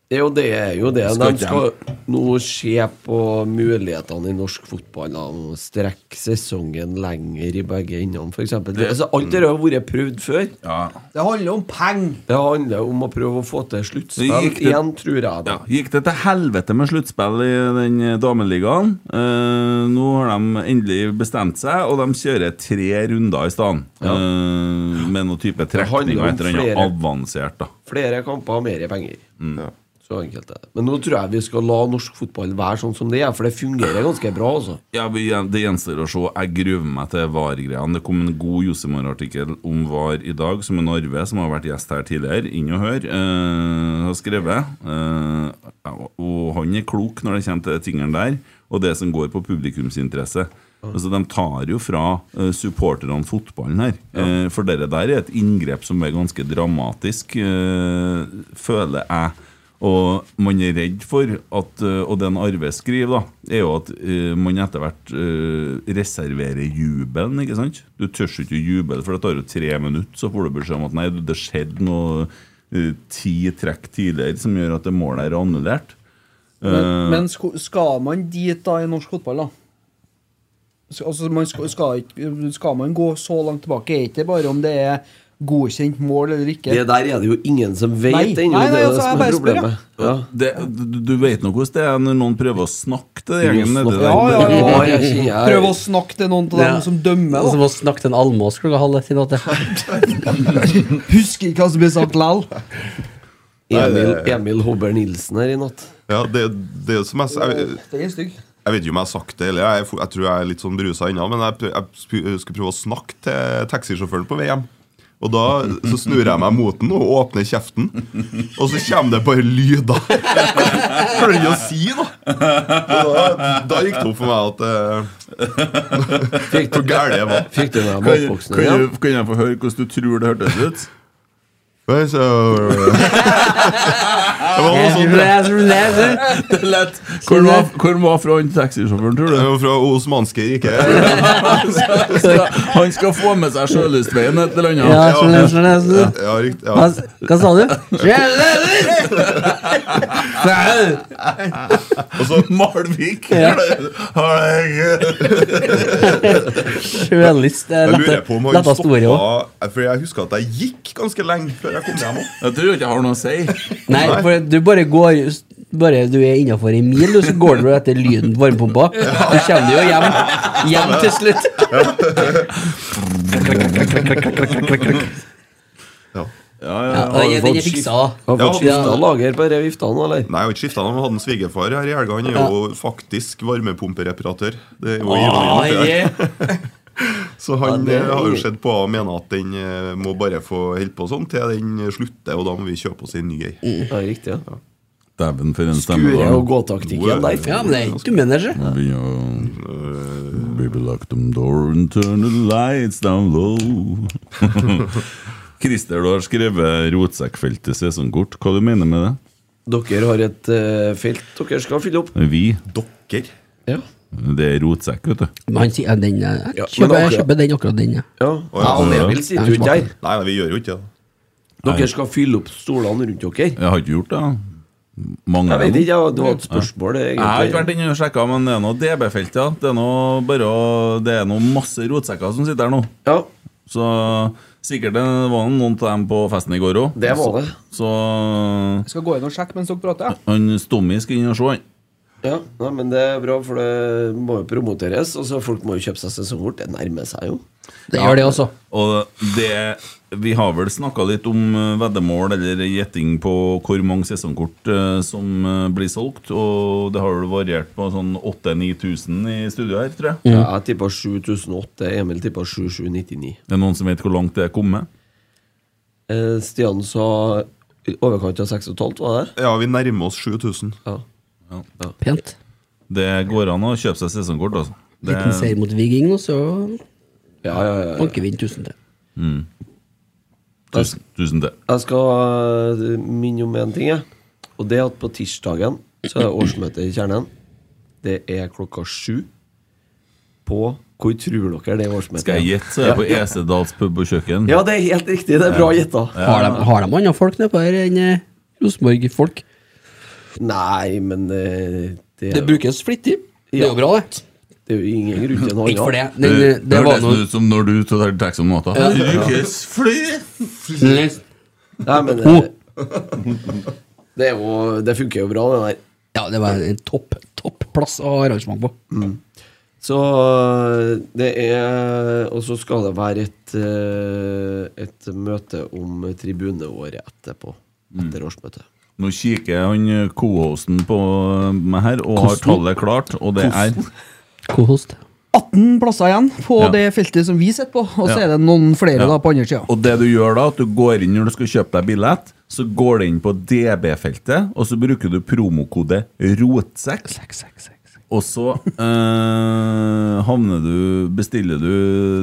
C: Jo, det er jo det.
A: Skal
C: De
A: ikke
C: skal nå se på mulighetene i norsk fotball. da, og Strekke sesongen lenger i begge endene, f.eks. Altså, alt det der har vært prøvd før.
F: det handler om penger.
C: Det handler om å prøve å få til
A: Det
C: sluttspill
A: gikk det-
C: igjen, tror jeg. da
A: Ja. Gikk det til helvete med sluttspill i den eh, dameligaen? Eh, nå har de endelig bestemt seg, og de kjører tre runder i stedet. Eh, med noen type
C: handler
A: trekninger
C: om
A: etter den
C: flere.
A: avansert, da.
C: Flere kamper, mer penger.
A: Mm.
C: Ja. Så enkelt er det. Men nå tror jeg vi skal la norsk fotball være sånn som det er, for det fungerer ganske bra. altså
A: Ja, vi- Det gjenstår å se. Jeg gruer meg til VAR-greiene. Det kom en god Josemar-artikkel om VAR i dag, som en Arve, som har vært gjest her tidligere, inn og hør, eh, har skrevet. Eh, og han er klok når det kommer til tingene der, og det som går på publikumsinteresse. Altså, De tar jo fra eh, supporterne fotballen her. Eh, for det der er et inngrep som er ganske dramatisk, eh, føler jeg. Og man er redd for at eh, Og det en Arve skriver, da, er jo at eh, man etter hvert eh, reserverer jubelen, ikke sant? Du tør ikke å juble, for det tar jo tre minutter, så får du beskjed om at nei, det skjedde noe eh, ti trekk tidligere som gjør at det målet er annullert.
F: Men, men sko- skal man dit da i norsk fotball, da? Sk- Altså, man skal, skal, ikke- skal man gå så langt tilbake? Er ikke det bare om det er godkjent mål eller ikke?
C: Det der er det jo ingen som vet
F: Nei.
C: ennå.
F: Nei, nei,
C: det er
F: altså,
C: det som
F: jeg
C: er
F: bare spør, ja.
C: problemet. Ja.
A: Det, du, du vet nå hvordan det er når noen prøver å snakke til
C: Du må
A: gjengen nedi
C: snakke.
A: der.
F: Ja, ja, ja.
C: jeg kjenner jeg-
F: Prøv å snakke til noen av
C: Ja.
F: dem som dømmer.
B: Og
F: da
B: så må vi snakke til en almås klokka halv ett i natt. jeg.
F: Husker ikke hva som ble sagt lell.
C: Emil, Emil Hobber Nilsen her i natt.
D: Ja, det, det som jeg, jeg,
F: Den er stygg.
D: jeg vet ikke om jeg har sagt det, eller jeg, er fo- jeg tror jeg er litt sånn brusa ennå, men jeg, pr- jeg sp- skulle prøve å snakke til taxisjåføren på VM. Og da så snur jeg meg mot den og åpner kjeften, og så kommer det bare lyder. Klarer ikke å si noe! Og Da, da gikk det opp for meg at eh,
C: Fikk
D: Hvor gæren jeg var.
C: Fikk du med
A: Kan,
C: matboksen?
A: kan,
C: Ja.
A: jeg- kan jeg få høre hvordan du tror det hørtes ut?
D: Nei, så- Det var noe sånn sånt. det.
A: Det er lett. Hvor var, hvor var fra han taxisjåføren, tror
D: Det
A: du?
D: var Fra osmanske riket.
A: Han skal, han skal få med seg sjølystveien et eller annet.
B: Ja, skjønner, skjønner, skjønner.
D: Ja, riktig.
B: Hva,
D: Ja.
B: hva sa du? Skjønner.
D: Og så
A: Malvik!
B: Ja.
A: Herregud.
B: Sjølyst. Det er
D: Jeg
B: lette,
D: lurer på om han
B: lette store òg.
D: stoppa For jeg husker at jeg gikk ganske lenge før jeg kom hjem. også.
A: Jeg tror ikke jeg har noe å si.
B: Nei, for du bare går Bare du er innafor ei mil, og så går du etter lyden på varmepumpa. Så kommer du jo hjem, hjem til slutt.
A: Ja, ja,
B: Ja,
A: har du
B: den er- den er
A: fått
B: fiksa. da.
C: Har
D: Ja.
C: fått skifta lager på disse viftene, eller?
D: Nei, jeg har ikke skifta navn. Jeg hadde en svigerfar her i helga. Han er jo faktisk varmepumpereparatør. Det er jo ironien
A: Ah,
D: oppi der.
A: yeah.
D: Så han
C: Ja, det er
D: eh, har jo
C: ironi.
D: sett på og mener at den eh, må bare få holde på sånn til den slutter, og da må vi kjøpe oss en ny ei.
C: Ja, riktig. ja
A: Dæven, for en stemme.
C: Skure og
A: da.
C: gå-taktikken der.
B: Ja, men det er ikke du manager.
A: Nå begynner
C: Øh.
A: å- Baby lock them door and turn the lights down low. Christer, du har skrevet rotsekkfeltet sesongkort. Hva du mener med det?
C: Dere har et eh, felt dere skal fylle opp.
A: Vi.
D: Dokker.
C: Ja.
A: Det er rotsekk, vet du.
B: Men han sier ja, den er-
C: Ja,
B: jeg kjøper,
C: men
B: jeg kjøper den akkurat den, ja.
C: ja.
D: Å, ja.
C: og Emil sitter jo ikke der.
D: Nei, nei, vi gjør jo ikke det.
C: Dere skal fylle opp stolene rundt dere.
A: Jeg har ikke gjort det. da. Mange
C: Jeg
A: av
C: vet
A: dem.
C: ikke, ja, det var et spørsmål,
A: Jeg har ikke
C: egentlig.
A: vært inne og sjekka, men det er noe DB-felt, ja. Det er noe bare å- Det er noe masse rotsekker som sitter her nå.
C: Ja,
A: Så sikkert det var noen av dem på festen i går òg.
C: det var det.
A: Så
F: Jeg skal gå inn og sjekke mens dere prater. ja.
A: han Stommi skal inn og se, han.
C: Ja, nei, men det er bra, for det må jo promoteres. Og så folk må jo kjøpe seg sesongkort. Det nærmer seg jo.
B: Det gjør det også.
A: Og det Vi har vel snakka litt om eh, veddemål eller gjetting på hvor mange sesongkort eh, som eh, blir solgt, og det har vel variert på sånn 8000-9000 i studio her, tror jeg.
C: Ja, jeg tippa 7008. Emil tippa 7799.
A: Det er noen som vet hvor langt det er kommet?
C: Eh, Stian sa i overkant av 6,5, var det?
D: Ja, vi nærmer oss 7000.
C: Ja.
B: Pent.
A: Det går an å kjøpe seg sesongkort, altså. Det,
B: Liten seier mot Viking, og så
C: Ja, ja, ja, ja.
B: banker vi inn 1000 til.
A: tusen, tusen til.
C: Jeg skal eh, minne om en ting, jeg. Og det er at på tirsdagen så er det årsmøte i Kjernen. Det er klokka sju på Hvor tror dere det årsmøtet
A: Skal jeg gjette, så er det på Esedals pub og kjøkken.
C: Ja, det er helt riktig. Det er bra gjetta.
B: Har de, har de andre folk nedpå her enn eh, Rosenborg-folk?
C: Nei, men eh, det
B: Det
C: er, jo-
B: brukes flittig. Det er jo bra, det.
C: det er jo ingen grunn til noe
B: Ikke for det.
C: annet.
B: Den,
A: det
B: eh, det var
A: hørtes
B: noe
A: ut som når du tar taxi om natta.
B: Ja.
A: Ukes fly!
B: Mm.
C: Nei, men eh, det, er jo, det funker jo bra, det der.
B: Ja, det var en topp, topp plass å ha arrangement på.
C: Så eh, det er Og så skal det være et, eh, et møte om tribuneåret etterpå.
A: Mm.
C: Etter årsmøtet.
A: Nå kikker han co-hosten på eh, meg her og har tallet klart, og det er
B: Kohost.
F: 18 plasser igjen på
A: Ja.
F: det feltet som vi sitter på, og så
A: Ja.
F: er det noen flere
A: Ja.
F: da på andre sida.
A: Og det du gjør da, at du går inn når du skal kjøpe deg billett, så går du inn på DB-feltet, og så bruker du promokode ROTSEK. Og så eh, havner du Bestiller du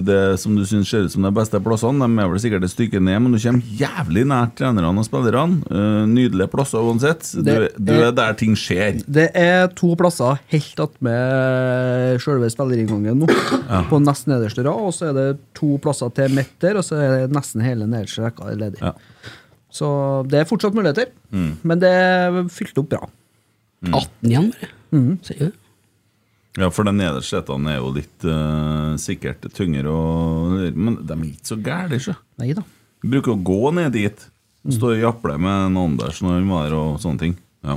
A: det som du syns ser ut som de beste plassene. De er vel sikkert et stykke ned, men du kommer jævlig nært trenerne og spillerne. Eh, nydelige plasser uansett. Du,
F: Det
A: du er der ting skjer.
F: Det er to plasser helt attmed sjølve spillerinngangen nå. På nest nederste rad, og så er det to plasser til midt der, og så er det nesten hele nederste rekka er ledig.
A: Ja. Mm.
F: Så det er fortsatt muligheter, men det er fylt opp bra.
B: 18 igjen, bare.
C: Mm.
B: Sier du det?
A: Ja, for de nederste setene er jo litt eh, sikkert tyngre og Men de er ikke så gærne, ikke?
F: Nei da.
A: Vi bruker å gå ned dit. Stå og japle med en Anders når han var her og sånne ting. Ja,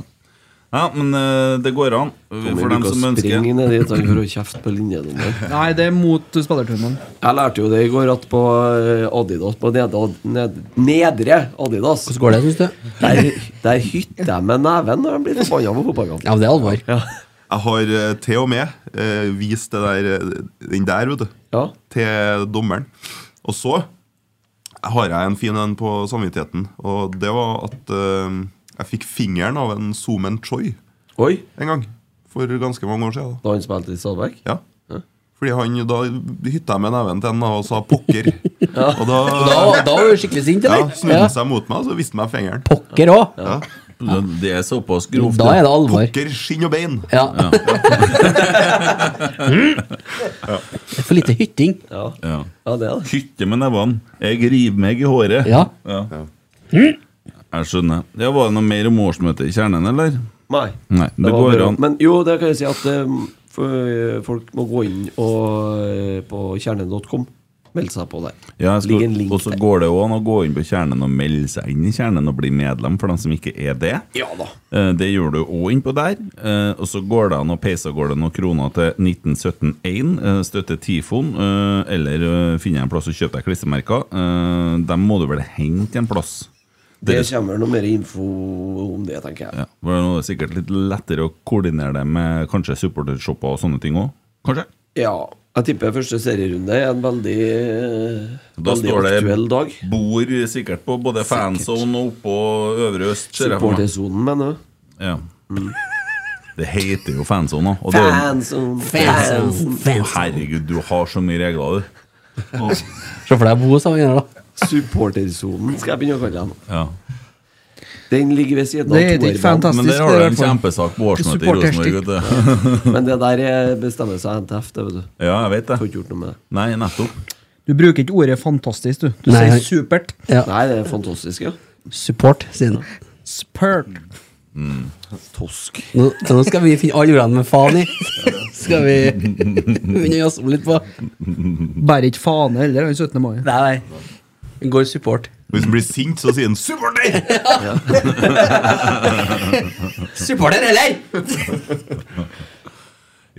A: ja men eh, det går an. For dem som ønsker.
C: Spring ned dit han, for å kjefte på linjedommeren.
F: Nei, det er mot spillerturnen.
C: Jeg lærte jo det i går at på eh, Adidas På nedre, ned, nedre Adidas
B: Hvordan går det, syns du?
C: Der, der hytter jeg med neven når jeg blir forbanna på fotballkamp.
B: Ja, men det er alvor.
D: Jeg har eh, til og med eh, vist det der, eh, den der, vet du,
C: Ja.
D: til dommeren. Og så har jeg en fin en på samvittigheten, og det var at eh, jeg fikk fingeren av en Zoomen Choi
C: Oi,
D: en gang. For ganske mange år siden.
C: da han spilte i Stabæk?
D: Da. Ja. Fordi han, da hytta jeg med neven til en og sa 'pokker'. Og da
B: Da, da var du skikkelig sint,
D: ja,
B: eller?
D: snudde han seg mot meg, og så viste han meg fingeren.
B: Pokker òg.
D: Ja.
A: Det er såpass grovt.
B: Da er det alvor.
D: Pokker, skinn og bein.
B: Ja. Det er for lite hytting.
C: Ja.
A: Ja.
C: ja, det er det.
A: Hytte med nevene. Jeg river meg i håret.
B: Ja.
A: Jeg skjønner. Ja, var det noe mer om årsmøtet i kjernen, eller?
C: Nei.
A: Nei, det,
C: var
A: går
C: bare-
A: an.
C: Men jo, det kan jeg si at eh, f- folk må gå inn og, eh, på kjernen.com. Melde seg på der.
A: Ja, jeg
C: Ligger en
A: skal,
C: link
A: og så
C: der.
A: går det jo an å gå inn på kjernen og melde seg inn i kjernen og bli medlem, for dem som ikke er det.
C: Ja da.
A: Eh, Det gjør du òg innpå der. Eh, Og så går det an å peise av gårde noen kroner til 1917.1, eh, støtte Tifon, eh, eller eh, finne en plass og kjøpe deg klistremerker. Eh, Dem må du vel hente en plass?
C: Det
A: Dere-
C: kommer noe mer info om det, tenker jeg.
A: Ja, for nå er det sikkert litt lettere å koordinere det med kanskje supportershopper og sånne ting òg? Kanskje?
C: Ja. Jeg tipper første serierunde er en veldig, eh,
A: Da
C: veldig
A: står det-
C: aktuell dag.
A: Bor sikkert på både fanzone og oppå Øvre Øst. ser jeg for meg.
C: Supportersonen, mener du?
A: Ja. Det heter jo fanzone òg.
C: Fanzone,
B: Fans.
C: fanzone.
B: Fans.
A: Herregud, du har så mye regler, du.
B: Se for deg Bo sammen her, da.
C: Supportersonen skal jeg begynne å kalle den.
A: Ja.
C: Den ligger ved siden av
F: Det heter ikke
A: Men der
C: toerbanen,
F: Fantastisk,
A: har
F: det
A: du
F: er
A: en
F: i hvert fall.
A: kjempesak på årsmøtet i
F: Supporterstykke.
A: Rosenborg. vet du.
C: men det der eh, bestemmer seg NTF, det vet du.
A: Ja, jeg vet
C: Får
A: det.
C: ikke gjort noe med det.
A: Nei, nettopp.
F: Du bruker ikke ordet fantastisk, du. Du
B: Nei,
F: sier
B: han-
F: supert.
B: Ja.
C: Nei, det er fantastisk, ja.
B: Support, sier han.
F: Spurt.
C: Tosk.
B: Nå, så nå skal vi finne alle ordene med faen i. Skal vi begynne å jazze om litt på?
F: Bærer ikke fane heller, den 17. mai.
B: Nei, nei. Vi går support.
D: Hvis han blir sint, så sier han 'supporter'!
B: Supporter, eller?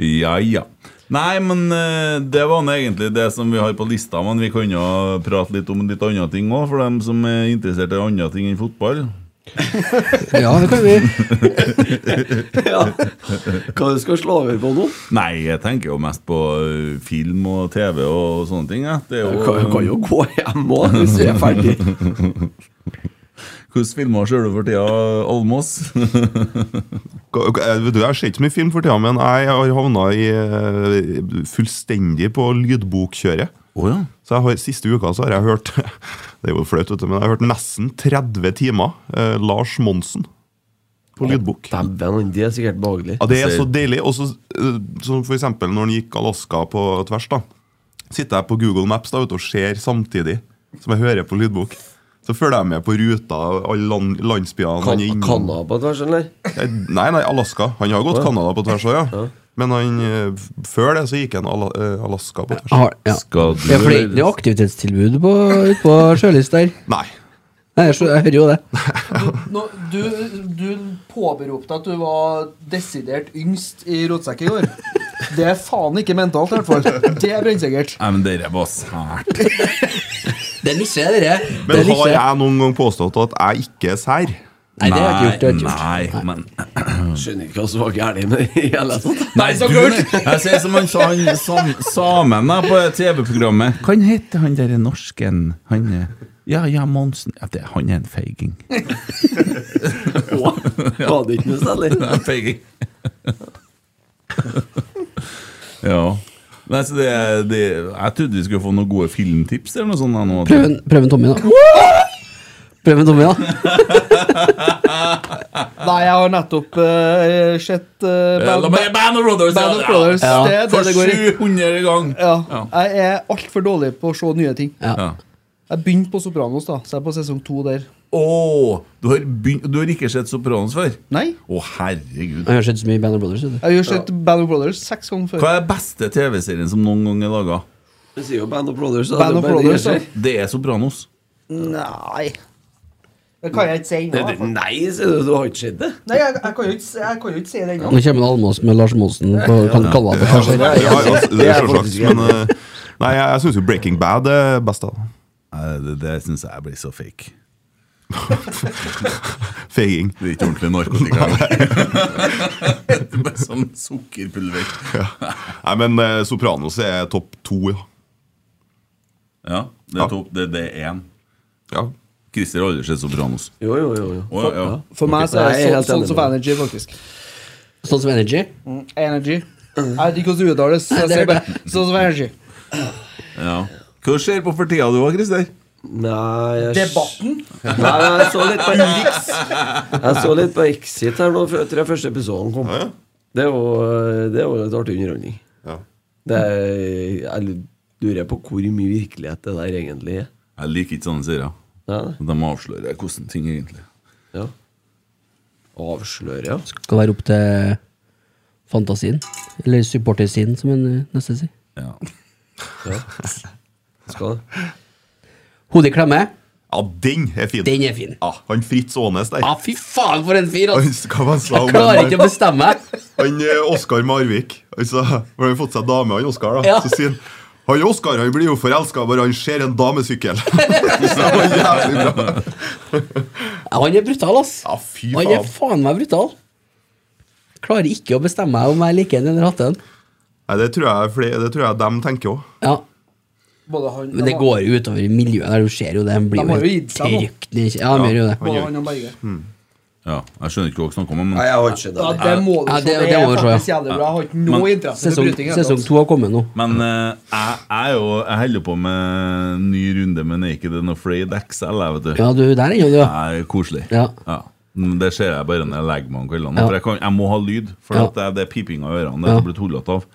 A: Ja, ja. Nei, men eh, det var nå egentlig det som vi har på lista. Men vi kan jo prate litt om litt andre ting òg, for dem som er interessert i andre ting enn fotball.
B: Ja, det kan vi.
C: ja. Hva du skal slå over på nå?
A: Nei, jeg tenker jo mest på eh, film og TV og sånne ting. Ja. Det er
C: Du kan,
A: jo,
C: kan jo gå hjem òg, hvis du er ferdig.
A: Hvordan filmer ser du for tida, Almås?
D: Ka- ka- Jeg eh, vet du, jeg ser ikke så mye film for tida, men jeg har havna i, eh, fullstendig på lydbokkjøret.
A: Å ja.
D: Så jeg har, Siste uka så har jeg hørt Det er jo flaut, vet du, men jeg har hørt nesten 30 timer eh, Lars Monsen på lydbok.
C: Dæven, det er sikkert behagelig.
D: Ja, Det er så deilig. Og så, eh, som for eksempel når han gikk Alaska på tvers, da. Sitter jeg på Google Maps da, vet du, og ser samtidig som jeg hører på lydbok. Så følger jeg med på ruta, alle land, landsbyene
C: Kan,
D: han er innom.
C: Canada på tvers, eller?
D: Nei, nei, Alaska. Han har gått Canada på tvers òg, ja. Men han, eh, f- før det så gikk han Ala eh, Alaska på tvers.
B: Har, ja.
A: Skal du
B: Ja, for det er ikke noe aktivitetstilbud på, ut på sjølyst der.
D: Nei.
B: Nei, jeg, skjø- jeg hører jo det.
F: Nå, du, du påberopte at du var desidert yngst i rotsekk i går. Det er faen ikke mentalt, i hvert fall. Det er brennsikkert.
A: Nei, men dere var sært.
B: Det er nisje, dere. Det er
D: Men har
B: nisje.
D: jeg noen gang påstått at jeg ikke er sær?
B: Nei, det har jeg ikke gjort. Det har jeg ikke gjort.
A: Nei, men
C: Skjønner ikke hva som var galt med det i hele tatt.
A: Nei, så kult! Jeg sier som han sa, han sam, samen da, på TV-programmet. Kan hete han derre norsken? Han eh, Ja, ja, Monsen ja, det, Han er en feiging.
C: Var det ikke noe særlig?
A: En feiging. Ja. Nei, så det, det, jeg trodde vi skulle få noen gode filmtips eller noe sånt. da, Nå,
B: Prøv en, prøv en Tommy, da. Prøv en Tommy, da.
F: Nei, jeg har nettopp eh, sett eh,
A: Eh,
F: Band,
A: La meg Band of Brothers!
F: Band
A: ja,
F: of Brothers.
A: Ja.
F: Det er det
A: For
F: det går i.
A: 700 gang!
F: Ja.
A: Ja.
F: Jeg er altfor dårlig på å se nye ting.
A: Ja.
F: Jeg begynte på Sopranos, da, så jeg er på sesong to der.
A: Åh, du, har begynt, du har ikke sett Sopranos før?
F: Nei,
A: Å, herregud.
B: Jeg har sett så mye Band of Brothers. vet du.
F: jeg har sett Band of Brothers seks ganger før.
A: Hva er den beste TV-serien som noen gang er laga?
C: Du sier jo Band of Brothers. da.
F: Band
C: Det
F: of
C: er bare
F: Brothers,
C: det
F: da.
C: jeg
A: Det er Sopranos.
F: Nei. Det kan jeg ikke si
C: sier.
F: ennå.
C: Nei, sier du. Du har ikke sett det?
F: Nei, jeg, jeg, kan jo ikke, si- jeg kan jo ikke si det ennå.
B: Nå kommer en Almås med Lars Monsen på kan kalle det for
D: Ja,
B: kanskje.
D: altså, det er selvsagt, men eh, Nei, jeg, jeg syns jo Breaking Bad er best, da.
A: Nei, Det, det syns jeg blir så fake.
D: Feiging.
A: Det er ikke ordentlig narkotika. engang. Det er Bare sånn sukkerpulver.
D: Nei, men eh, Sopranos er topp to, ja.
A: Ja, det
D: Ja.
A: er topp. Det, det er én.
D: ja.
A: Christer har aldri sett Sopranos.
C: Jo, jo, jo. jo.
A: Å, ja, ja.
F: For meg så
C: Nei,
F: er
C: jeg er
F: det sånn,
C: helt
F: sånn
C: enig
F: som
C: med
F: Energy, faktisk.
B: Sånn som Energy.
A: Mm.
F: Energy. Jeg vet ikke hvordan det uttales. så jeg
B: Nei, det er
F: sier bare Sånn som Energy.
A: ja. Hva skjer på for tida du òg, Christer?
C: Nei, jeg
F: Debatten.
C: Nei, jeg så litt på X. Jeg så litt på Exit her nå før- etter den første episoden kom.
D: ja.
C: Det er jo det er jo litt artig underholdning.
D: Ja.
C: Det er, jeg lurer på hvor mye virkelighet det der egentlig er.
A: Jeg liker ikke sånne serier.
C: Ja,
A: De avslører hvordan ting egentlig
C: ja. Avsløre, ja.
B: Skal være opp til fantasien. Eller supportersiden, som en eh, neste sier.
A: ja.
C: Skal det?
B: Hodet i klemme.
D: ja, den er fin.
B: Den er fin.
D: Ja, han Fritz Aanes der.
B: Ah, fy faen, for en fyr!
D: Han,
B: ass.
D: hva var det han sa om
B: Jeg klarer
D: den
B: ikke
D: der?
B: å bestemme meg.
D: Han eh, Oskar Marvik. Altså, hvor han har fått seg dame, han Oskar. da
B: Ja.
D: Så sier han han Oskar han blir jo forelska bare han ser en damesykkel. Så det var jævlig bra.
B: Ja, Han er brutal, ass.
D: Ja, Ah, fy
B: Han er
D: faen.
B: faen meg brutal. Klarer ikke å bestemme meg om jeg liker den eller hater den.
D: Nei, det tror jeg, fle- det tror jeg dem tenker òg.
B: Ja,
F: Både han
B: Men det
F: og-
B: går jo utover i miljøet der du ser jo det. Han blir
F: De har
B: jo
F: jo gitt
B: helt
F: seg nå.
B: trykt ned. i kje- Ja, han gjør jo det.
F: både han og Berge.
B: Mm.
A: ja. Jeg skjønner ikke hva dere snakker om,
C: Nei,
A: men,
C: jeg har ikke
F: Ja,
C: skjønt det.
F: det må du
B: Ja,
F: se.
B: det-
F: Det,
B: det
F: er
B: må du se, ja.
F: faktisk jævlig bra. Jeg har ikke noe
A: Men
F: interesse for
B: Sesong,
F: bryting. altså.
B: sesong to har kommet nå.
A: men eh, jeg, jeg er jo Jeg holder på med en ny runde med Naked and Afraid XL, jeg, vet du.
B: Ja, du, der er jo du, ja.
A: Det er koselig.
B: Ja.
A: Men Det ser jeg bare når jeg legger meg om kveldene.
B: Ja.
A: For jeg, kan, jeg må ha lyd, for
B: Ja.
A: at det, er- det er piping av ørene. Det er
B: Ja.
A: blitt tullete av.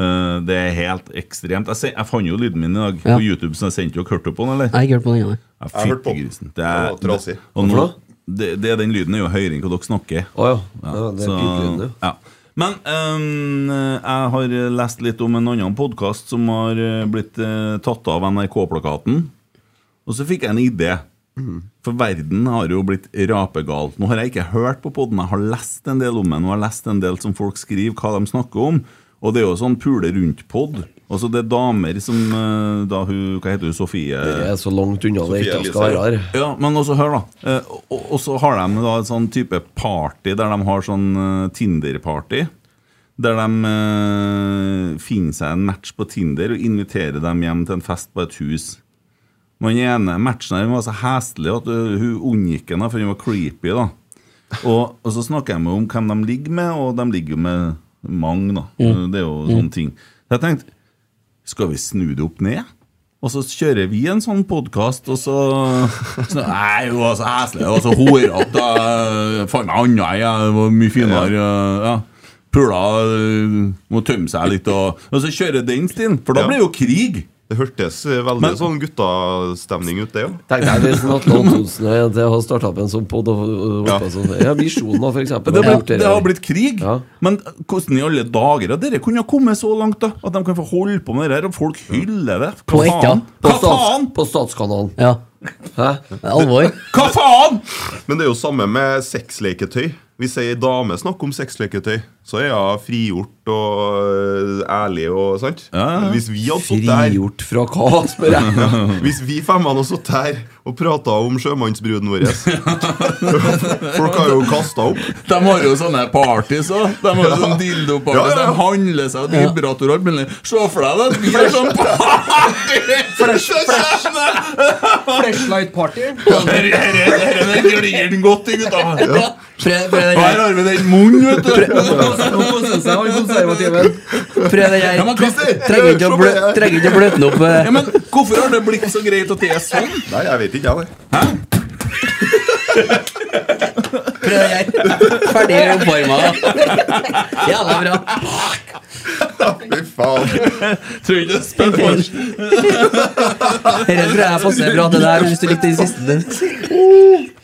A: Eh, det er helt ekstremt. Jeg, sen- jeg fant jo lyden min i dag
B: Ja.
A: på YouTube, så jeg sendte jo Kurt opp på den, eller?
B: Jeg har ikke hørt på den ennå.
A: Jeg
D: har hørt på den.
A: grisen. Det
D: Den var
A: er,
D: trasig.
A: og nå,
C: Hvorfor
A: det, det, den lyden er jo høyere enn hva dere snakker.
C: Å ja. ja. Det er
A: så-
C: pipelyden, ja.
A: ja. Men øhm, jeg har lest litt om en annen podkast som har øh, blitt øh, tatt av NRK-plakaten. Og så fikk jeg en idé. For verden har jo blitt rapegal. Nå har jeg ikke hørt på podden, jeg har lest en del om den, og jeg har lest en del som folk skriver hva de snakker om. Og det er jo sånn pule rundt-pod. Altså det er damer som øh, da hun, Hva heter hun? Sofie?
C: Det er så langt unna det
D: Sofie
C: ikke
D: Elise,
C: skal være her.
A: Ja, men også hør da Eh, og- og, og så har de da et sånn type party Der de har sånn eh, Tinder-party Der de eh, finner seg en match på Tinder Og inviterer dem hjem til en fest på et hus Men den ene matchen her den var så hestelig At eh, hun unngikk henne For hun var creepy da og, og så snakker jeg med om hvem de ligger med Og de ligger jo med mange da Eh, Det er jo sånne ting Så jeg tenkte skal vi snu det opp ned? Og så kjører vi en sånn podkast, og så, så Nei, hun var så heslig, hun var så horete. øh, Faen meg anna, jeg det var mye finere. øh, Ja. Pula øh, må tømme seg litt, og, og så kjører den stien, for da
D: Ja.
A: blir det jo krig.
D: Det hørtes eh, veldig sånn guttastemning ut, det òg.
C: Tenk deg hvis Atle Antonsen og jeg har starta opp en sånn pod og og hoppa sånn. Ja, Visjonen, da, for eksempel.
A: Det,
C: har
A: ble,
C: gjort det
A: det har
C: der.
A: blitt krig.
C: Ja.
A: Men hvordan i alle dager At dere kunne ha kommet så langt da at de kan få holde på med det her, og folk hyller det? Hva
B: På ett, ja.
A: faen?
C: På,
A: Hva faen?
C: stats, på Statskanalen.
B: Ja.
C: Hæ?
B: Det er Alvor.
A: Hva faen?
D: Men det er jo samme med sexleketøy. Hvis ei dame snakker om sexleketøy, så er hun frigjort og øh, ærlig. og sant?
A: Ja, ja.
D: Hvis vi hadde sittet her
C: Frigjort fra hva, spør jeg.
D: Hvis vi femmene hadde sittet her og prata om sjømannsbruden vår Folk har jo kasta opp.
A: De har jo sånne parties òg. De har jo sånn dildo-parties.
D: Ja, ja, ja.
A: De handler seg og vibrator og alt mulig. Se for deg det! Vi har sånn party! Så kjempe-
E: Flashlight party.
A: Dette glir den godt i, gutta.
B: Prøv prøv den
A: Her
B: her.
A: har vi den munnen, vet du.
E: Nå koser seg han konservativen.
B: Prøv den her.
A: Ja, men Christer,
B: Trenger ikke å blø-
D: se på det her.
B: trenger ikke å bløte den opp. eh.
A: Ja, men Hvorfor har det blitt så greit at det er sånn?
D: Nei, jeg vet ikke, jeg. det.
B: Prøv den her. Ferdig oppvarma. Jævla bra.
D: Fy faen.
A: Tror ikke det spør for
B: Dette tror jeg passer bra til deg hvis du likte den siste.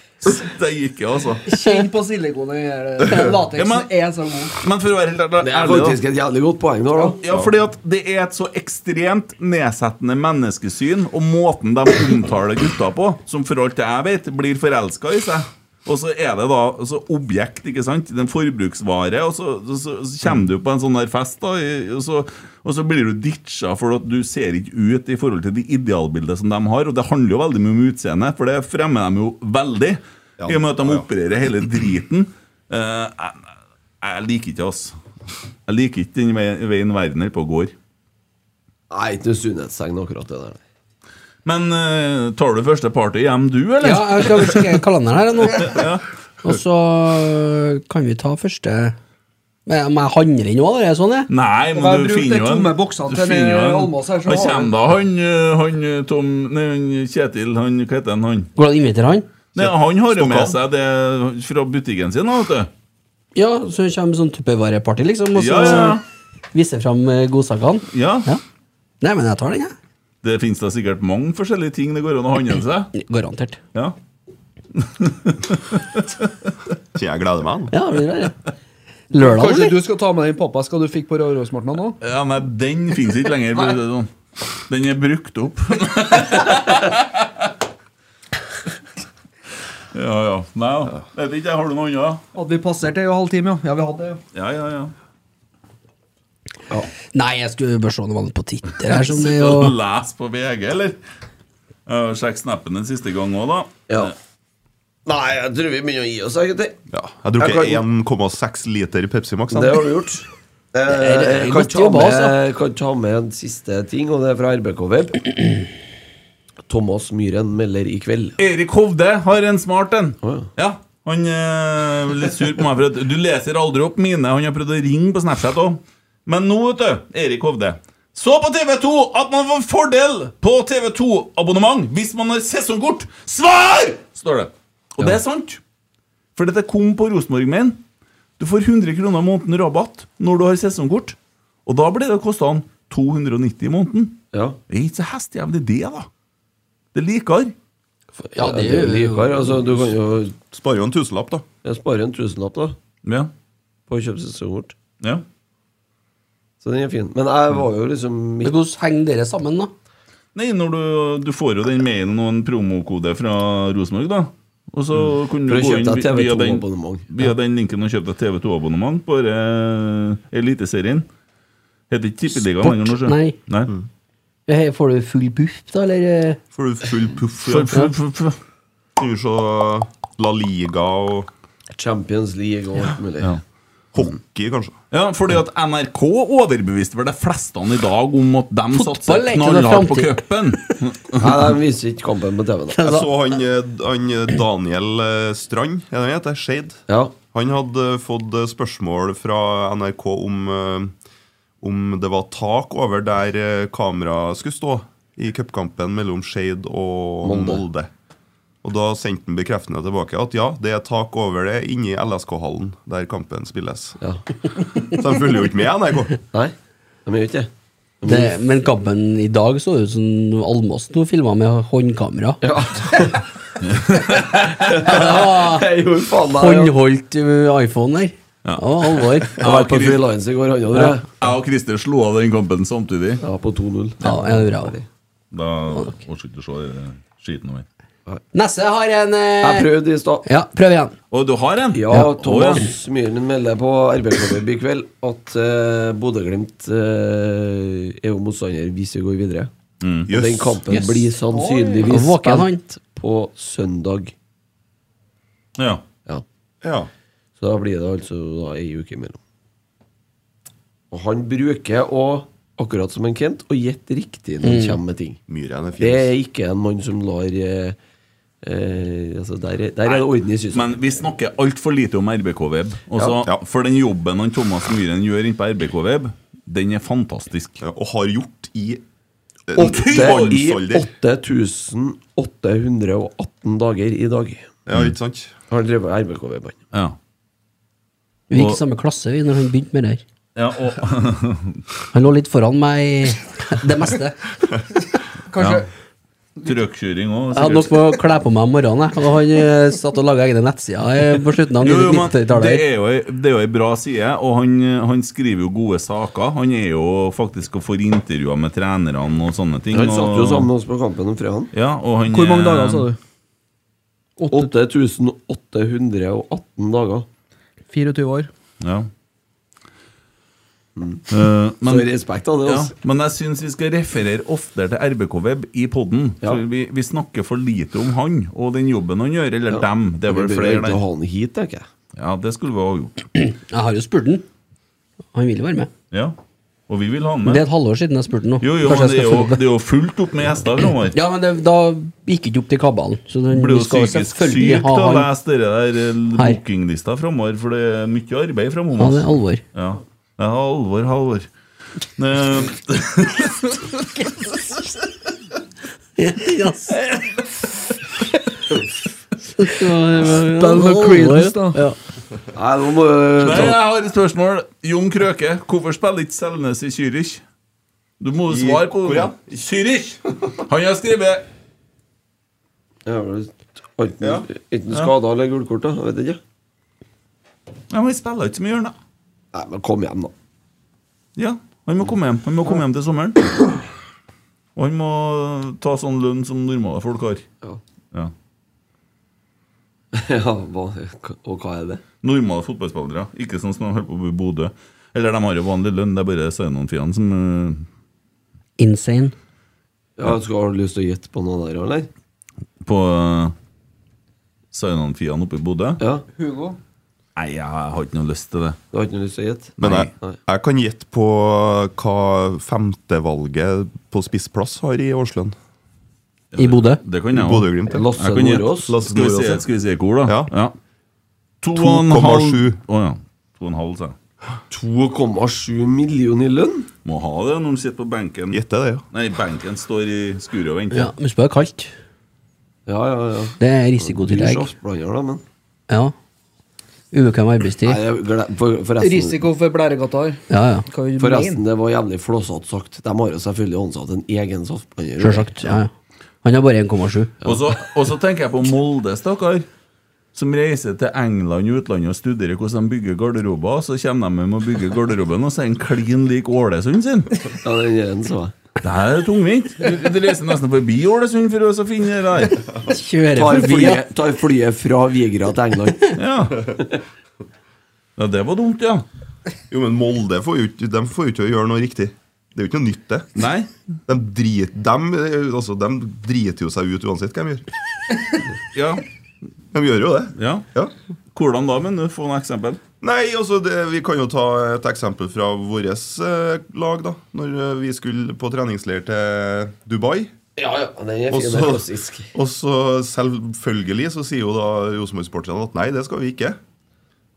A: Det gikk jo, altså.
E: Kjenn på silikonet.
F: eh,
A: Ja,
E: Lateksen
A: men-
E: er så god.
A: Men for å være helt
C: Det
A: ærlig,
C: er
A: da.
C: faktisk et jævlig godt poeng der, da.
A: Ja, fordi at det er et så ekstremt nedsettende menneskesyn, og måten de omtaler gutta på, som for alt jeg vet, blir forelska i seg. Og så er det da altså, objekt, ikke sant? Det er en forbruksvare, og så, så, så, så kommer du på en sånn der fest, da, i- og så, og så blir du ditcha for at du ser ikke ut i forhold til det idealbildet som de har. Og det handler jo veldig mye om utseende, for det fremmer de jo veldig.
D: Ja.
A: I og med at
D: Ja,
A: de
D: ja.
A: opererer hele driten. Eh, jeg, jeg liker ikke altså. Jeg liker ikke den veien, veien verden holder på å gå. i.
C: Nei, ikke noe sunnhetstegn akkurat det der.
A: Men eh, tar du første party hjem, du, eller?
B: Ja, jeg skal sjekke kalenderen her nå. Og så øh, kan vi ta første Men jeg må jeg handle inn òg, er det sånn? Jeg?
A: Nei,
E: Jeg har
A: men du
E: brukt
A: finner
E: de
A: jo en
E: tomme boksene
A: du
E: til
A: finner
E: den,
A: jo en-
E: eh, Almås her, så
A: Hva
E: har
A: kommer da, han, eh, han eh, Tom Nei, han Kjetil, han, hva heter han? han?
B: Går det an å invitere han?
A: Nei, han har jo med
D: Stokkan.
A: seg det fra butikken sin, da, vet du.
B: Ja, så kommer sånn tuppervareparty, liksom, og så
A: Ja, ja.
B: viser fram øh, godsakene.
A: Ja,
B: Ja. Nei, men jeg tar den, jeg.
A: Det finnes da sikkert mange forskjellige ting det går an å handle seg.
B: Garantert.
A: Ja.
D: Så jeg gleder meg.
B: Ja, det blir det. ja. Lørdag,
E: Kanskje
B: eller?
E: du skal ta med den pappaska du fikk på Rørosmartna nå?
A: ja, nei, den finnes ikke lenger. for å si det sånn. Den er brukt opp. ja, ja. Nei, ja. vet ikke, jeg. har du noe annet?
E: Hadde vi passert det i en halvtime, ja. ja vi hadde det, ja.
A: Ja, ja, ja.
B: Nei, jeg skulle bare se om det var noe på Twitter her som det
A: Sitter
B: jo
A: og leser på VG, eller? Uh, Sjekk snappen den siste gang òg, da.
C: Ja. Nei, jeg tror vi begynner å gi oss, egentlig.
D: Ja, jeg drukker
C: Jeg
D: 1,6 liter Pepsi Max. jeg.
C: Sånn. Det har du gjort. Eh,
B: det er
C: Jeg kan
B: godt
C: ta,
B: jobba,
C: med,
B: altså.
C: kan ta med en siste ting, og det er fra RBK-web. Thomas Myhren melder i kveld.
A: Erik Hovde har en smart en.
C: Å,
A: Ja, Han eh, er litt sur på meg for at du leser aldri opp mine. Han har prøvd å ringe på Snapchat òg. Men nå, vet du, Erik Hovde Så på TV2 at man får fordel på TV2-abonnement hvis man har sesongkort! Svar! står det. Og det er sant. For dette kom på Rosenborg-mail. Du får 100 kroner i måneden rabatt når du har sesongkort. Og da blir det kosta 290 i måneden.
C: Ja.
A: Det er ikke så hestejævlig det, da. Det er likere.
B: Ja, det
C: Det er
B: er jo
C: likere. Altså, du kan jo
D: Sparer jo en tusenlapp, da.
C: spare en tusenlapp da
A: Ja.
C: på å kjøpe seg sesongkort.
A: ja.
C: Så den er fin. Men jeg var jo liksom
B: Men
C: midt
B: Hvordan henger dere sammen, da?
A: Nei, når du, du får jo den mailen og en promokode fra Rosenborg, da. Og så kunne
C: For å
A: du gå
C: kjøpe
A: inn
C: deg
A: vi- via den,
C: TV2-abonnement.
A: via den linken og kjøpe deg TV2-abonnement på eh, Eliteserien. Heter ikke Tippeligaen lenger nå, sjø.
B: Nei.
A: Nei.
B: Eh, Får du full buff, da, eller? eh?
D: Får du full puff. Ja.
A: For, for, for, for.
D: Skal vi se La Liga og
C: Champions League og alt mulig.
A: Ja.
D: hockey, kanskje.
A: Ja, fordi at NRK overbeviste vel de fleste i dag om at de satser
B: Fotball er ikke noe
A: knallhardt på
B: framtid.
A: cupen.
C: Nei, de viser ikke kampen på TV-en. da.
D: Jeg så han, eh, han eh, Daniel eh, Strand, er det han heter? Shade.
C: Ja.
D: Han hadde fått eh, spørsmål fra NRK om, eh, om det var tak over der eh, kamera skulle stå i cupkampen mellom Skeid og
C: Molde.
D: Molde. Og da sendte han bekreftende tilbake at ja, det er tak over det inni LSK-hallen der kampen spilles.
C: ja.
D: Så de følger jo ikke med, NRK.
C: Nei, de gjør ikke det.
B: Det, men kampen i dag så sånn ut som Almås nå filma med håndkamera.
C: Ja.
B: Ja,
C: Jeg gjorde faen meg ja.
B: Håndholdt uh, iPhone der. Ja, alvor.
C: Jeg var på freelance i går, han òg.
A: Jeg og Christer slo av den kampen samtidig.
C: Ja, på 2-0.
B: Ja, ja, bra.
A: Da orker ikke å se eh, skiten over.
B: Nesse har en
C: Jeg
B: eh,
C: prøvde i stad.
B: Ja, prøv igjen.
A: Og du har en?
C: Ja,
A: Å, ja.
C: Thomas Myhren melder på RBK-web i kveld at uh, Bodø-Glimt eh, er jo motstander hvis vi går videre.
A: Mm.
C: Og Den
D: Jøss.
C: kampen
B: Yes.
C: blir sannsynligvis
B: Oi. Våken han.
C: spilt på søndag.
A: ja.
C: Ja.
D: Ja.
C: Så da blir det altså da ei uke imellom. Og han bruker å akkurat som en Kent, og gjett riktig når han
B: Mm.
C: kommer med ting.
D: Myhren er
C: Det er
D: fin.
C: ikke en mann som lar eh, eh, altså der, er- der er det orden i systemet.
A: Men vi snakker altfor lite om RBK-web.
D: Ja, ja.
A: For den jobben han Thomas Myhren gjør inne på RBK-web, den er fantastisk.
D: Ja, Og har gjort i eh,
C: Åtte i
D: mannsalder.
C: 8818 dager i dag
D: Ja, ikke sant?
C: har han drevet RBK-veiband.
A: Ja.
B: Vi gikk
A: Og-
B: i samme klasse vi når han begynte med det her.
A: Ja, og,
B: Han lå litt foran meg i det meste.
A: ja. Trøkkjøring òg.
B: Jeg hadde nok med å kle på meg om morgenen, jeg. Og han eh, satt og laga egne nettsider eh, på slutten av
A: Jo, jo, men det
B: 90-tallet. her.
A: er jo, ei- det er jo ei bra side, og han, han skriver jo gode saker. Han er jo faktisk og får intervjuer med trenerne og sånne ting.
C: Han satt jo
A: og-
C: sammen med oss på kampen om fredagen.
A: Ja, og han,
F: Hvor mange
B: Eh,
F: dager, sa du?
C: 8818 dager.
F: 24 år.
A: Ja. Eh,
C: Så
A: men,
C: respekt av det,
A: ja,
C: altså.
A: men jeg syns vi skal referere oftere til RBK-web i poden.
C: Ja.
A: Vi, vi snakker for lite om han og den jobben han gjør, eller dem. Det er
C: Vi
A: vel
C: bør
A: flere
C: egentlig
A: der.
C: ha han hit, tenker jeg.
A: Ja, det skulle vi ha gjort.
B: Jeg har jo spurt han. Han vil jo være med.
A: Ja. Og vi vil ha han
B: Det
A: med.
B: er et halvår siden jeg spurte han nå.
A: Jo, jo, men
B: Kanskje jeg
A: det er jo,
B: skal følge opp
A: det er jo fullt opp med gjester framover.
B: Ja, men det, da gikk ikke opp til kabalen. Så den,
A: blir
B: vi
A: jo
B: skal
A: psykisk
B: selvfølgelig
A: sykt
B: ha
A: å
B: han.
A: lese det der eh,
B: Her.
A: bookinglista framover, for det er mye arbeid
B: Ja, det
A: framover.
B: er alvor.
A: Ja. ja, alvor, alvor. Eh,
B: Yes.
F: Bell med Creedence, da.
B: Ja.
C: Nei, nå må jeg
A: Nei,
C: ta-
A: jeg har et spørsmål. Jon Krøke, hvorfor spiller ikke Selnes i Zürich? Du må jo svare på
D: hvor
A: det.
D: da?
A: Zürich! Han har skrevet
C: Ja, vel, Enten,
D: Ja.
C: enten skada eller gullkort, da. Jeg vet ikke.
A: Ja, men han spiller ikke så mye, gjør han da.
C: Nei, men kom hjem, da.
A: Ja, han må komme hjem. Han må komme hjem til sommeren. Og han må ta sånn lønn som normale folk har.
C: Ja.
A: Ja.
C: ja, hva, og hva er det?
A: Normale fotballspillere, ikke sånn som de holder på med i Bodø. Eller de har jo vanlig lønn, det er bare Sainon-firene som eh,
B: Insane.
C: Ja, skal Har du lyst til å gjette på noe der, eller?
A: På uh, Sainon-firene oppe i Bodø.
C: Ja,
F: Hugo.
A: Nei, jeg har ikke noe lyst til det.
C: Du har ikke noe lyst til å gjette?
D: Men jeg,
C: Nei.
D: jeg kan gjette på hva femtevalget på spissplass har i årslønn.
B: I Bodø.
A: Det kan jeg òg.
D: Bodø-Glimt. ja.
C: Lasse
A: Jeg kan
C: Nordås.
A: gjette. La oss- Skal vi si, skal vi si et ord, da?
D: Ja.
A: To og en halv-
D: 2,7.
A: Å ja. To og en halv, sa jeg.
C: 2,7 millioner i lønn?
A: Må ha det når de sitter på benken.
D: Gjette det, ja.
A: Nei, benken står i skuret og venter.
B: Ja, men spør kaldt.
C: Ja, ja, ja.
B: Det er
C: Dyr
B: risikotillegg.
C: saftblander, da, men
B: Ja. Ubekvem arbeidstid.
C: Nei, jeg glem- for, forresten,
F: Risiko for blæregatar.
B: Ja, ja.
F: Hva vi
C: forresten,
F: mener.
C: det var jævlig flåsete sagt. De har jo selvfølgelig ansatt en egen saftblander.
B: Sjølsagt. Ja, ja. Han har bare 1,7.
A: Og så, og så tenker jeg på Molde, stakkar. Som reiser til England og utlandet og studerer hvordan de bygger garderober. og Så kommer de hjem og bygger garderoben, og så er den klin lik Ålesund sin!
C: Ja, den er den, så jeg.
A: Det her er tungvint. Du du reiser nesten forbi Ålesund for å finne det der.
B: Kjører
C: Tar
B: forbi. ja.
C: flyet, tar flyet fra Vigra til England.
A: Ja. ja, det var dumt, ja.
D: Jo, men Molde får jo ikke, de får jo ikke gjøre noe riktig. Det er jo ikke noe nytt, det.
A: Nei.
D: De, drit, dem, eh, altså, dem driter jo seg ut uansett hva de gjør.
A: Ja.
D: De gjør jo det.
A: ja.
D: Ja.
A: Hvordan da, men du? Få noe eksempel.
D: Nei, altså, det, Vi kan jo ta et eksempel fra vårt eh, lag. da Når eh, vi skulle på treningsleir til Dubai.
C: Ja, ja, den er
D: Og
C: fin, den er
D: så,
C: klassisk.
D: og så selvfølgelig så sier jo da Rosenborg-sporterne at nei, det skal vi ikke.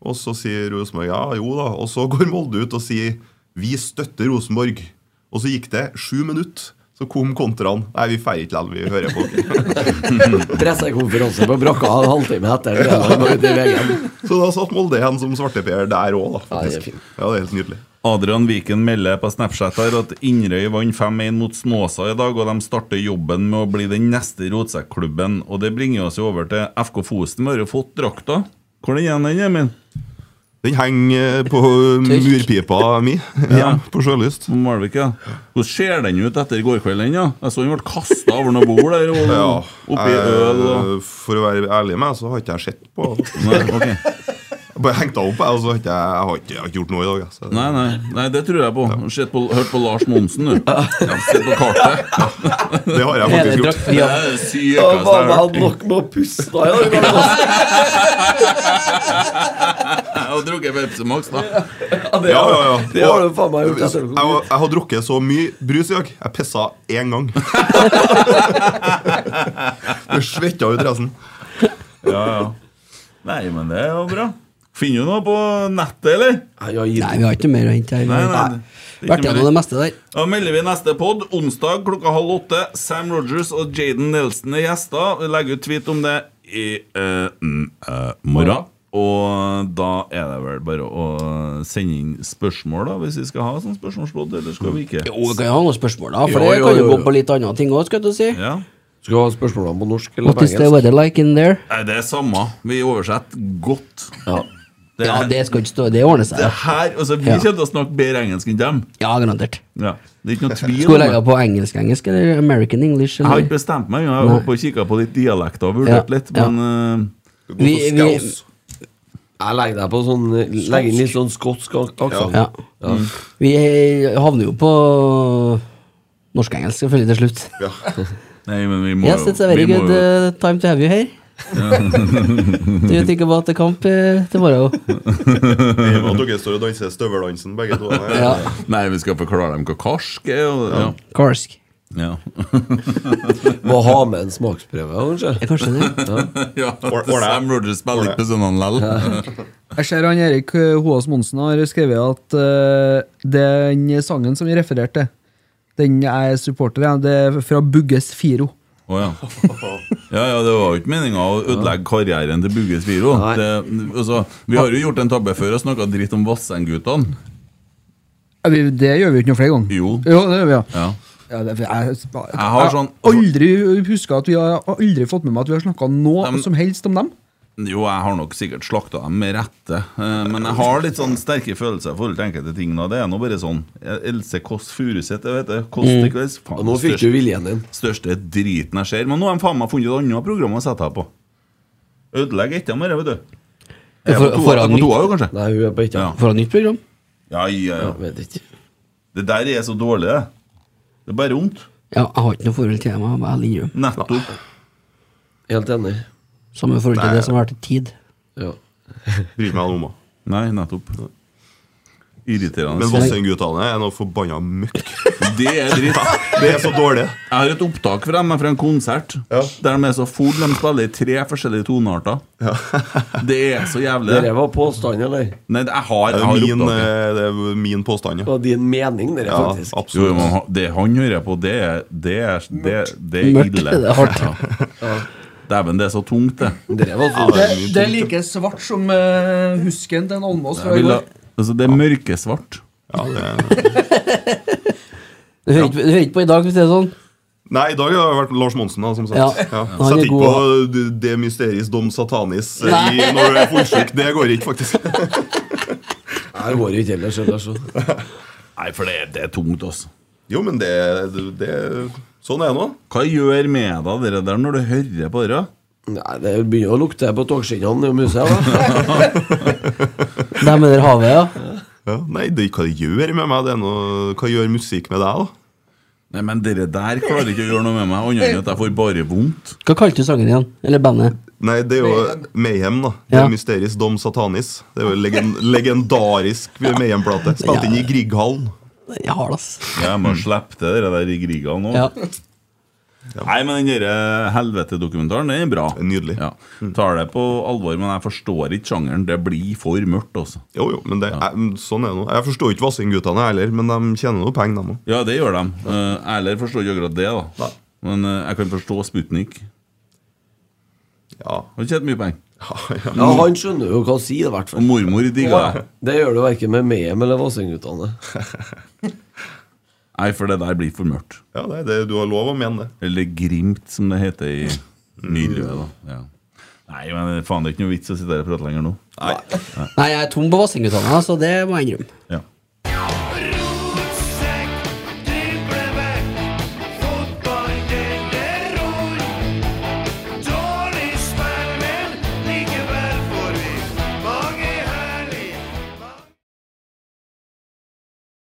D: Og så sier Rosenborg ja, jo da. Og så går Molde ut og sier vi støtter Rosenborg. Og så gikk det sju minutter. Så kom kontraen. Nei, vi feirer ikke likevel, vi hører på dere.
C: Pressekonferanse på brakka en halvtime etter. Det var bare til VG.
D: Så da satt Molde igjen som svarteper der òg, da.
C: Ja, det er
D: Faktisk.
C: fint.
D: Ja, det er helt nydelig.
A: Adrian Viken melder på Snapchat her at Inderøy vant 5-1 mot Snåsa i dag, og de starter jobben med å bli den neste rotsekklubben. Og det bringer oss jo over til FK Fosen. Vi har jo fått drakta. Hvor er den igjen, Emil?
D: Den henger eh, på murpipa mi
A: Ja.
D: hjemme på Sjølyst.
C: Mm.
A: På Malvik, ja. Hvordan ser den ut etter i går kveld, den? ja? Jeg så den ble kasta over noe bord der, og
D: Ja,
A: oppi øl og
D: eh, For å være ærlig med deg, så har ikke jeg sett på.
A: Nei, ok.
D: Bare hengte jeg opp, jeg, og så har ikke jeg, jeg, har ikke, jeg har ikke gjort noe i dag. altså. jeg, Så.
A: Nei, nei, nei, det tror jeg på. Sett på hørt på Lars Monsen, du. Ja, Sett på kartet.
D: Det har jeg faktisk gjort.
A: Det er det sykeste
C: Ja,
A: jeg har
C: faen,
A: hørt.
C: jeg hadde nok med å puste i dag. altså.
A: Jeg har drukket Pepsi Max, da.
C: Ja, det-
D: Ja, ja, ja.
C: Det har du
D: Og-
C: faen meg gjort.
D: jeg,
C: etter-
D: jeg, jeg har drukket så mye brus i dag. Jeg pissa én gang. Du svetta ut resten.
A: Ja, ja. Nei, men det er jo bra. Finner du noe på nettet, eller?
C: Nei, jeg gir
B: Nei, vi har ikke noe mer å hente her.
A: Nei, nei, det- det er ikke
B: Mm, Vært gjennom
A: mer.
B: det meste der.
A: Da melder vi neste pod onsdag klokka halv åtte. Sam Rogers og Jaden Nelson er gjester. Vi legger ut tweet om det i eh, mm, eh, morgen. Og da er det vel bare å sende inn spørsmål, da, hvis vi skal ha sånn spørsmålspod, eller skal vi ikke?
B: Jo, vi kan jo ha noen spørsmål, da. For
C: Jo,
B: det
C: jo,
B: kan jo
C: jo,
B: gå
C: jo.
B: på litt andre ting òg, skal du si.
A: Ja.
C: Skal du ha spørsmålene på norsk eller
B: What
C: på
B: is the
C: engelsk?
B: weather like in there?
A: Nei, det er samme. Vi oversetter godt.
C: Ja.
A: Det,
B: Ja,
A: er-
B: det skal ikke stå, det ordner seg.
A: det her, altså, Vi
B: Ja.
A: kommer til å snakke bedre engelsk enn dem.
B: Ja, garantert.
A: Ja. Det er ikke noe tvil.
B: Skal vi
A: om
B: legge
A: det.
B: på engelsk-engelsk eller American English?
A: Jeg har ikke
B: Eller?
A: bestemt meg. Jeg har
B: Nei.
A: holdt på og kikket på litt dialekter og vurdert
B: Ja,
A: litt,
B: ja.
A: men eh,
B: Vi, vi,
C: Jeg legger deg på sånn Legg inn litt sånn skotsk aksent.
B: ja.
C: Ja.
B: vi havner jo på norsk-engelsk selvfølgelig til slutt.
A: Nei, men vi må
B: Yes,
A: jo
B: it's a very
A: vi må
B: good
A: jo-
B: uh, time to have you here. Do you think about the camp uh, tomorrow?
D: At dere står og danser støveldansen, begge to.
B: Ja.
A: Nei, vi skal forklare dem hva karsk er. Og, ja.
B: Karsk.
A: Ja.
C: Må ha med en smaksprøve, kanskje.
B: Ja, kanskje det.
A: ja.
D: Or- or
A: Sam
D: det.
A: Rogers spiller
D: Or
A: ikke på sånn søndagen likevel.
F: Jeg ser han Erik eh, Hoas Monsen har skrevet at eh, den sangen som vi refererte til, den jeg er supporter av, det er fra Bugges Firo.
A: Å ja. ja, ja, det var jo ikke meninga å ødelegge karrieren til Bugge Sviro.
C: Nei.
A: Det, altså, vi har jo gjort en tabbe før og snakka dritt om Vassendguttene.
F: Ja, vi- Det gjør vi ikke noe flere ganger.
A: Jo.
F: det gjør vi, ja.
A: Ja.
F: Ja, det, jeg, jeg,
A: har sånn-
F: aldri husker at vi har aldri fått med meg at vi har snakka noe
A: Dem-
F: som helst om dem.
A: Jo, jeg har nok sikkert slakta dem med rette, eh, men jeg har litt sånn sterke følelser i forhold til enkelte ting. da. Det er nå bare sånn Else Kåss Furuseth, jeg vet det. Kåss til kvelds.
C: Og
A: Faen,
C: nå fikk du viljen din.
A: største driten jeg ser. Men nå har de faen meg funnet et annet program å sette her på. Ødelegger ikke dem her, vet du.
B: Ja, for-
A: Jeg er på
B: for
A: toa-
B: han
A: på
B: nytt.
A: toa, jo, kanskje.
C: Nei, hun er på ikke
A: Ja.
B: For et nytt program.
A: Ja, ja, ja.
C: Jeg vet ikke.
A: Det der er så dårlig, det. Det er bare vondt.
B: Ja, jeg har ikke noe forhold til dem. Jeg må ærlig innrømme.
A: Nettopp.
C: Helt enig.
B: Samme forhold til det som har vært i tid.
C: Ja.
D: Bryr meg om henne.
A: Nei, nettopp. Irriterende.
D: Men Vassendgutane er noe forbanna møkk.
A: det er dritt.
D: Det er så dårlig.
A: Jeg har et opptak fra dem fra en konsert
D: Ja.
A: der de er så full, de spiller i tre forskjellige tonearter. det er så jævlig.
C: Dere var påstand, eller?
A: Nei, jeg har,
D: Det
A: jeg
D: er
A: har
D: min,
A: opptaket.
D: eh, det er min påstand,
C: Det
D: ja.
C: var din mening, dere,
D: ja
C: faktisk.
A: Jo, jo, men
D: absolutt.
A: ha- det han hører på, det er, det er, det, det er
B: Mørkt,
A: ille.
B: det er hardt.
A: Ja. Dæven, det er så tungt, det.
C: Dere var så
F: Det, det er like svart som eh, husken til en almås fra
A: Jeg
F: i
A: vil ha,
F: går.
A: altså, det er mørkesvart.
D: Ja, det er...
B: Du hører, ikke, du hører ikke på i dag, hvis det er sånn?
D: Nei, i dag har det vært Lars Monsen, da, som sagt.
B: Ja.
D: Ja.
B: Han er
D: Sett ikke
B: god,
D: på eh, det mysteris dom satanis eh, i, når du er fullsjuk. Det går ikke, faktisk.
C: Jeg går ikke ellers, ellers. så.
A: Nei, for det, er- det er tungt, altså.
D: Jo, men det, det Sånn er det nå.
A: Hva gjør med deg dere der når du hører på det?
C: Nei, det begynner å lukte på togskinnene i musa. da.
B: Det med det havet, ja.
D: Ja, nei, det, hva det gjør med meg, det er noe Hva gjør musikk med deg, da?
A: Nei, men dere der klarer ikke å gjøre noe med meg, annet enn at jeg får bare vondt.
B: Hva kalte du sangen igjen? Eller bandet?
D: Nei, det er jo Mayhem, da.
B: Ja.
D: Det er Mysteris Dom Satanis. Det er jo legen, legendarisk Mayhem-plate. Spilt inn i Grieghallen.
B: Jeg har det, ass.
A: Jeg må slippe til dere der i Griga nå.
B: Ja.
A: Nei, men den der helvete-dokumentaren, den er bra.
D: Nydelig.
A: Ja. Tar det på alvor, men jeg forstår ikke sjangeren. Det blir for mørkt, altså.
D: Jo, jo, men det, er- sånn er det nå. Jeg forstår ikke Vassendgutane heller, men de tjener noe penger, de òg.
A: Ja, det gjør de. Eh, Erler forstår ikke akkurat det, da. Men eh, jeg kan forstå Sputnik.
D: Ja.
A: Har ikke hatt mye penger.
C: Ja, Han skjønner jo hva han sier, i hvert
A: Og
C: fall.
A: mormor digger det.
C: Det gjør du verken med Mehem eller Vassendgutane.
A: Nei, for det der blir for mørkt.
D: ja det, er det, du har lov å mene det.
A: Eller Grimt, som det heter i miljøet, da. Ja. Nei, men faen, det er ikke noe vits å sitte her og prate lenger nå.
B: Nei, jeg er tom på Vassendgutane, så det må jeg innrømme.
A: Ja.